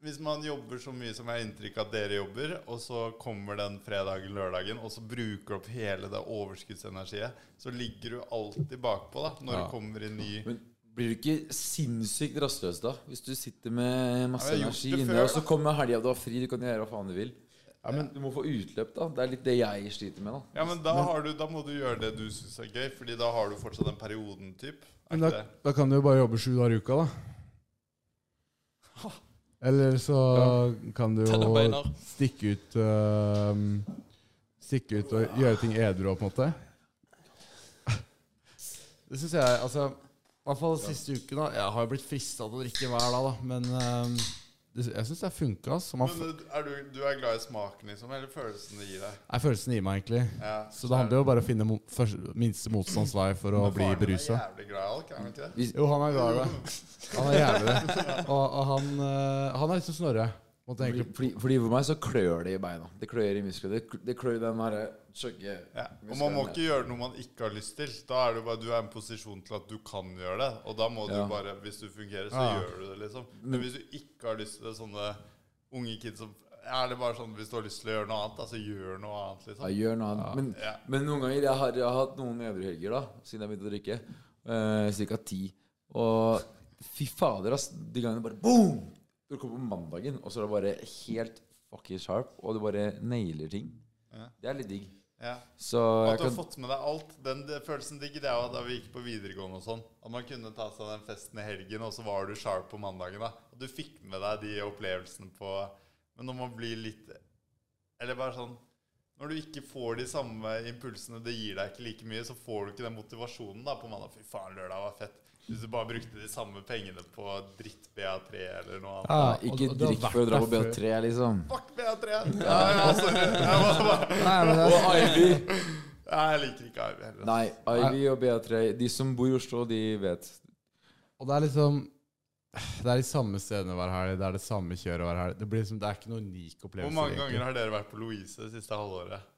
S3: Hvis man jobber så mye som jeg har inntrykk av at dere jobber, og så kommer den fredagen, lørdagen, og så bruker du opp hele det overskuddsenergiet, så ligger du alltid bakpå da, når det kommer en ny
S4: Men blir du ikke sinnssykt rastløs da? Hvis du sitter med masse
S3: Ja, jeg har gjort
S4: energi
S3: det
S4: inni
S3: før,
S4: deg, og så
S3: da.
S4: kommer helga du har fri, du kan gjøre hva faen du vil. du må få utløp, da. Det er litt det jeg sliter med, da.
S3: Ja, men da, har du, da må du gjøre det du syns er gøy, Fordi da har du fortsatt den perioden, typ. Er
S5: Men da,
S3: ikke det?
S5: da kan du jo bare jobbe sju dager i uka, da. Eller så kan du
S6: Tenne
S5: jo
S6: beinar.
S5: stikke ut øhm, Stikke ut og gjøre ting edru, på en måte. Det syns jeg Altså, i hvert fall siste uken, da. Jeg har jo blitt frista til å drikke hver dag, da. Men øhm, det, jeg syns det har funka. ass. Man f-
S3: Men er du, du er glad i smaken, liksom? Eller følelsen det gir deg?
S5: er følelsen i meg, egentlig.
S3: Ja.
S5: Så det handler jo bare om å finne mo først- minste motstands vei for å bli berusa.
S3: Faren din er jævlig glad i alk, er han ikke det?
S5: Jo, han er glad i det. Han er jævlig det. Og, og han, eh, han er liksom Snorre. Måtte
S4: Fordi,
S5: egentlig
S4: fordi, fordi for meg så klør det i beina. Det klør i musklene. Det, kl- det klør i den derre chugge
S3: Ja. Og man må ikke gjøre noe man ikke har lyst til. Da er det jo bare, du er i en posisjon til at du kan gjøre det. Og da må du
S4: Ja.
S3: bare, hvis du fungerer, så
S5: Ja.
S3: gjør du det, liksom. Men hvis du ikke har lyst til det, sånne unge kids som Er det bare sånn hvis du har lyst til å gjøre noe annet, da, så gjør noe annet,
S4: Ja,
S3: liksom.
S4: gjør noe annet. Men,
S3: Ja.
S4: men noen ganger jeg har, jeg har hatt noen edruhelger da, siden jeg begynte å drikke. Uh, Ca. ti. Og fy fader, ass. De gangene bare boom! Du kommer på mandagen, og så er det bare helt fucking sharp, og du bare nailer ting.
S3: Ja.
S4: Det er litt digg.
S3: Ja.
S4: Så
S3: At
S4: jeg
S3: du har
S4: kan
S3: fått med deg alt. Den det- følelsen digger jeg òg da vi gikk på videregående og sånn. At man kunne ta seg den festen i helgen, og så var du sharp på mandagen. da Og du fikk med deg de opplevelsene på Men når man blir litt Eller bare sånn Når du ikke får de samme impulsene, det gir deg ikke like mye, så får du ikke den motivasjonen da på mandag. Fy faen, lørdag var fett. Hvis du bare brukte de samme pengene på dritt BA3 eller noe annet.
S5: ja,
S4: Nei, ikke drikk for å dra på BA3, liksom.
S3: Fuck BA3! Ja, ja, sorry. Jeg, var bare,
S5: Nei, men det er,
S4: Og Ivy!
S3: Nei, jeg liker ikke Ivy heller. altså.
S4: Nei, Ivy og BA3 De som bor i Oslo, de vet.
S5: og det er liksom Det er de samme stedene hver helg. Det er det samme kjøret hver helg. Det, blir liksom, det er ikke noen unik opplevelse.
S3: Hvor mange
S5: egentlig.
S3: ganger har dere vært på Louise det siste halvåret?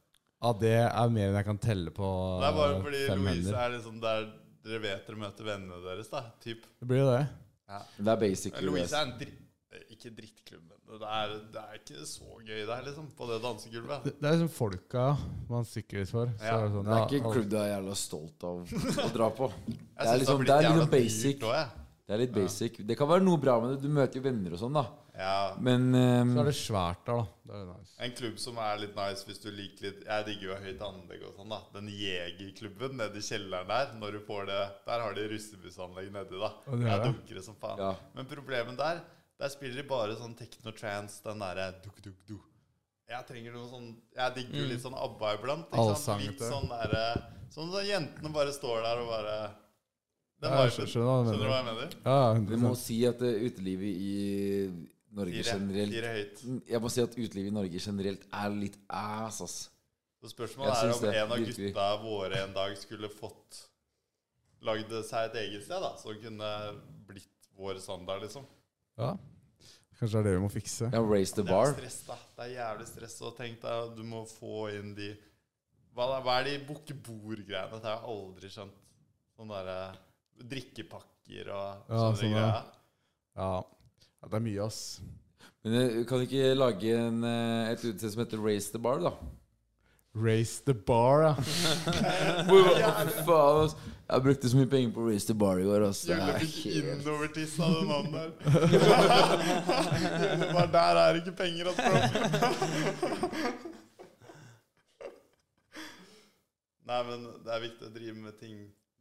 S5: Ja, det er mer enn jeg kan telle på
S3: Det
S4: Ah,
S3: er bare fordi
S5: fem
S3: Louise
S5: hender.
S3: er liksom der dere vet dere møter vennene deres, da. Typ. eh,
S5: Det blir jo det.
S4: Det er basic.
S3: Louise er en dritt... Ikke drittklubb, men det er, det er ikke så gøy der, liksom, på det dansegulvet.
S5: Det, det er liksom folka man stikker litt for. Så
S3: Ja.
S5: er det, sånn,
S4: Det er ikke en
S5: ja, alle-
S4: klubb du er jævla stolt av å dra på.
S3: Jeg
S4: Det er
S3: synes
S4: liksom,
S3: har blitt
S4: det er
S3: jævla
S4: liksom basic.
S3: dyrt også, jeg.
S4: Det er litt basic. Det kan være noe bra med det. Du møter jo venner og sånn, da.
S3: Ja.
S4: Men
S5: så er
S4: ehm,
S5: det svært der, da. Det er jo nice.
S3: En klubb som er litt nice hvis du liker litt Jeg digger jo høyt anlegg og sånn, da. Den Jegerklubben nede i kjelleren der, når du får det Der har de russebussanlegg nedi, da.
S5: Og det
S3: Det
S5: er
S3: er
S5: det.
S3: dunkere som faen.
S4: Ja.
S3: Men problemet der, der spiller de bare sånn techno-trance, den derre duk-duk-du. Jeg trenger noe sånn Jeg
S5: Mm.
S3: digger jo litt sånn ABBA iblant. Ikke sant? Litt
S5: Allsangete.
S3: sånn derre Sånn at jentene bare står der og bare Den
S5: Ja, jeg
S3: viben.
S5: skjønner hva du
S3: Skjønner du hva jeg
S5: mener.
S3: mener?
S5: Ja,
S4: vi må si at eh, utelivet i Norge
S3: Fire,
S4: generelt
S3: fire høyt.
S4: Jeg må si at utelivet i Norge generelt er litt ass, ass.
S3: Så
S4: Jeg
S3: spørsmålet er
S4: synes
S3: om
S4: det,
S3: en av
S4: virkelig.
S3: gutta våre en dag skulle fått lagd seg et eget sted, da, som kunne blitt vår standard, liksom.
S5: ja. Kanskje det er det vi må fikse.
S4: Ja, raise the
S3: Det er
S4: bar.
S3: stress, da. Det er jævlig stress. Og tenk deg, du må få inn de Hva, da, hva er de bukke-bord-greiene? Det har jeg aldri skjønt. Sånne derre drikkepakker og
S5: Ja,
S3: sånne
S5: sånne.
S3: greier.
S5: Ja. ja, det er mye, ass.
S4: Men eh, kan du ikke lage en, eh, et utested som heter Raise the Bar, da?
S5: Raise the bar, ja.
S4: Fy Faen, ass. Jeg brukte så mye penger på Raise the Bar i går, ass. Det
S3: Jule
S4: er
S3: fikk
S4: helt
S3: innovertiss av den mannen der. Jule bare Der er det ikke penger altså. å prøve. Nei, men det er viktig å drive med ting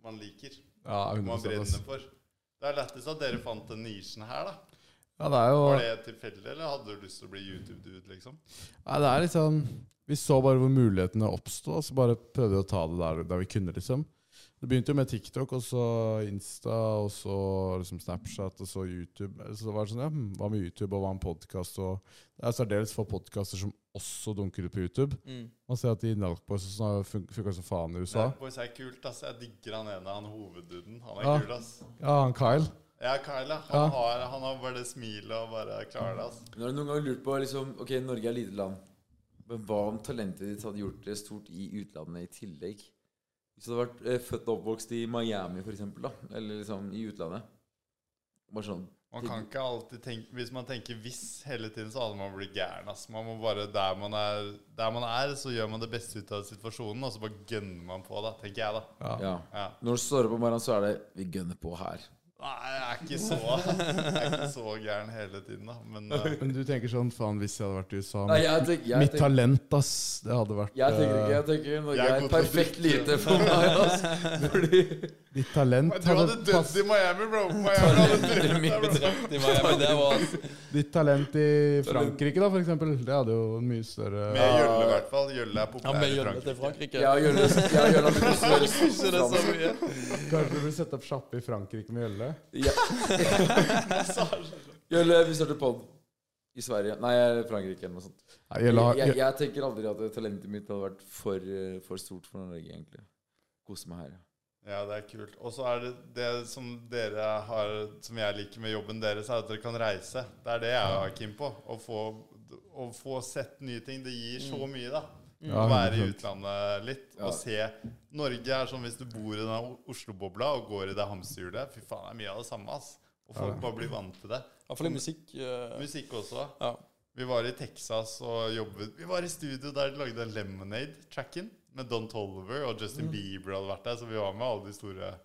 S3: man liker.
S5: Ja,
S3: Man
S5: 100 ass.
S3: brenner for. Det er lettest at dere fant den nisjen her, da.
S5: Ja, det er jo
S3: Var det tilfeldig, eller hadde du lyst til å bli YouTube-dude, liksom?
S5: Nei, det er litt sånn Vi så bare hvor mulighetene oppsto, og så bare prøvde vi å ta det der, der vi kunne, liksom. Det begynte jo med TikTok, og så Insta, og så liksom Snapchat, og så YouTube. Så det var sånn, ja, hm, Hva med YouTube, og hva med podkast? Det er særdeles få podkaster som også dunker ut på YouTube.
S6: Mm.
S5: Man ser at de Narkboys og sånn har fun- funka som faen i USA.
S3: Nei, boys er kult, ass. Jeg digger han ene, han hovedduden. Han er
S5: Ja.
S3: kul, ass.
S5: Ja, han Kyle.
S3: Ja, Kyle, ja. han,
S5: Ja.
S3: Har, han har bare det smilet og bare klarer det, ass.
S4: Men har du noen gang lurt på liksom, Ok, Norge er lite land. Men hva om talentet ditt hadde gjort det stort i utlandet i tillegg? Hvis du hadde vært eh, født og oppvokst i Miami, for eksempel, da, eller liksom i utlandet Bare sånn
S3: Man kan ikke alltid tenke Hvis man tenker 'hvis' hele tiden, så hadde man blitt gæren. Ass. Man må bare der man, er, der man er, så gjør man det beste ut av situasjonen, og så bare gønner man på, da, tenker jeg, da.
S4: Ja.
S3: Ja.
S4: Når du står opp om morgenen, så er det Vi gønner på her.
S3: Nei, jeg er ikke så Jeg er ikke så gæren hele tiden, da. Men eh,
S5: Men du tenker sånn Faen, hvis jeg hadde vært i USA
S4: Nei, jeg tenker, jeg
S5: Mitt
S4: tenker,
S5: talent, ass. Det hadde vært
S4: jeg tenker ikke
S5: eh,
S4: Jeg tenker Norge
S3: Jeg er
S4: er
S3: god til å
S4: perfekt
S3: drikke.
S4: lite for meg, altså. Fordi
S5: Ditt talent
S3: du hadde dødd i Miami, bro. Miami hadde drept deg, bro.
S6: Drept i Miami, det var
S5: Ditt talent i Frankrike, da, for eksempel. Det hadde jo en mye større
S3: Med Jølle, i hvert fall. Jølle er
S6: Han
S3: populær
S6: ble
S3: i
S6: hjulpet til
S3: Frankrike.
S6: Frankrike.
S4: Jeg og Jonas Jeg og Jonas burde svare
S6: Ikke det så
S4: sammen.
S6: mye.
S5: Kanskje du burde sette opp sjappe i Frankrike med Jølle?
S4: Ja. Jølle, vi starter pod. I Sverige. Nei, Frankrike eller noe sånt.
S5: Nei,
S4: Jeg,
S5: Jølle har
S4: jeg,
S5: Jø-
S4: jeg tenker aldri at talentet mitt hadde vært for, eh, for stort for Norge, egentlig. Kose meg her.
S3: Ja, det er kult. Og så er det det som dere har Som jeg liker med jobben deres, er at dere kan reise. Det er det jeg er keen på. Å få, å få sett nye ting. Det gir så mye, da.
S5: Ja,
S3: å være i
S5: 100%.
S3: utlandet litt
S4: Ja.
S3: og se Norge er sånn hvis du bor i den Oslo-bobla og går i det hamsterhjulet Fy faen, det er mye av det samme, ass. Og folk bare blir vant til det.
S6: Iallfall i musikk. eh,
S3: Musikk også.
S6: ja.
S3: Vi var i Texas og jobbet Vi var i studio der de lagde den Lemonade-tracken med Don Tolliver, og Justin Bieber hadde vært der, så vi var med alle de store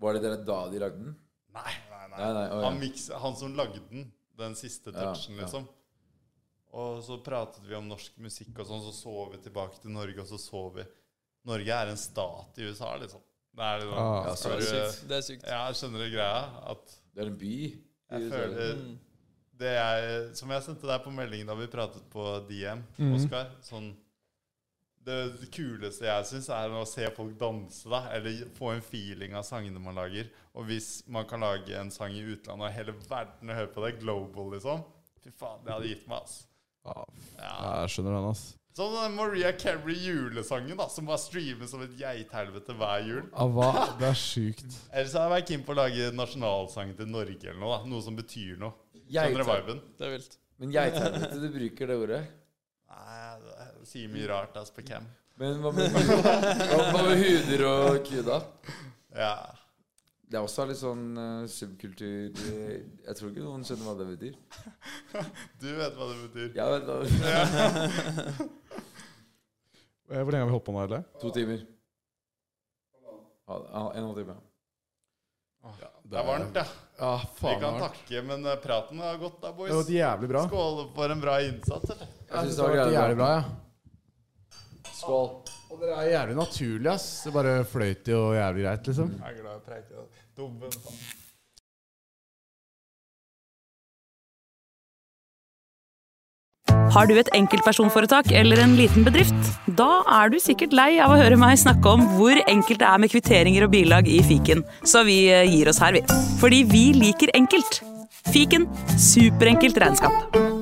S4: Var det dere da de lagde den?
S3: Nei, nei, nei.
S4: Nei, nei, å, ja.
S3: han, miks- han som lagde den, den siste
S4: Ja,
S3: touchen,
S4: ja.
S3: liksom. Og så pratet vi om norsk musikk og sånn, så så vi tilbake til Norge, og så så vi Norge er en stat i USA, liksom. Det er liksom
S5: Ah.
S4: Ja, så
S3: skal
S4: er det
S3: du-
S6: Sykt. Det er sykt.
S3: Ja, skjønner du greia? At
S4: Det er en by.
S3: jeg føler det jeg, Som jeg sendte deg på meldingen da vi pratet på DM, Oskar sånn, det, det kuleste jeg syns, er å se folk danse, da. Eller få en feeling av sangene man lager. Og hvis man kan lage en sang i utlandet, og hele verden hører på det, global, liksom Fy faen, det hadde gitt meg, ass.
S5: Ja,
S3: Ja.
S5: jeg skjønner den, ass.
S3: Sånn den Maria Carey-julesangen, da, som bare streames som et geithelvete hver jul.
S5: Ah, hva? Det er sjukt.
S3: Ellers hadde jeg vært keen på å lage nasjonalsangen til Norge eller noe, da. Noe som betyr noe. Skjønner du
S4: Geithelvete.
S3: viben?
S6: Det er vilt.
S4: Men geithelvete, du bruker det ordet.
S3: Nei, det sier mye rart ass på cam.
S4: Men hva med, hva hva med huder og kuda?
S3: Ja.
S4: Det er også litt sånn eh, subkultur eh, Jeg tror ikke noen skjønner hva det betyr.
S3: Du vet hva det betyr.
S4: Jeg vet hva
S5: Eh, Hvor lenge har vi holdt på nå, Jølle?
S4: To timer. Ja, En og en halv time.
S3: Det er varmt, ja.
S5: Ja,
S3: Vi
S5: faen.
S3: kan
S5: det er varmt.
S3: takke, men eh, praten har gått da,
S5: Det har
S3: boys.
S5: gått jævlig bra.
S3: Skål for en bra innsats, eller?
S4: Jeg synes
S5: det har vært jævlig bra, ja.
S4: Skål.
S5: Og dere er jævlig naturlige, ass. Det bare fløyt jo jævlig greit, liksom.
S3: Jeg er glad jeg preika. Dummen, faen.
S7: Har du et enkeltpersonforetak eller en liten bedrift? Da er du sikkert lei av å høre meg snakke om hvor enkelt det er med kvitteringer og bilag i fiken, så vi eh, gir oss her, vi. Fordi vi liker enkelt. Fiken superenkelt regnskap.